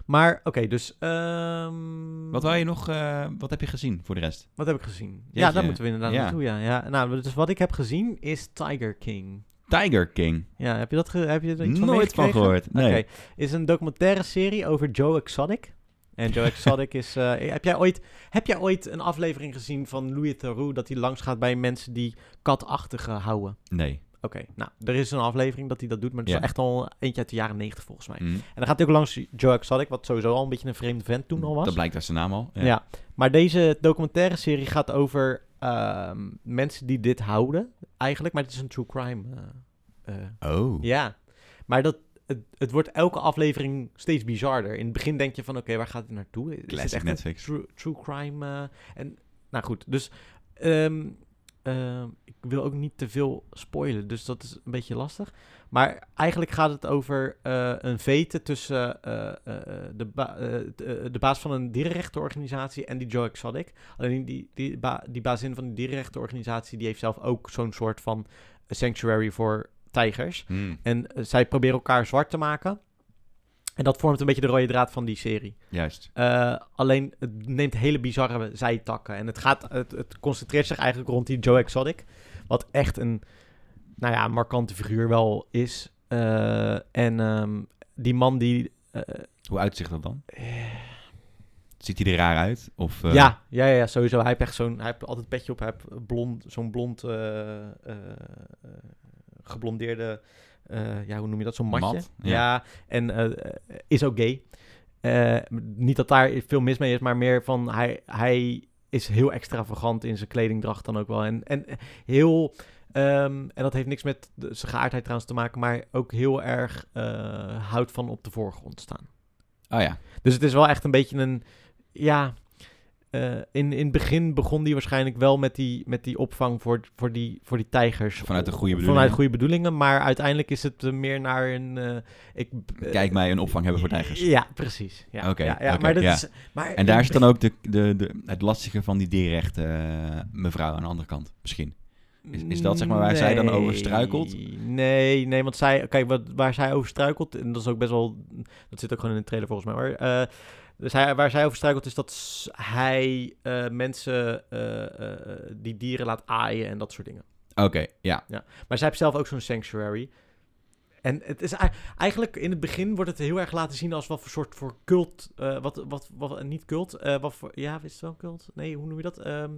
S1: Maar, oké, dus... ehm,
S2: Wat wou je nog? eh, wat heb je gezien voor de rest?
S1: Wat heb ik gezien? Ja,
S2: Jeetje.
S1: daar moeten we inderdaad
S2: Ja.
S1: naartoe, ja. ja. Nou, dus wat ik heb gezien is Tiger King.
S2: Tiger King.
S1: Ja, heb je dat ge- heb je er iets van
S2: Nooit van
S1: meegekregen?
S2: gehoord. Nee.
S1: Oké, is een documentaire serie over Joe Exotic. En Joe Exotic is... eh, heb, jij ooit, heb jij ooit een aflevering gezien van Louis Theroux... dat hij langs gaat bij mensen die katachtige houden?
S2: Nee.
S1: Oké, nou, er is een aflevering dat hij dat doet... maar het is
S2: Ja.
S1: echt al eentje uit de jaren negentig volgens mij.
S2: Hm.
S1: En dan gaat hij ook langs Joe Exotic... wat sowieso al een beetje een vreemde vent toen al was.
S2: Dat blijkt uit zijn naam al.
S1: Ja. maar deze documentaire serie gaat over ehm, mensen die dit houden, eigenlijk. Maar het is een true crime. eh, eh,
S2: Oh.
S1: Ja, maar dat, het, het wordt elke aflevering steeds bizarder. In het begin denk je van, oké, waar gaat het naartoe? Is
S2: Classic
S1: dit echt
S2: Netflix.
S1: Een true, true crime. eh, en, nou goed, dus ehm, ehm, ik wil ook niet te veel spoilen, dus dat is een beetje lastig. Maar eigenlijk gaat het over eh, een vete tussen eh, eh, eh, de, ba- eh, de, eh, de baas van een dierenrechtenorganisatie en die Joe Exotic. Alleen die, die, ba- die bazin van de dierenrechtenorganisatie, die heeft zelf ook zo'n soort van sanctuary voor tijgers.
S2: Hm.
S1: En eh, zij proberen elkaar zwart te maken. En dat vormt een beetje de rode draad van die serie.
S2: Juist.
S1: Eh, alleen het neemt hele bizarre zijtakken. En het, gaat, het, het concentreert zich eigenlijk rond die Joe Exotic. Wat echt een, nou ja, markante figuur wel is. Eh, en ehm, die man die. eh,
S2: Hoe uitzicht dat dan? Ziet hij er raar uit? Of, eh,
S1: ja, ja, ja, sowieso. Hij heeft echt zo'n. Hij heeft altijd een petje op. Hij heeft blond, zo'n blond. eh, eh, eh, geblondeerde. eh, ja, hoe noem je dat? Zo'n matje.
S2: Mat,
S1: ja.
S2: ja.
S1: en eh, is ook gay. Eh, niet dat daar veel mis mee is, maar meer van hij, hij is heel extravagant in zijn kledingdracht dan ook wel. En, en heel. ehm, en dat heeft niks met de- zijn geaardheid trouwens te maken, maar ook heel erg eh, houdt van op de voorgrond staan.
S2: Oh ja.
S1: Dus het is wel echt een beetje een. Ja. eh, in, in het begin begon die waarschijnlijk wel met die, met die opvang voor, voor, die, voor die tijgers.
S2: Vanuit de goede
S1: Vanuit
S2: bedoelingen.
S1: goede bedoelingen. Maar uiteindelijk is het eh, meer naar een. eh, ik, eh,
S2: Kijk mij een opvang hebben voor tijgers.
S1: Ja, precies. Ja,
S2: Oké,
S1: ja, ja,
S2: oké,
S1: maar dat
S2: ja.
S1: is. Maar
S2: En daar is dan ook de, de, de, het lastige van die dierrechten eh, mevrouw aan de andere kant, misschien. is- is dat zeg maar waar zij dan over struikelt?
S1: Nee, Nee, nee, want zij, kijk, wat, waar zij over struikelt, en dat is ook best wel, dat zit ook gewoon in de trailer volgens mij, maar eh, dus hij, waar zij over struikelt is dat s- hij eh, mensen eh, eh, die dieren laat aaien en dat soort dingen.
S2: Oké, ja.
S1: Maar zij heeft zelf ook zo'n sanctuary. En het is ei- eigenlijk in het begin wordt het heel erg laten zien als wat voor soort voor cult, eh, wat, wat, wat, eh, niet cult, eh, wat voor, ja, is het wel cult? Nee, hoe noem je dat? Ehm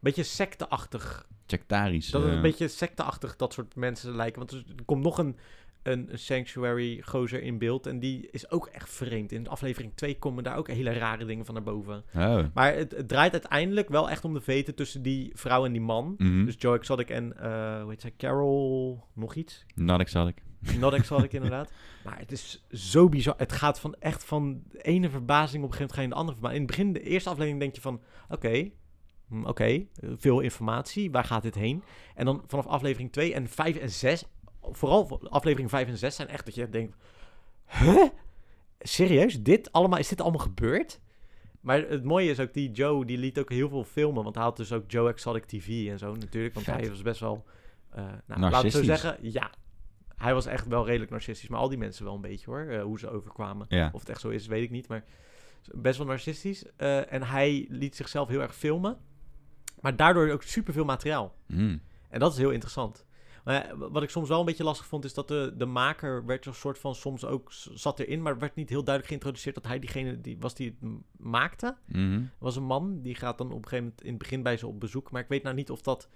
S1: beetje secteachtig
S2: Sectarisch.
S1: dat het
S2: eh,
S1: een beetje secteachtig dat soort mensen lijken. Want er komt nog een, een sanctuary gozer in beeld. En die is ook echt vreemd. In aflevering 2 komen daar ook hele rare dingen van naar boven.
S2: Oh.
S1: Maar het, het draait uiteindelijk wel echt om de veten tussen die vrouw en die man.
S2: Mhm.
S1: Dus Joe Exotic en, eh, hoe heet zij, Carol, nog iets.
S2: Nadik zal ik.
S1: Not Exotic inderdaad. Maar het is zo bizar. Het gaat van echt van de ene verbazing op een gegeven moment ga je in de andere verbazing. In het begin, de eerste aflevering denk je van, oké, hm, oké, eh, veel informatie, waar gaat dit heen? En dan vanaf aflevering 2 en 5 en 6, vooral voor- aflevering 5 en 6 zijn echt dat je denkt, huh? Serieus? Dit allemaal, is dit allemaal gebeurd? Maar het mooie is ook, die Joe, die liet ook heel veel filmen. Want hij had dus ook Joe Exotic TV en zo natuurlijk. Want
S2: Vet.
S1: hij was best wel... eh nou, laat ik zo
S2: Narcistisch.
S1: zeggen, ja. Hij was echt wel redelijk narcistisch. Maar al die mensen wel een beetje hoor. eh, hoe ze overkwamen.
S2: Ja.
S1: Of het echt zo is, weet ik niet. Maar best wel narcistisch. Eh, en hij liet zichzelf heel erg filmen. Maar daardoor ook superveel materiaal.
S2: Mm.
S1: En dat is heel interessant. Want Maar ja, wat ik soms wel een beetje lastig vond, is dat de, de maker werd een soort van soms ook s- zat erin, maar werd niet heel duidelijk geïntroduceerd dat hij diegene die was die het m- maakte.
S2: Mhm.
S1: was een man, die gaat dan op een gegeven moment in het begin bij ze op bezoek. Maar ik weet nou niet of dat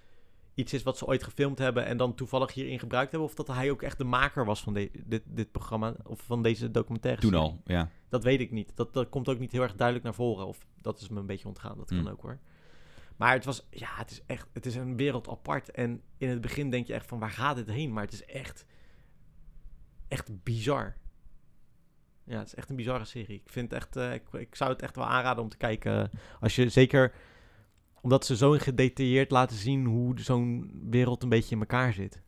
S1: iets is wat ze ooit gefilmd hebben en dan toevallig hierin gebruikt hebben. Of dat hij ook echt de maker was van de- dit, dit programma of van deze documentaire.
S2: Toen
S1: serie.
S2: al, ja.
S1: Dat weet ik niet. Dat, dat komt ook niet heel erg duidelijk naar voren. Of dat is me een beetje ontgaan. Dat kan
S2: Mm.
S1: ook hoor. Maar het was, ja, het is echt, het is een wereld apart. En in het begin denk je echt van, waar gaat dit heen? Maar het is echt, echt bizar. Ja, het is echt een bizarre serie. Ik vind het echt, eh, ik, ik zou het echt wel aanraden om te kijken. eh, Als je zeker, omdat ze zo gedetailleerd laten zien hoe zo'n wereld een beetje in elkaar zit.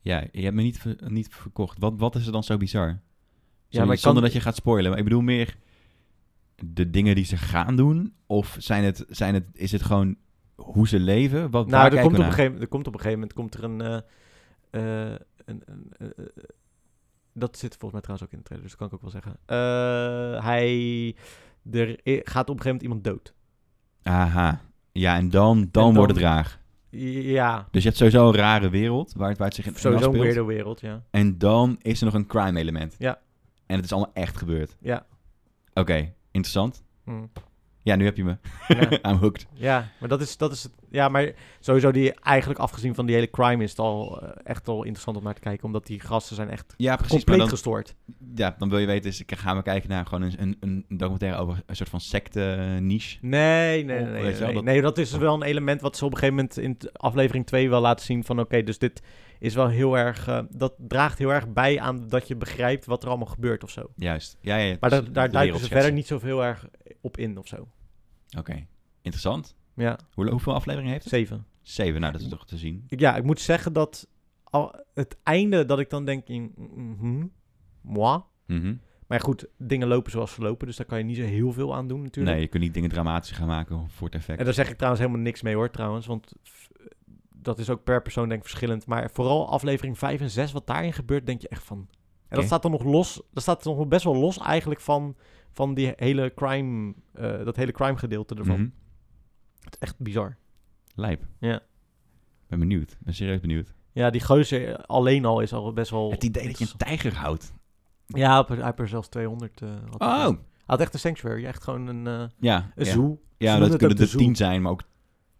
S2: Ja, je hebt me niet, ver- niet verkocht. Wat, wat is er dan zo bizar?
S1: Ja, maar
S2: zonder
S1: ik
S2: zonder
S1: kan-
S2: dat je gaat spoilen. Maar ik bedoel meer de dingen die ze gaan doen. Of zijn het, zijn het, is het gewoon hoe ze leven? Wat, waar
S1: Nou, er
S2: kijken
S1: komt, op
S2: we
S1: een
S2: naar?
S1: gegeven, er komt op een gegeven moment komt er een, eh, eh, een, een, eh, eh, dat zit volgens mij trouwens ook in de trailer, dus dat kan ik ook wel zeggen. Eh, hij er i- gaat op een gegeven moment iemand dood.
S2: Aha. Ja, en dan, dan,
S1: dan-
S2: wordt het raar.
S1: Ja,
S2: Dus je hebt sowieso een rare wereld waar het, waar het zich in in
S1: sowieso een
S2: afspeelt.
S1: weirde wereld, ja.
S2: En dan is er nog een crime element.
S1: Ja.
S2: En het is allemaal echt gebeurd.
S1: Ja.
S2: Oké, interessant.
S1: Mm.
S2: Ja, nu heb je me.
S1: Ja.
S2: I'm hooked.
S1: ja, maar dat is, dat is het. Ja, maar sowieso die eigenlijk afgezien van die hele crime is het al eh, echt al interessant om naar te kijken, omdat die gasten zijn echt
S2: Ja, precies. Maar
S1: compleet
S2: dan,
S1: gestoord.
S2: ja, dan wil je weten, is, gaan we kijken naar gewoon een, een, een documentaire over een soort van eh, secte-niche.
S1: Nee, nee,
S2: Oh,
S1: nee.
S2: weet
S1: Nee,
S2: je wel,
S1: nee,
S2: dat-
S1: nee, dat is wel een element wat ze op een gegeven moment in t- aflevering 2 wel laten zien. Van oké, dus dit is wel heel erg. eh, dat draagt heel erg bij aan dat je begrijpt wat er allemaal gebeurt of zo.
S2: Juist. Ja, ja, ja,
S1: Maar
S2: dus
S1: daar, daar
S2: de
S1: duiken
S2: wereld
S1: ze
S2: schetsen.
S1: verder niet zoveel erg op in of zo.
S2: Oké, interessant.
S1: Ja,
S2: Hoe, hoeveel afleveringen heeft het?
S1: zeven.
S2: Zeven, nou dat is toch te zien.
S1: Ik- Ja, ik moet zeggen dat al het einde dat ik dan denk in. mhm, moi.
S2: Mhm.
S1: Maar goed, dingen lopen zoals ze lopen. Dus daar kan je niet zo heel veel aan doen natuurlijk.
S2: Nee, je kunt niet dingen dramatisch gaan maken voor het effect.
S1: En daar zeg ik trouwens helemaal niks mee hoor, trouwens. Want f- dat is ook per persoon denk ik verschillend. Maar vooral aflevering 5 en 6, wat daarin gebeurt, denk je echt van... En
S2: Oké.
S1: dat staat dan nog los, dat staat nog best wel los eigenlijk van, van die hele crime, eh, dat hele crime gedeelte ervan.
S2: Mhm.
S1: Het is echt bizar.
S2: Lijp.
S1: Ja.
S2: Ben benieuwd. Ben serieus benieuwd.
S1: Ja, die geuze alleen al is al best wel...
S2: Het idee dat je een
S1: interessant.
S2: tijger houdt.
S1: Ja, hij heeft- hij heeft er zelfs 200. eh, had hij.
S2: Oh!
S1: Hij had echt een sanctuary, echt gewoon een, eh
S2: Ja.
S1: een zoo.
S2: ja. Ja,
S1: Ze noemen het
S2: dat
S1: ook
S2: kunnen
S1: de
S2: er
S1: zoo.
S2: tien zijn, maar ook...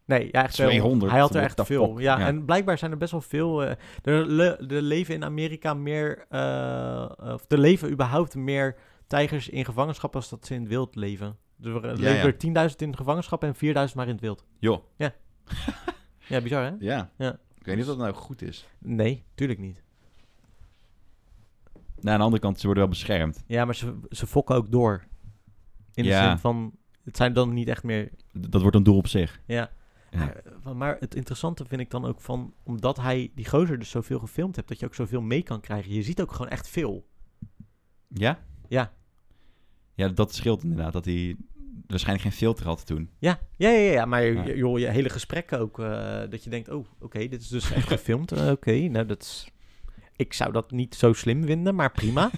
S1: Nee, ja, echt
S2: 200,
S1: Hij had er
S2: what
S1: echt
S2: the
S1: veel.
S2: fuck,
S1: Ja,
S2: ja.
S1: en blijkbaar zijn er best wel veel. eh, er, le- er leven in Amerika meer. eh, of er leven überhaupt meer tijgers in gevangenschap als dat ze in het wild leven. Er eh, leven
S2: ja.
S1: er 10.000 in gevangenschap en 4.000 maar in het wild.
S2: Joh.
S1: Ja, bizar hè?
S2: Ja.
S1: Ja.
S2: Ik weet niet of dat nou goed is.
S1: Nee, tuurlijk niet.
S2: Nou, aan de andere kant, ze worden wel beschermd.
S1: Ja, maar ze, ze fokken ook door. In de
S2: Ja.
S1: zin van, het zijn dan niet echt meer
S2: D- dat wordt een doel op zich.
S1: Ja.
S2: Ja.
S1: Maar, eh, maar het interessante vind ik dan ook van, omdat hij die gozer dus zoveel gefilmd hebt, dat je ook zoveel mee kan krijgen. Je ziet ook gewoon echt veel.
S2: Ja?
S1: Ja.
S2: Ja, dat scheelt inderdaad. Dat hij waarschijnlijk geen filter had toen.
S1: Ja, ja, ja, ja maar
S2: Ja.
S1: je- joh, je hele gesprekken ook, eh, dat je denkt, oh, oké, dit is dus echt gefilmd. Eh, oké, nou dat is... Ik zou dat niet zo slim vinden, maar prima.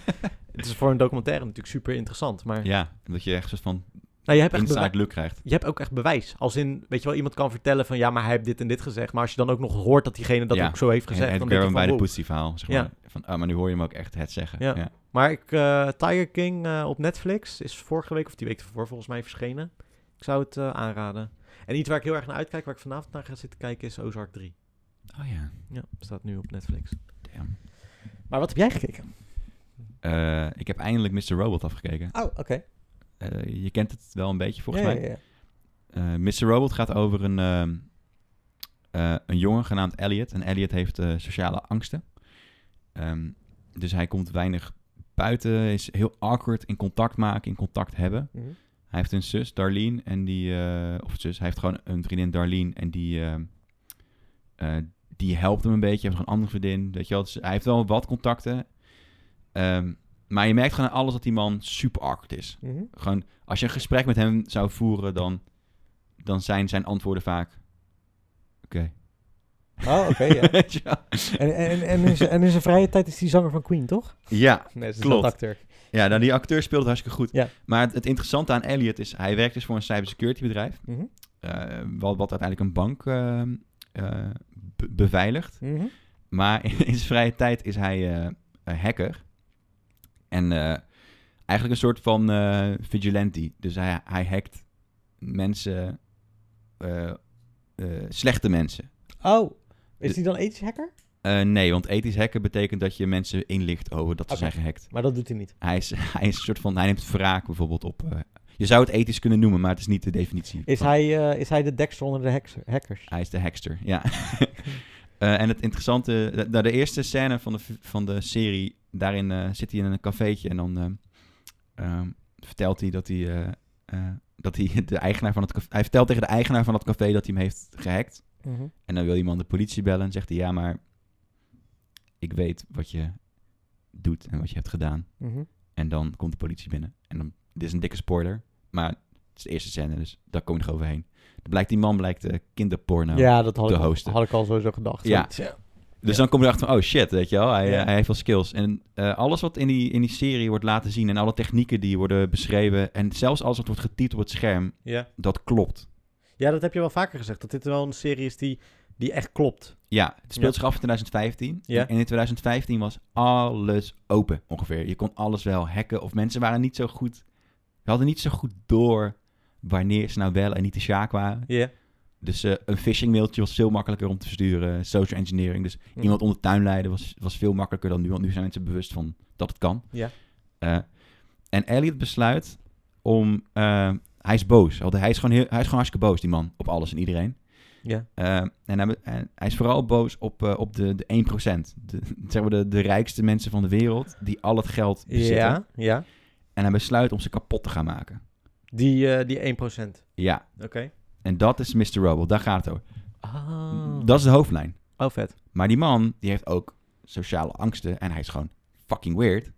S1: het is voor een documentaire natuurlijk super interessant, maar...
S2: Ja. Dat je echt een soort van
S1: Nou, je hebt echt bewa-
S2: inside look krijgt.
S1: je hebt ook echt bewijs. Als in, weet je wel, iemand kan vertellen van... ja, maar hij heeft dit en dit gezegd. Maar als je dan ook nog hoort dat diegene dat
S2: Ja.
S1: ook zo heeft
S2: En,
S1: gezegd...
S2: en
S1: dan
S2: weer
S1: denk je
S2: bij
S1: van,
S2: de
S1: wow.
S2: poetsie verhaal. Zeg maar. Van, ah, maar nu hoor je hem ook echt het zeggen.
S1: Ja. Maar ik, eh, Tiger King eh, op Netflix is vorige week of die week ervoor volgens mij verschenen. Ik zou het eh, aanraden. En iets waar ik heel erg naar uitkijk, waar ik vanavond naar ga zitten kijken, is Ozark 3.
S2: Oh ja.
S1: Ja, staat nu op Netflix.
S2: Damn.
S1: Maar wat heb jij gekeken?
S2: Eh, ik heb eindelijk Mr. Robot afgekeken.
S1: Oh, oké.
S2: Eh, je kent het wel een beetje volgens mij.
S1: Ja, ja,
S2: Eh, Mr. Robot gaat over een, ehm, eh, een jongen genaamd Elliot. En Elliot heeft eh, sociale angsten. Ehm, dus hij komt weinig buiten, is heel awkward in contact maken, in contact hebben.
S1: ja. Mhm.
S2: Hij heeft een zus, Darlene, en die... eh, of zus, hij heeft gewoon een vriendin, Darlene, en die... ehm, eh, die helpt hem een beetje. Hij heeft nog een andere vriendin, weet je wel. Dus hij heeft wel wat contacten. Ehm, maar je merkt gewoon aan alles dat die man super awkward is
S1: Mhm.
S2: gewoon, als je een gesprek met hem zou voeren, dan, dan zijn zijn antwoorden vaak. Oké.
S1: Oh, oké, ja.
S2: Weet je wel?
S1: En, en, en, in zijn, en in zijn vrije tijd is hij zanger van Queen, toch?
S2: ja,
S1: Nee,
S2: is Klopt. dat
S1: acteur.
S2: ja, nou die acteur speelt het hartstikke goed.
S1: Ja.
S2: Maar het, het interessante aan Elliot is, hij werkt dus voor een cybersecurity bedrijf.
S1: Mhm, mhm.
S2: eh, wat, wat uiteindelijk een bank eh, eh, be- beveiligt. Maar in zijn vrije tijd is hij eh, een hacker. En eh, eigenlijk een soort van eh, vigilante. Dus hij, hij hackt mensen, eh, eh, slechte mensen.
S1: Oh,
S2: De-
S1: is die dan ethisch hacker?
S2: Eh, nee, want ethisch hacken betekent dat je mensen inlicht over dat ze
S1: Oké.
S2: zijn gehackt.
S1: Maar dat doet hij niet.
S2: Hij is, hij is een soort van, hij neemt wraak bijvoorbeeld op. eh, je zou het ethisch kunnen noemen, maar het is niet de definitie.
S1: Is
S2: van-
S1: hij, eh, is hij de dekster onder de hacks- hackers?
S2: Hij is de hackster, ja. Eh, en het interessante, de, nou, de eerste scène van de, f- van de serie, daarin eh, zit hij in een cafeetje en dan ehm, ehm, vertelt hij dat hij, eh, eh, dat hij de eigenaar van het café, hij vertelt tegen de eigenaar van het café dat hij hem heeft gehackt.
S1: Mhm.
S2: En dan wil die man de politie bellen en zegt hij... ja, maar ik weet wat je doet en wat je hebt gedaan.
S1: Mhm.
S2: En dan komt de politie binnen. En dan, dit is een dikke spoiler, maar het is de eerste scène... dus daar kom je nog overheen. Dan blijkt die man blijkt eh, kinderporno.
S1: ja, dat had
S2: de
S1: ik, al,
S2: hosten.
S1: had ik al sowieso gedacht.
S2: Ja.
S1: Zoiets,
S2: Dus dan kom je erachter van, oh shit, weet je wel, hij, eh,
S1: Ja.
S2: hij heeft wel skills. En eh, alles wat in die, in die serie wordt laten zien... en alle technieken die worden beschreven... en zelfs alles wat wordt getypt op het scherm,
S1: ja.
S2: dat klopt.
S1: Ja, dat heb je wel vaker gezegd. Dat dit wel een serie is die, die echt klopt.
S2: Ja, het speelt
S1: Ja.
S2: zich af in 2015.
S1: Ja.
S2: En in 2015 was alles open ongeveer. Je kon alles wel hacken. Of mensen waren niet zo goed. Ze hadden niet zo goed door wanneer ze nou wel en niet de sjaak waren.
S1: Ja.
S2: Dus eh, een phishing mailtje was veel makkelijker om te versturen. Social engineering. Dus
S1: Mhm.
S2: iemand onder tuin leiden was, was veel makkelijker dan nu. Want nu zijn mensen bewust van dat het kan.
S1: Ja.
S2: Eh, en Elliot besluit om... eh, hij is boos. Want Hij is, gewoon heel, hij is gewoon hartstikke boos, die man. Op alles en iedereen.
S1: Ja.
S2: Eh, en, hij, en hij is vooral boos op, eh, op de, de 1%. De, zeg maar de, de rijkste mensen van de wereld die al het geld bezitten.
S1: Ja, ja.
S2: En hij besluit om ze kapot te gaan maken.
S1: Die, eh, die 1%. Oké.
S2: Ja, en dat is Mr. Robot. Daar gaat het over.
S1: Ah.
S2: Dat is de hoofdlijn.
S1: Oh, vet.
S2: Maar die man, die heeft ook sociale angsten. En hij is gewoon fucking weird.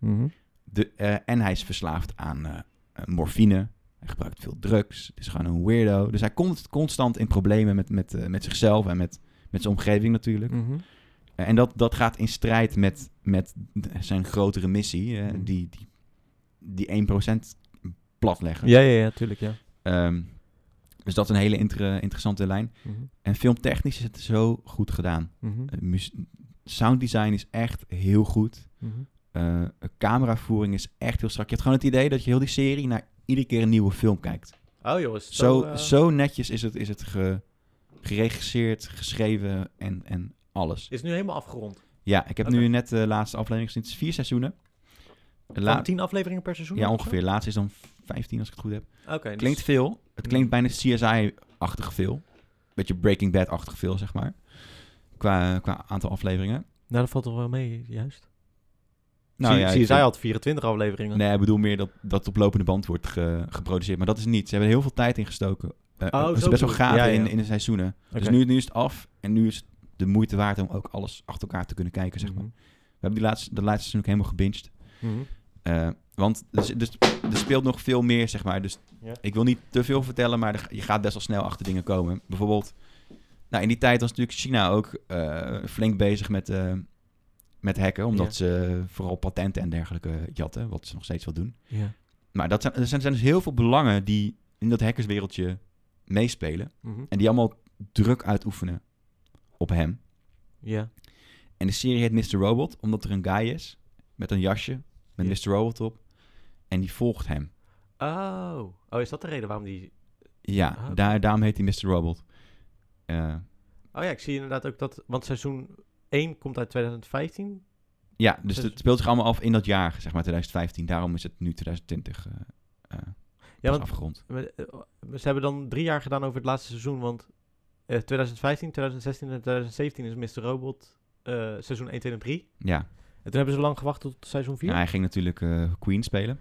S2: De, eh, en hij is verslaafd aan eh, eh, morfine. Hij gebruikt veel drugs. Het is gewoon een weirdo. Dus hij komt constant in problemen met, met, eh, met zichzelf en met, met zijn omgeving natuurlijk.
S1: Mhm.
S2: Eh, En dat, dat gaat in strijd met, met d- zijn grotere missie, eh,
S1: Mhm.
S2: die, die, die 1% platleggen.
S1: Ja, ja, ja, tuurlijk, ja.
S2: Ehm, dus dat is een hele inter- interessante lijn.
S1: Mhm.
S2: En filmtechnisch is het zo goed gedaan.
S1: Mhm.
S2: Eh, mus- sounddesign is echt heel goed.
S1: Mhm.
S2: Eh, cameravoering is echt heel strak. Je hebt gewoon het idee dat je heel die serie naar iedere keer een nieuwe film kijkt.
S1: Oh, jongens.
S2: Zo,
S1: eh,
S2: zo netjes is het, is het ge- geregisseerd, geschreven en, en alles.
S1: Is nu helemaal afgerond.
S2: Ja, ik heb
S1: Oké.
S2: nu net de laatste aflevering gezien. Het is vier seizoenen. De la-
S1: Laat... 10 afleveringen per seizoen?
S2: ja,
S1: of zo?
S2: ongeveer. De laatste is dan 15, als ik het goed heb.
S1: Oké. dus-
S2: Klinkt veel. Het klinkt
S1: Hmm.
S2: bijna CSI-achtig veel. Beetje Breaking Bad-achtig veel, zeg maar. Qua, qua aantal afleveringen.
S1: Nou, dat valt toch wel mee, juist.
S2: Nou,
S1: Nou,
S2: ja,
S1: zie
S2: ik-
S1: CSI had 24 afleveringen.
S2: Nee, ik bedoel meer dat dat op lopende band wordt ge- geproduceerd. Maar dat is niet. Ze hebben er heel veel tijd in gestoken. Eh,
S1: Oh,
S2: er
S1: zo
S2: zijn best wel
S1: bedoel je.
S2: gaten
S1: Ja, ja.
S2: In, in de seizoenen.
S1: Oké.
S2: Dus nu, nu is het af. En nu is het de moeite waard om ook alles achter elkaar te kunnen kijken, zeg maar.
S1: Mhm.
S2: We hebben die laatste, de laatste seizoen ook helemaal gebinged.
S1: Mhm.
S2: Eh, want dus, dus, er speelt nog veel meer, zeg maar. Dus
S1: Ja.
S2: ik wil niet te veel vertellen, maar er- je gaat best wel snel achter dingen komen. Bijvoorbeeld, nou, in die tijd was natuurlijk China ook eh, flink bezig met, eh, met hacken. Omdat
S1: Ja.
S2: ze vooral patenten en dergelijke jatten, wat ze nog steeds wel doen.
S1: Ja.
S2: Maar dat zijn, er zijn zijn dus heel veel belangen die in dat hackerswereldje meespelen.
S1: Mhm.
S2: En die allemaal druk uitoefenen op hem.
S1: Ja.
S2: En de serie heet Mr. Robot, omdat er een guy is met een jasje met
S1: Ja.
S2: Mr. Robot op. En die volgt hem.
S1: Oh. Oh, is dat de reden waarom die...
S2: Ja,
S1: Ah, oké.
S2: daar, daarom heet hij Mr. Robot. Eh,
S1: Oh ja, ik zie inderdaad ook dat... Want seizoen 1 komt uit 2015.
S2: ja, dus
S1: Dus-
S2: het speelt zich allemaal af in dat jaar, zeg maar 2015. Daarom is het nu 2020 eh, eh,
S1: Ja,
S2: pas
S1: want
S2: afgerond.
S1: Maar, eh, Ze hebben dan drie jaar gedaan over het laatste seizoen, want eh, 2015, 2016 en 2017 is Mr. Robot eh, seizoen 1, 2 en 3.
S2: Ja,
S1: En toen hebben ze lang gewacht tot seizoen 4.
S2: en hij ging natuurlijk eh, Queen spelen.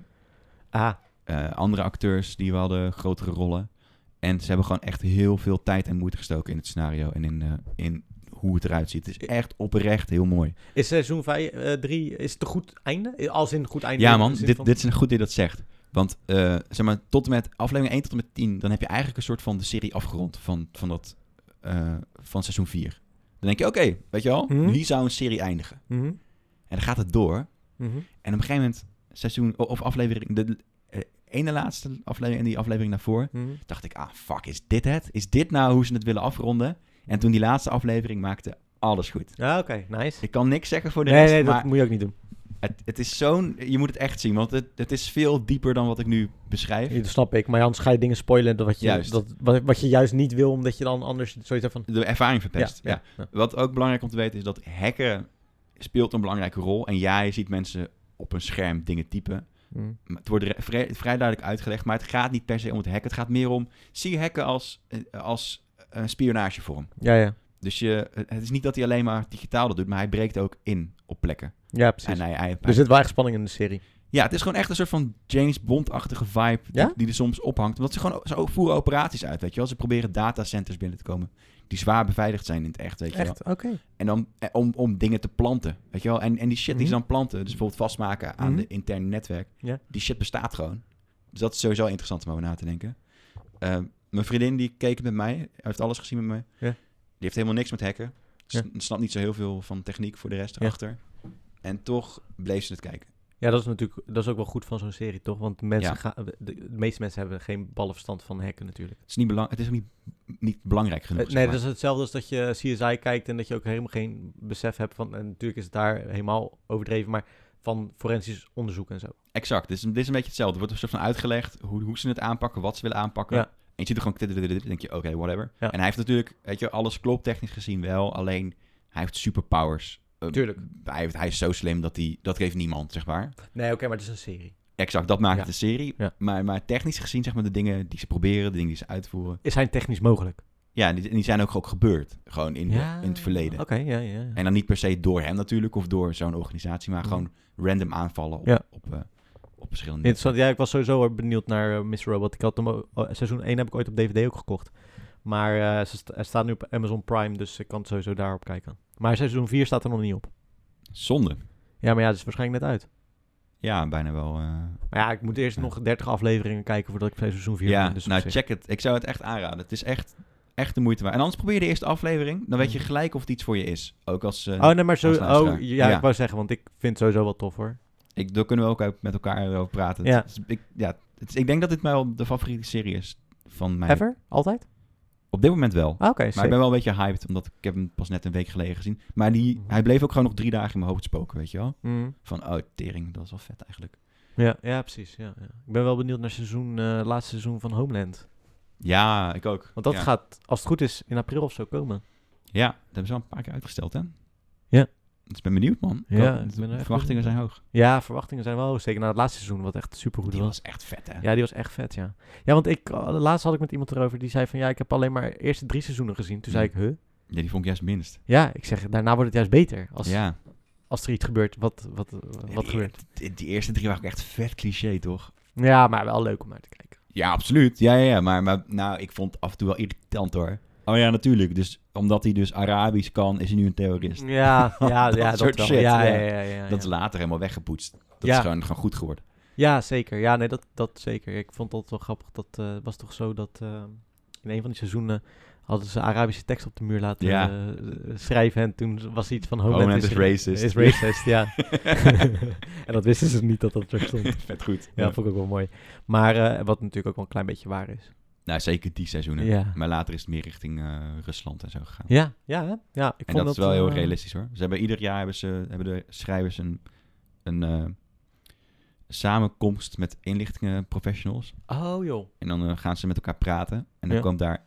S1: Ah,
S2: Eh, andere acteurs die hadden grotere rollen. En ze hebben gewoon echt heel veel tijd en moeite gestoken in het scenario en in, eh, in hoe het eruit ziet. Het is echt oprecht heel mooi.
S1: is seizoen 3, is het een goed einde? Eh, Als in een goed einde?
S2: Ja
S1: in de
S2: man,
S1: zin
S2: dit,
S1: van-
S2: dit is een goed dat je dat zegt. Want eh, zeg maar, tot en met aflevering 1 tot en met 10, dan heb je eigenlijk een soort van de serie afgerond van, van, dat, eh, van seizoen 4. Dan denk je, oké, weet je wel,
S1: Mhm.
S2: hier zou een serie eindigen.
S1: Mhm,
S2: En dan gaat het door.
S1: mhm.
S2: En op een gegeven moment, seizoen, o- of aflevering, de eh, ene laatste aflevering en die aflevering daarvoor,
S1: mhm.
S2: dacht ik, ah fuck, is dit het? Is dit nou hoe ze het willen afronden? En toen die laatste aflevering maakte alles goed.
S1: Ja, oké, nice.
S2: Ik kan niks zeggen voor de
S1: Nee,
S2: rest,
S1: nee, dat
S2: maar
S1: moet je ook niet doen.
S2: het, het is zo'n... Je moet het echt zien, want het, het is veel dieper dan wat ik nu beschrijf.
S1: Dat snap ik, maar anders ga je dingen spoilen dat wat je,
S2: Juist.
S1: Dat, wat, wat je juist niet wil, omdat je dan anders zoiets hebt van...
S2: De ervaring verpest, ja.
S1: ja.
S2: Wat ook belangrijk om te weten is dat hacken speelt een belangrijke rol. En ja, je ziet mensen op een scherm dingen typen.
S1: Mm.
S2: Maar Het wordt re- vrij, vrij duidelijk uitgelegd, maar het gaat niet per se om het hacken. Het gaat meer om, zie hacken als, eh, als een spionagevorm.
S1: Ja, ja.
S2: Dus je, het is niet dat hij alleen maar digitaal dat doet, maar hij breekt ook in op plekken.
S1: Ja, precies. Dus
S2: En eh, hij, hij,
S1: Er zit wel echt spanning in de serie.
S2: ja, het is gewoon echt een soort van James Bond-achtige vibe die-
S1: Ja?
S2: die, er soms ophangt. Want ze, gewoon, ze ook voeren operaties uit, weet je wel. Ze proberen datacenters binnen te komen die zwaar beveiligd zijn in het echt, weet je wel.
S1: Echt? Oké.
S2: En dan eh, om, om dingen te planten, weet je wel. En, en die shit die ze
S1: Mhm.
S2: dan planten, dus bijvoorbeeld vastmaken aan
S1: Mhm.
S2: de interne netwerk,
S1: Ja.
S2: die shit bestaat gewoon. Dus dat is sowieso interessant om over na te denken. Eh, mijn vriendin die keek het met mij, hij heeft alles gezien met mij.
S1: Ja.
S2: Die heeft helemaal niks met hacken. Ze
S1: Ja.
S2: snapt niet zo heel veel van techniek voor de rest
S1: Ja.
S2: achter. En toch bleef ze het kijken.
S1: Ja, dat is natuurlijk dat is ook wel goed van zo'n serie, toch? Want mensen
S2: Ja.
S1: gaan, de, de meeste mensen hebben geen ballenverstand van hacken natuurlijk.
S2: Het is, niet belang, het is ook niet, niet belangrijk genoeg.
S1: Eh,
S2: zeg
S1: nee,
S2: maar.
S1: dat is hetzelfde als dat je CSI kijkt en dat je ook helemaal geen besef hebt van... En natuurlijk is het daar helemaal overdreven, maar van forensisch onderzoek en zo.
S2: Exact. Dit is, dit is een beetje hetzelfde. Er wordt een soort van uitgelegd hoe, hoe ze het aanpakken, wat ze willen aanpakken.
S1: Ja.
S2: En je ziet er gewoon... tiddeliddelid, Dan denk je, oké, whatever.
S1: Ja.
S2: En hij heeft natuurlijk, weet je, alles klopt technisch gezien wel. Alleen, hij heeft superpowers. Eh,
S1: Tuurlijk.
S2: Hij, heeft- hij is zo slim dat hij... Dat geeft niemand, zeg maar.
S1: Nee, oké, maar het is een serie.
S2: Exact, dat maakt
S1: Ja.
S2: het een serie.
S1: Ja.
S2: Maar, maar technisch gezien, zeg maar, de dingen die ze proberen, de dingen die ze uitvoeren.
S1: Is hij technisch mogelijk?
S2: Ja, en die, en die zijn ook, ook gebeurd. Gewoon in, de-
S1: Ja.
S2: in het verleden.
S1: Oké, ja, ja. ja.
S2: En dan niet per se door hem natuurlijk, of door zo'n organisatie, maar
S1: Mhm.
S2: gewoon random aanvallen op,
S1: Ja.
S2: op, eh, op verschillende...
S1: Interessant. Ja, ik was sowieso wel benieuwd naar eh, Miss Robot. Ik had hem, ook- oh, seizoen 1 heb ik ooit op DVD ook gekocht. Maar eh, ze sta- hij staat nu op Amazon Prime, dus ik kan het sowieso daarop kijken. Maar seizoen 4 staat er nog niet op.
S2: Zonde.
S1: Ja, maar ja, dat is waarschijnlijk net uit.
S2: Ja, bijna wel. eh.
S1: Maar ja, ik moet eerst
S2: Ja.
S1: nog 30 afleveringen kijken voordat ik seizoen 4
S2: ja,
S1: ben. Dus op
S2: nou
S1: zich.
S2: check het. Ik zou het echt aanraden. Het is echt, echt de moeite waard. En anders probeer je de eerste aflevering. Dan weet je
S1: Mm.
S2: gelijk of het iets voor je is. Ook als... eh,
S1: Oh, nee, maar zo...
S2: Als luisteraar.
S1: Oh, ja,
S2: Ja.
S1: ik wou zeggen, want ik vind het sowieso wel tof, hoor.
S2: ik, daar kunnen we ook uit- met elkaar over praten.
S1: Ja.
S2: Het is- ik, ja, het is- ik denk dat dit mij wel de favoriete serie is van mij.
S1: Ever? Altijd?
S2: Op dit moment wel.
S1: Ah, oké,
S2: maar ik
S1: sick.
S2: ben wel een beetje hyped, omdat ik heb hem pas net een week geleden gezien. Maar die,
S1: Mhm.
S2: hij bleef ook gewoon nog drie dagen in mijn hoofd spoken, weet je wel?
S1: Mm.
S2: Van, oh, tering, dat is wel vet eigenlijk.
S1: Ja, ja, precies. Ja, ja. Ik ben wel benieuwd naar seizoen, eh, laatste seizoen van Homeland.
S2: Ja, ik ook.
S1: Want dat
S2: ja.
S1: gaat, als het goed is, in april of zo komen.
S2: Ja, dat hebben ze al een paar keer uitgesteld, hè?
S1: Ja.
S2: Dus ik ben benieuwd, man.
S1: Ja,
S2: Ik hoop-
S1: ik ben er
S2: de
S1: echt
S2: verwachtingen
S1: benieuwd
S2: zijn hoog.
S1: Ja, verwachtingen zijn wel hoog. Zeker na het laatste seizoen, wat echt supergoed
S2: Die
S1: was.
S2: was echt vet, hè?
S1: Ja, die was echt vet, ja. Ja, want ik, eh, laatst had ik met iemand erover, die zei van... Ja, ik heb alleen maar eerste drie seizoenen gezien. Toen zei ik,
S2: Mm.
S1: huh?
S2: Ja, die vond ik juist minst.
S1: Ja, ik zeg, daarna wordt het juist beter. Als,
S2: ja.
S1: als er iets gebeurt, wat, wat,
S2: Ja,
S1: wat
S2: die-
S1: gebeurt.
S2: Die, die eerste drie waren ook echt vet cliché, toch?
S1: Ja, maar wel leuk om naar te kijken.
S2: Ja, absoluut. Ja, ja, ja. Maar, maar nou, ik vond het af en toe wel irritant, hoor. Oh ja, natuurlijk. Dus omdat hij dus Arabisch kan, is hij nu een terrorist.
S1: Ja, ja,
S2: Dus Dat
S1: ja, dat
S2: soort
S1: wel.
S2: shit,
S1: ja,
S2: ja.
S1: ja, ja, ja,
S2: Dat is
S1: ja.
S2: later helemaal weggepoetst. Dat
S1: Ja.
S2: is gewoon, gewoon goed geworden.
S1: Ja, zeker. Ja, nee, dat, dat zeker. Ik vond dat wel grappig. Dat eh, was toch zo dat eh, in een van die seizoenen hadden ze Arabische tekst op de muur laten
S2: Ja.
S1: eh, schrijven. En toen was iets van Homeland,
S2: Homeland is racist.
S1: Is racist, ja. en dat wisten ze niet dat dat er stond. Ja,
S2: vet goed.
S1: dat vond ik ook wel mooi. Maar eh, wat natuurlijk ook wel een klein beetje waar is.
S2: Nou, zeker die seizoenen.
S1: Ja.
S2: Maar later is het meer richting eh, Rusland en zo gegaan.
S1: Ja, ja, hè? ja. Ik
S2: en
S1: vond
S2: dat, is wel heel
S1: eh,
S2: realistisch hoor. Ze hebben ieder jaar hebben, ze, hebben de schrijvers een, een eh, samenkomst met inlichtingenprofessionals.
S1: Oh joh.
S2: En dan eh, gaan ze met elkaar praten. En dan
S1: Ja.
S2: komt daar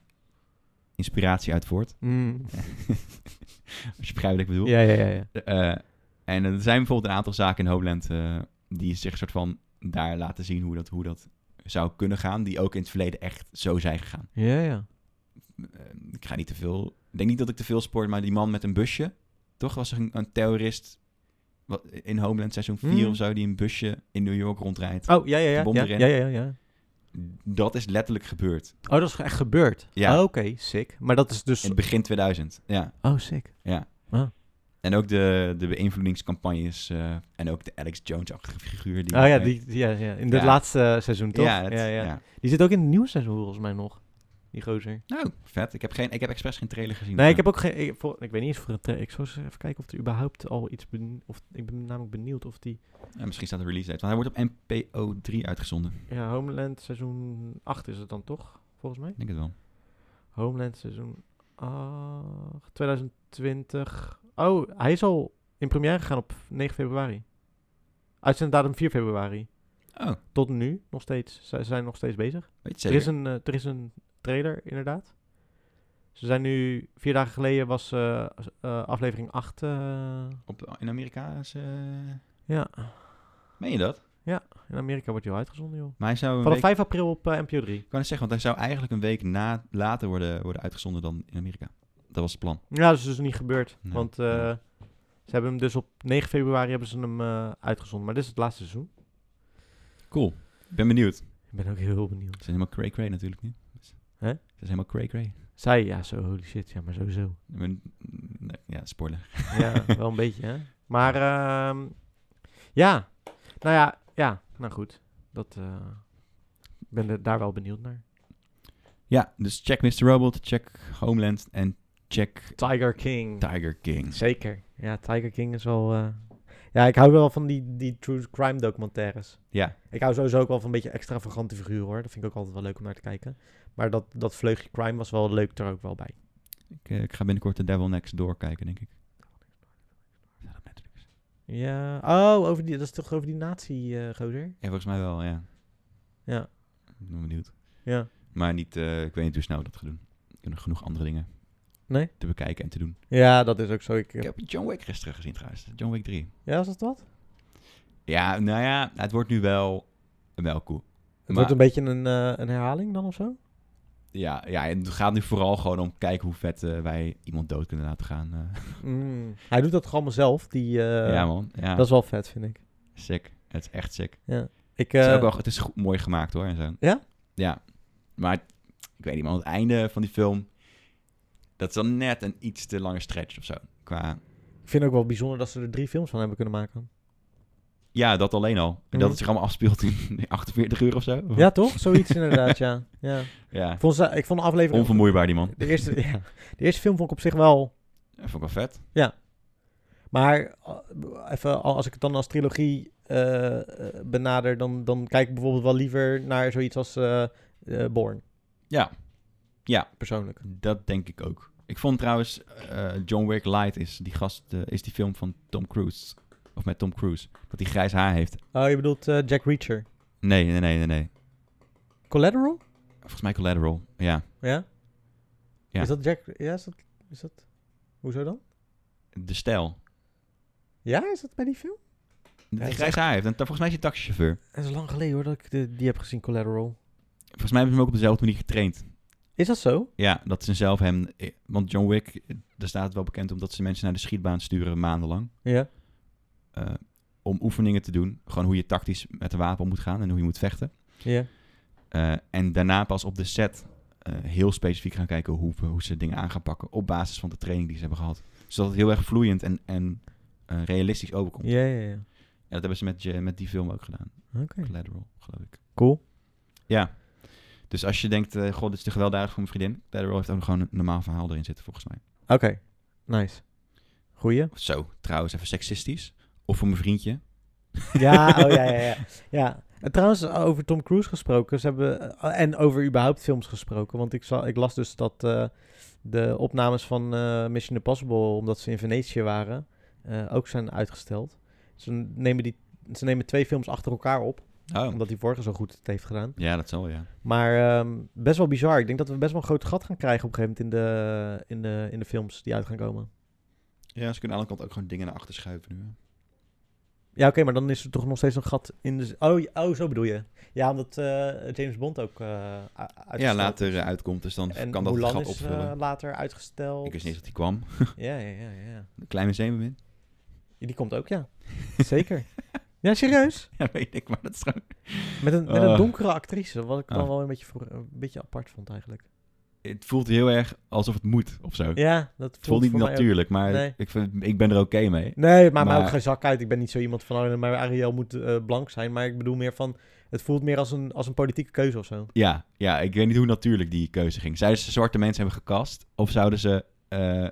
S2: inspiratie uit voort.
S1: Mm.
S2: Als je begrijpt wat ik bedoel.
S1: Ja, ja, ja, ja.
S2: Eh, en er zijn bijvoorbeeld een aantal zaken in Homeland eh, die zich soort van daar laten zien hoe dat, hoe dat zou kunnen gaan. Die ook in het verleden echt zo zijn gegaan.
S1: Ja, ja.
S2: Eh, ik ga niet te veel. Ik denk niet dat ik te veel spoor, maar die man met een busje. Toch was er een, een terrorist wat, in Homeland seizoen 4
S1: Hmm.
S2: of zo, die een busje in New York rondrijdt.
S1: Oh, ja, ja, ja.
S2: De bom
S1: Ja,
S2: erin.
S1: ja, ja, ja.
S2: Dat is letterlijk gebeurd.
S1: Oh, dat is echt gebeurd?
S2: Ja.
S1: Oh, Oké, sick. Maar dat is
S2: In
S1: dus...
S2: het begin 2000. Ja.
S1: Oh, sick.
S2: En ook de, de beïnvloedingscampagnes eh, en ook de Alex Jones-achtige figuur. Die
S1: oh ja, die, die- ja, ja, in het
S2: Ja.
S1: laatste eh, seizoen toch?
S2: Ja, het- ja.
S1: Die zit ook in het nieuwe seizoen volgens mij nog, die gozer.
S2: Nou, vet. Ik heb, geen, ik heb expres geen trailer gezien.
S1: Nee, ik heb ook geen... Ik, voor- ik weet niet eens voor een tra- Ik zou eens even kijken of er überhaupt al iets... ben- of, ik ben namelijk benieuwd of die...
S2: Ja, misschien staat de release date. Want hij wordt op NPO 3 uitgezonden.
S1: Ja, Homeland seizoen 8 is het dan toch, volgens mij?
S2: Ik denk het wel.
S1: Homeland seizoen Ah, 2020. Oh, hij is al in première gegaan op 9 februari. Uit zijn datum 4 februari.
S2: Oh,
S1: Tot nu nog steeds. Ze zijn nog steeds bezig.
S2: weet je
S1: Er is,
S2: zeker?
S1: een, eh, er is een trailer, inderdaad. Ze zijn nu... Vier dagen geleden was eh, eh, aflevering 8. eh,
S2: Op, in Amerika is... eh,
S1: ja,
S2: Meen je dat?
S1: in Amerika wordt hij al uitgezonden, joh.
S2: Maar hij zou een
S1: Vanaf
S2: week...
S1: 5 april op eh, NPO 3.
S2: Ik kan het zeggen, want hij zou eigenlijk een week na, later worden, worden uitgezonden dan in Amerika. Dat was het plan.
S1: Ja, dat is dus niet gebeurd.
S2: Nee,
S1: Want eh,
S2: nee.
S1: ze hebben hem dus op 9 februari hebben ze hem eh, uitgezonden. Maar dit is het laatste seizoen.
S2: Cool. Ik ben benieuwd. Ze
S1: Ik ben ook heel benieuwd.
S2: zijn helemaal cray-cray natuurlijk nu.
S1: Hè?
S2: Ze zijn helemaal cray-cray.
S1: Zij, ja, zo, holy shit. Ja, maar sowieso.
S2: Ik ben- nee, Ja, spoiler.
S1: Ja, wel een beetje, hè. Maar, ehm, ja. Nou ja, ja. Nou goed. Dat, eh, ik ben er daar wel benieuwd naar.
S2: Ja, dus check Mr. Robot, check Homeland en check
S1: Tiger King.
S2: Tiger King.
S1: Zeker. Ja, Tiger King is wel... eh, Ja, ik hou wel van die, die true crime documentaires.
S2: Ja,
S1: Ik hou sowieso ook wel van een beetje extravagante figuren, hoor. Dat vind ik ook altijd wel leuk om naar te kijken. Maar dat, dat vleugje crime was wel leuk er ook wel bij.
S2: ik, eh, ik ga binnenkort de Devil Next Door kijken, denk ik. Ja, dat Netflix.
S1: Ja. Oh, over die, dat is toch over die eh, nazi-gozer?
S2: Ja, volgens mij wel, ja.
S1: Ja.
S2: Ik ben benieuwd.
S1: ja.
S2: Maar niet, eh, ik weet niet hoe snel we dat gaan doen. Er kunnen genoeg andere dingen
S1: Nee?
S2: te bekijken en te doen.
S1: Ja, dat is ook zo. Ik, eh,
S2: Ik heb John Wick gisteren gezien trouwens. John Wick 3.
S1: ja, was dat wat? Het
S2: Ja, nou ja, het wordt nu wel, wel cool.
S1: wordt
S2: Maar-
S1: een beetje een, eh, een herhaling dan of zo?
S2: Ja, ja, en het gaat nu vooral gewoon om kijken hoe vet eh, wij iemand dood kunnen laten gaan. eh.
S1: Hij doet dat gewoon allemaal zelf. Die, eh,
S2: ja man, ja.
S1: Dat is wel vet, vind ik.
S2: sick. Het is echt sick.
S1: ik
S2: het, is
S1: eh,
S2: ook wel, het is goed, mooi gemaakt hoor. En zo.
S1: Ja?
S2: Ja. Maar het- ik weet niet man, het einde van die film, dat is dan net een iets te lange stretch of zo. Qua,
S1: ik vind het ook wel bijzonder dat ze er drie films van hebben kunnen maken.
S2: ja, dat alleen al. En dat
S1: Mhm.
S2: het zich allemaal afspeelt in 48 uur of zo.
S1: Ja, toch? Zoiets inderdaad, ja. ja.
S2: ja.
S1: Ik, vond ze, ik vond de aflevering...
S2: Onvermoeibaar die man.
S1: de, eerste, ja, de eerste film vond ik op zich wel...
S2: Dat vond ik wel vet.
S1: Maar eh, even, al- als ik het dan als trilogie eh, eh, benader, dan, dan kijk ik bijvoorbeeld wel liever naar zoiets als eh eh, Born.
S2: Ja. Ja.
S1: Persoonlijk.
S2: Dat denk ik ook. Ik vond trouwens eh, John Wick Light is die gast eh, is die film van Tom Cruise of met Tom Cruise dat hij grijs haar heeft.
S1: Oh, je bedoelt eh, Jack Reacher.
S2: Nee, nee, nee, nee, nee.
S1: Collateral?
S2: Volgens mij Collateral. Ja,
S1: Ja?
S2: Ja.
S1: Is dat Jack... Ja, is dat... Is dat hoezo dan?
S2: de stijl.
S1: Ja, is dat bij die film?
S2: Dat hij
S1: is
S2: grijs haar heeft en ta- volgens mij is hij taxichauffeur.
S1: Dat is lang geleden hoor dat ik de- die heb gezien, Collateral.
S2: Volgens mij hebben ze hem ook op dezelfde manier getraind.
S1: Is dat zo?
S2: Ja, dat ze zelf hem want John Wick eh, daar staat het wel bekend omdat ze mensen naar de schietbaan sturen maandenlang
S1: Ja.
S2: eh, om oefeningen te doen, gewoon hoe je tactisch met een wapen om moet gaan en hoe je moet vechten.
S1: Ja.
S2: Eh, en daarna pas op de set eh, heel specifiek gaan kijken hoe, hoe ze dingen aan gaan pakken. Op basis van de training die ze hebben gehad. Zodat het heel erg vloeiend en, en eh, realistisch overkomt.
S1: Ja, ja, ja.
S2: En dat hebben ze met, je- met die film ook gedaan.
S1: Oké.
S2: Collateral, geloof ik.
S1: Cool.
S2: Ja. Dus als je denkt, eh god, dit is te gewelddadig voor mijn vriendin. Collateral heeft ook nog gewoon een normaal verhaal erin zitten, volgens mij.
S1: Oké. Nice. Goeie.
S2: Of Zo, trouwens, even seksistisch. Of voor mijn vriendje.
S1: Ja, oh ja, ja, ja. ja. En trouwens, over Tom Cruise gesproken. Ze hebben, eh, en over überhaupt films gesproken. Want ik, zal, ik las dus dat eh, de opnames van eh, Mission Impossible, omdat ze in Venetië waren, eh, ook zijn uitgesteld. Ze nemen, die, ze nemen twee films achter elkaar op,
S2: Oh.
S1: omdat die vorige zo goed het heeft gedaan.
S2: Ja, dat zal, ja.
S1: Maar ehm, best wel bizar. Ik denk dat we best wel een groot gat gaan krijgen op een gegeven moment in de, in de, in de films die uit gaan komen.
S2: Ja, ze kunnen aan de kant ook gewoon dingen naar achter schuiven nu.
S1: Ja, oké, maar dan is er toch nog steeds een gat in de... z- Oh, j- oh zo bedoel je. Ja, omdat eh, James Bond ook eh u- uitgesteld
S2: Ja,
S1: is.
S2: later eh, uitkomt, dus dan
S1: En
S2: kan dat het
S1: Mulan
S2: gat
S1: is eh,
S2: opvullen.
S1: later uitgesteld.
S2: ik wist niet eens dat hij kwam.
S1: Ja, ja, ja, ja.
S2: De kleine zeemermin.
S1: Ja, Die komt ook, ja. Zeker. ja, serieus.
S2: Ja, weet ik, maar dat is gewoon...
S1: Met een, met een
S2: Oh.
S1: donkere actrice, wat ik dan
S2: Oh.
S1: wel een beetje, voor, een beetje apart vond eigenlijk.
S2: Het voelt heel erg alsof het moet, of zo.
S1: Ja, dat
S2: het voelt niet
S1: voor mij ook-
S2: natuurlijk, maar
S1: Nee.
S2: ik, vind, ik ben er oké mee.
S1: Nee, maar, maar
S2: Maar-
S1: ook geen zak uit. Ik ben niet zo iemand van, oh, maar Ariel moet eh, blank zijn. Maar ik bedoel meer van, het voelt meer als een, als een politieke keuze of zo.
S2: Ja, ja, ik weet niet hoe natuurlijk die keuze ging. Zouden ze zwarte mensen hebben gekast, of zouden ze eh,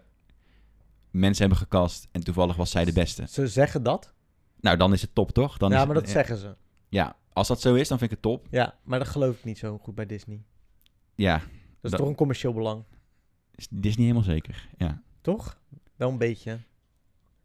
S2: mensen hebben gekast en toevallig was zij de beste?
S1: Ze zeggen dat.
S2: Nou, dan is het top, toch? Dan
S1: ja,
S2: is
S1: maar
S2: het-
S1: dat zeggen ze.
S2: Ja, als dat zo is, dan vind ik het top.
S1: Ja, maar dat geloof ik niet zo goed bij Disney.
S2: Ja,
S1: Dat is
S2: Dat-
S1: toch een commercieel belang.
S2: Is- Dit is niet helemaal zeker, ja.
S1: Toch? Wel een beetje.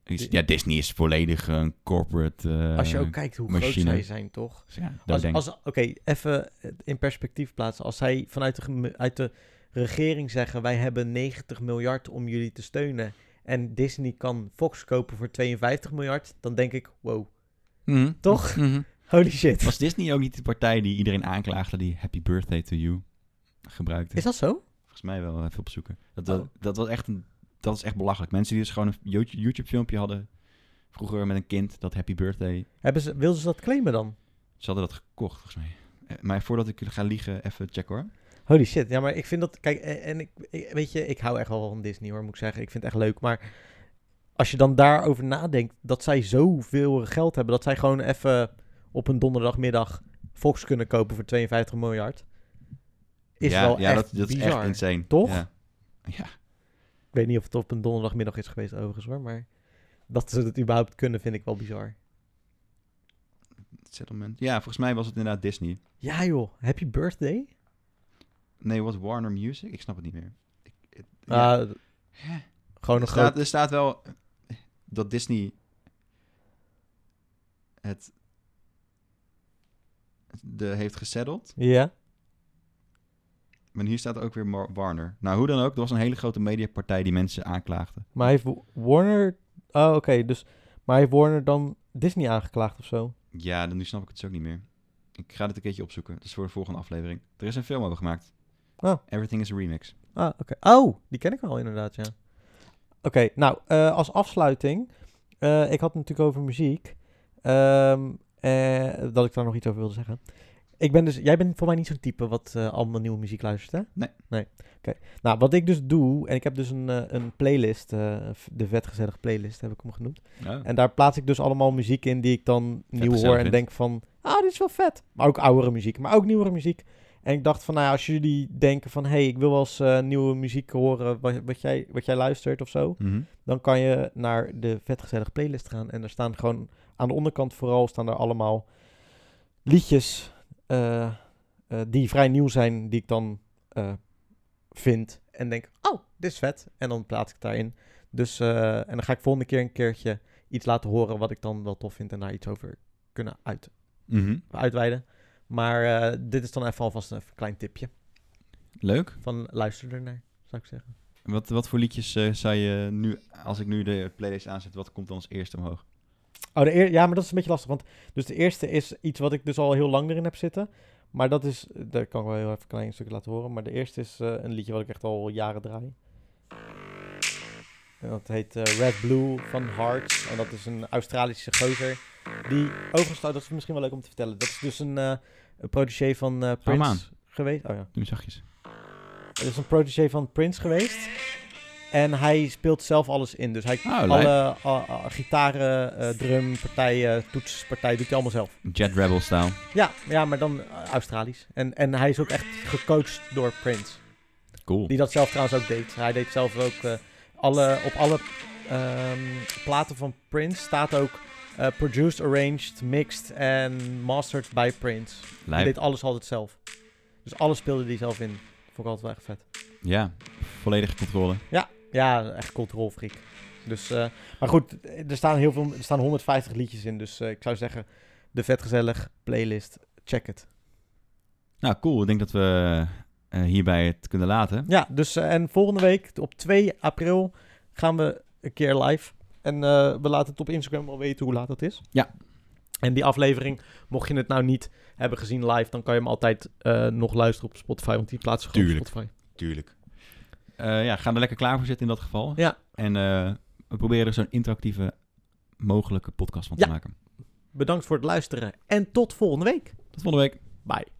S2: Is- Ja, Disney is volledig een corporate... eh,
S1: Als je ook kijkt hoe groot
S2: machine.
S1: zij zijn, toch?
S2: dus ja, dat
S1: Als,
S2: denk ik.
S1: als, Oké, even het in perspectief plaatsen. Als zij vanuit de, geme- uit de regering zeggen: wij hebben 90 miljard om jullie te steunen. en Disney kan Fox kopen voor 52 miljard. dan denk ik: wow,
S2: Mhm.
S1: toch?
S2: Mhm.
S1: holy shit.
S2: Was Disney ook niet de partij die iedereen aanklaagde die Happy Birthday to You gebruikte?
S1: Is dat zo?
S2: Volgens mij wel eh, even opzoeken. Dat, dat,
S1: Oh.
S2: dat was echt een, dat is echt belachelijk. Mensen die dus gewoon een Yo- YouTube-filmpje hadden vroeger met een kind dat Happy Birthday.
S1: Hebben ze, wilden ze dat claimen dan?
S2: Ze hadden dat gekocht, volgens mij. Eh, Maar voordat ik ga liegen, even checken hoor.
S1: Holy shit. Ja, maar ik vind dat. Kijk, eh, en ik, ik- weet je, ik hou echt wel van Disney hoor, moet ik zeggen. Ik vind het echt leuk. Maar als je dan daarover nadenkt dat zij zoveel geld hebben, dat zij gewoon even op een donderdagmiddag Fox kunnen kopen voor 52 miljard. Is
S2: ja,
S1: wel
S2: ja,
S1: echt
S2: dat, dat is
S1: bizar.
S2: echt insane.
S1: Toch?
S2: Ja. ja.
S1: ik weet niet of het op een donderdagmiddag is geweest overigens hoor, maar dat ze het überhaupt kunnen vind ik wel bizar.
S2: Settlement. Ja, volgens mij was het inderdaad Disney.
S1: Ja joh, happy birthday.
S2: Nee, was Warner Music? Ik snap het niet meer. Ik, het- ja.
S1: Ah, gewoon een
S2: er, staat,
S1: groot...
S2: er staat wel dat Disney het de, heeft gesetteld.
S1: Ja,
S2: Maar hier staat ook weer Mar- Warner. Nou, hoe dan ook, er was een hele grote mediapartij die mensen aanklaagde.
S1: maar heeft Warner... Oh oké, dus... Maar heeft Warner dan Disney aangeklaagd of zo?
S2: Ja, dan nu snap ik het dus ook niet meer. Ik ga dit een keertje opzoeken. Dat is voor de volgende aflevering. Er is een film over gemaakt.
S1: Oh.
S2: Everything is a remix.
S1: Ah, oké. Oh, die ken ik wel inderdaad, ja. Oké, nou, eh, als afsluiting. eh, ik had het natuurlijk over muziek. Ehm, eh, dat ik daar nog iets over wilde zeggen. Ik ben dus, jij bent voor mij niet zo'n type wat eh, allemaal nieuwe muziek luistert, hè?
S2: Nee.
S1: Nee, oké. Nou, wat ik dus doe, en ik heb dus een, eh, een playlist, eh, de vetgezellige playlist heb ik hem genoemd.
S2: Oh.
S1: En daar plaats ik dus allemaal muziek in die ik dan nieuw
S2: gezellig
S1: hoor en
S2: vindt.
S1: denk van, ah, dit is wel vet. Maar ook oudere muziek, maar ook nieuwere muziek. En ik dacht van, nou ja, als jullie denken van, hé, hey, ik wil wel eens eh, nieuwe muziek horen wat, wat, jij, wat jij luistert of zo.
S2: Mhm.
S1: Dan kan je naar de vetgezellig playlist gaan. En daar staan gewoon, aan de onderkant vooral, staan er allemaal liedjes eh, eh, die vrij nieuw zijn, die ik dan eh, vind. En denk, oh, dit is vet. En dan plaats ik het daarin. Dus, eh, en dan ga ik volgende keer een keertje iets laten horen wat ik dan wel tof vind en daar iets over kunnen uit,
S2: Mhm.
S1: uitweiden. Maar eh, dit is dan even alvast een klein tipje
S2: Leuk.
S1: van luister ernaar, zou ik zeggen.
S2: Wat, wat voor liedjes eh, zou je nu, als ik nu de playlist aanzet, wat komt dan als eerste omhoog?
S1: Oh, de eer- ja, maar dat is een beetje lastig. Want dus de eerste is iets wat ik dus al heel lang erin heb zitten. Maar dat is, eh, daar kan ik wel heel even een klein stukje laten horen. Maar de eerste is eh, een liedje wat ik echt al jaren draai. En dat heet eh, Red Blue van Hearts. En dat is een Australische gozer. Die overigens, nou, dat is misschien wel leuk om te vertellen. Dat is dus een eh een protégé van eh
S2: hem
S1: Prince geweest. Oh ja.
S2: Doe zachtjes.
S1: Het is een protégé van Prince geweest. En hij speelt zelf alles in. Dus hij
S2: Oh,
S1: alle
S2: lijp.
S1: a- a- gitaren, eh, drum, partijen, toetspartij doet hij allemaal zelf.
S2: Jet Rebel style.
S1: Ja, ja maar dan eh, Australisch. En, en hij is ook echt gecoacht door Prince.
S2: Cool.
S1: Die dat zelf trouwens ook deed. Hij deed zelf ook eh, alle, op alle ehm, platen van Prince staat ook eh, produced, arranged, mixed en mastered by Prince. Hij
S2: Lijp.
S1: deed alles altijd zelf. Dus alles speelde hij zelf in. Vond ik altijd wel echt vet.
S2: Ja, volledige controle.
S1: Ja, echt controlfreak. Dus, eh, maar goed, er staan, heel veel, er staan 150 liedjes in. Dus eh, ik zou zeggen, de vetgezellig playlist, check het.
S2: Nou, cool. Ik denk dat we eh, hierbij het kunnen laten.
S1: Ja, dus eh, en volgende week op 2 april gaan we een keer live. En eh, we laten het op Instagram wel weten hoe laat dat is.
S2: Ja.
S1: En die aflevering, mocht je het nou niet hebben gezien live, dan kan je hem altijd eh, nog luisteren op Spotify. Want die plaatsen gewoon op
S2: Tuurlijk.
S1: Spotify.
S2: Tuurlijk. Eh, ja, ga er lekker klaar voor zitten in dat geval.
S1: Ja.
S2: En eh, we proberen er zo'n interactieve mogelijke podcast van te
S1: Ja.
S2: maken.
S1: Bedankt voor het luisteren en tot volgende week.
S2: Tot volgende week.
S1: Bye.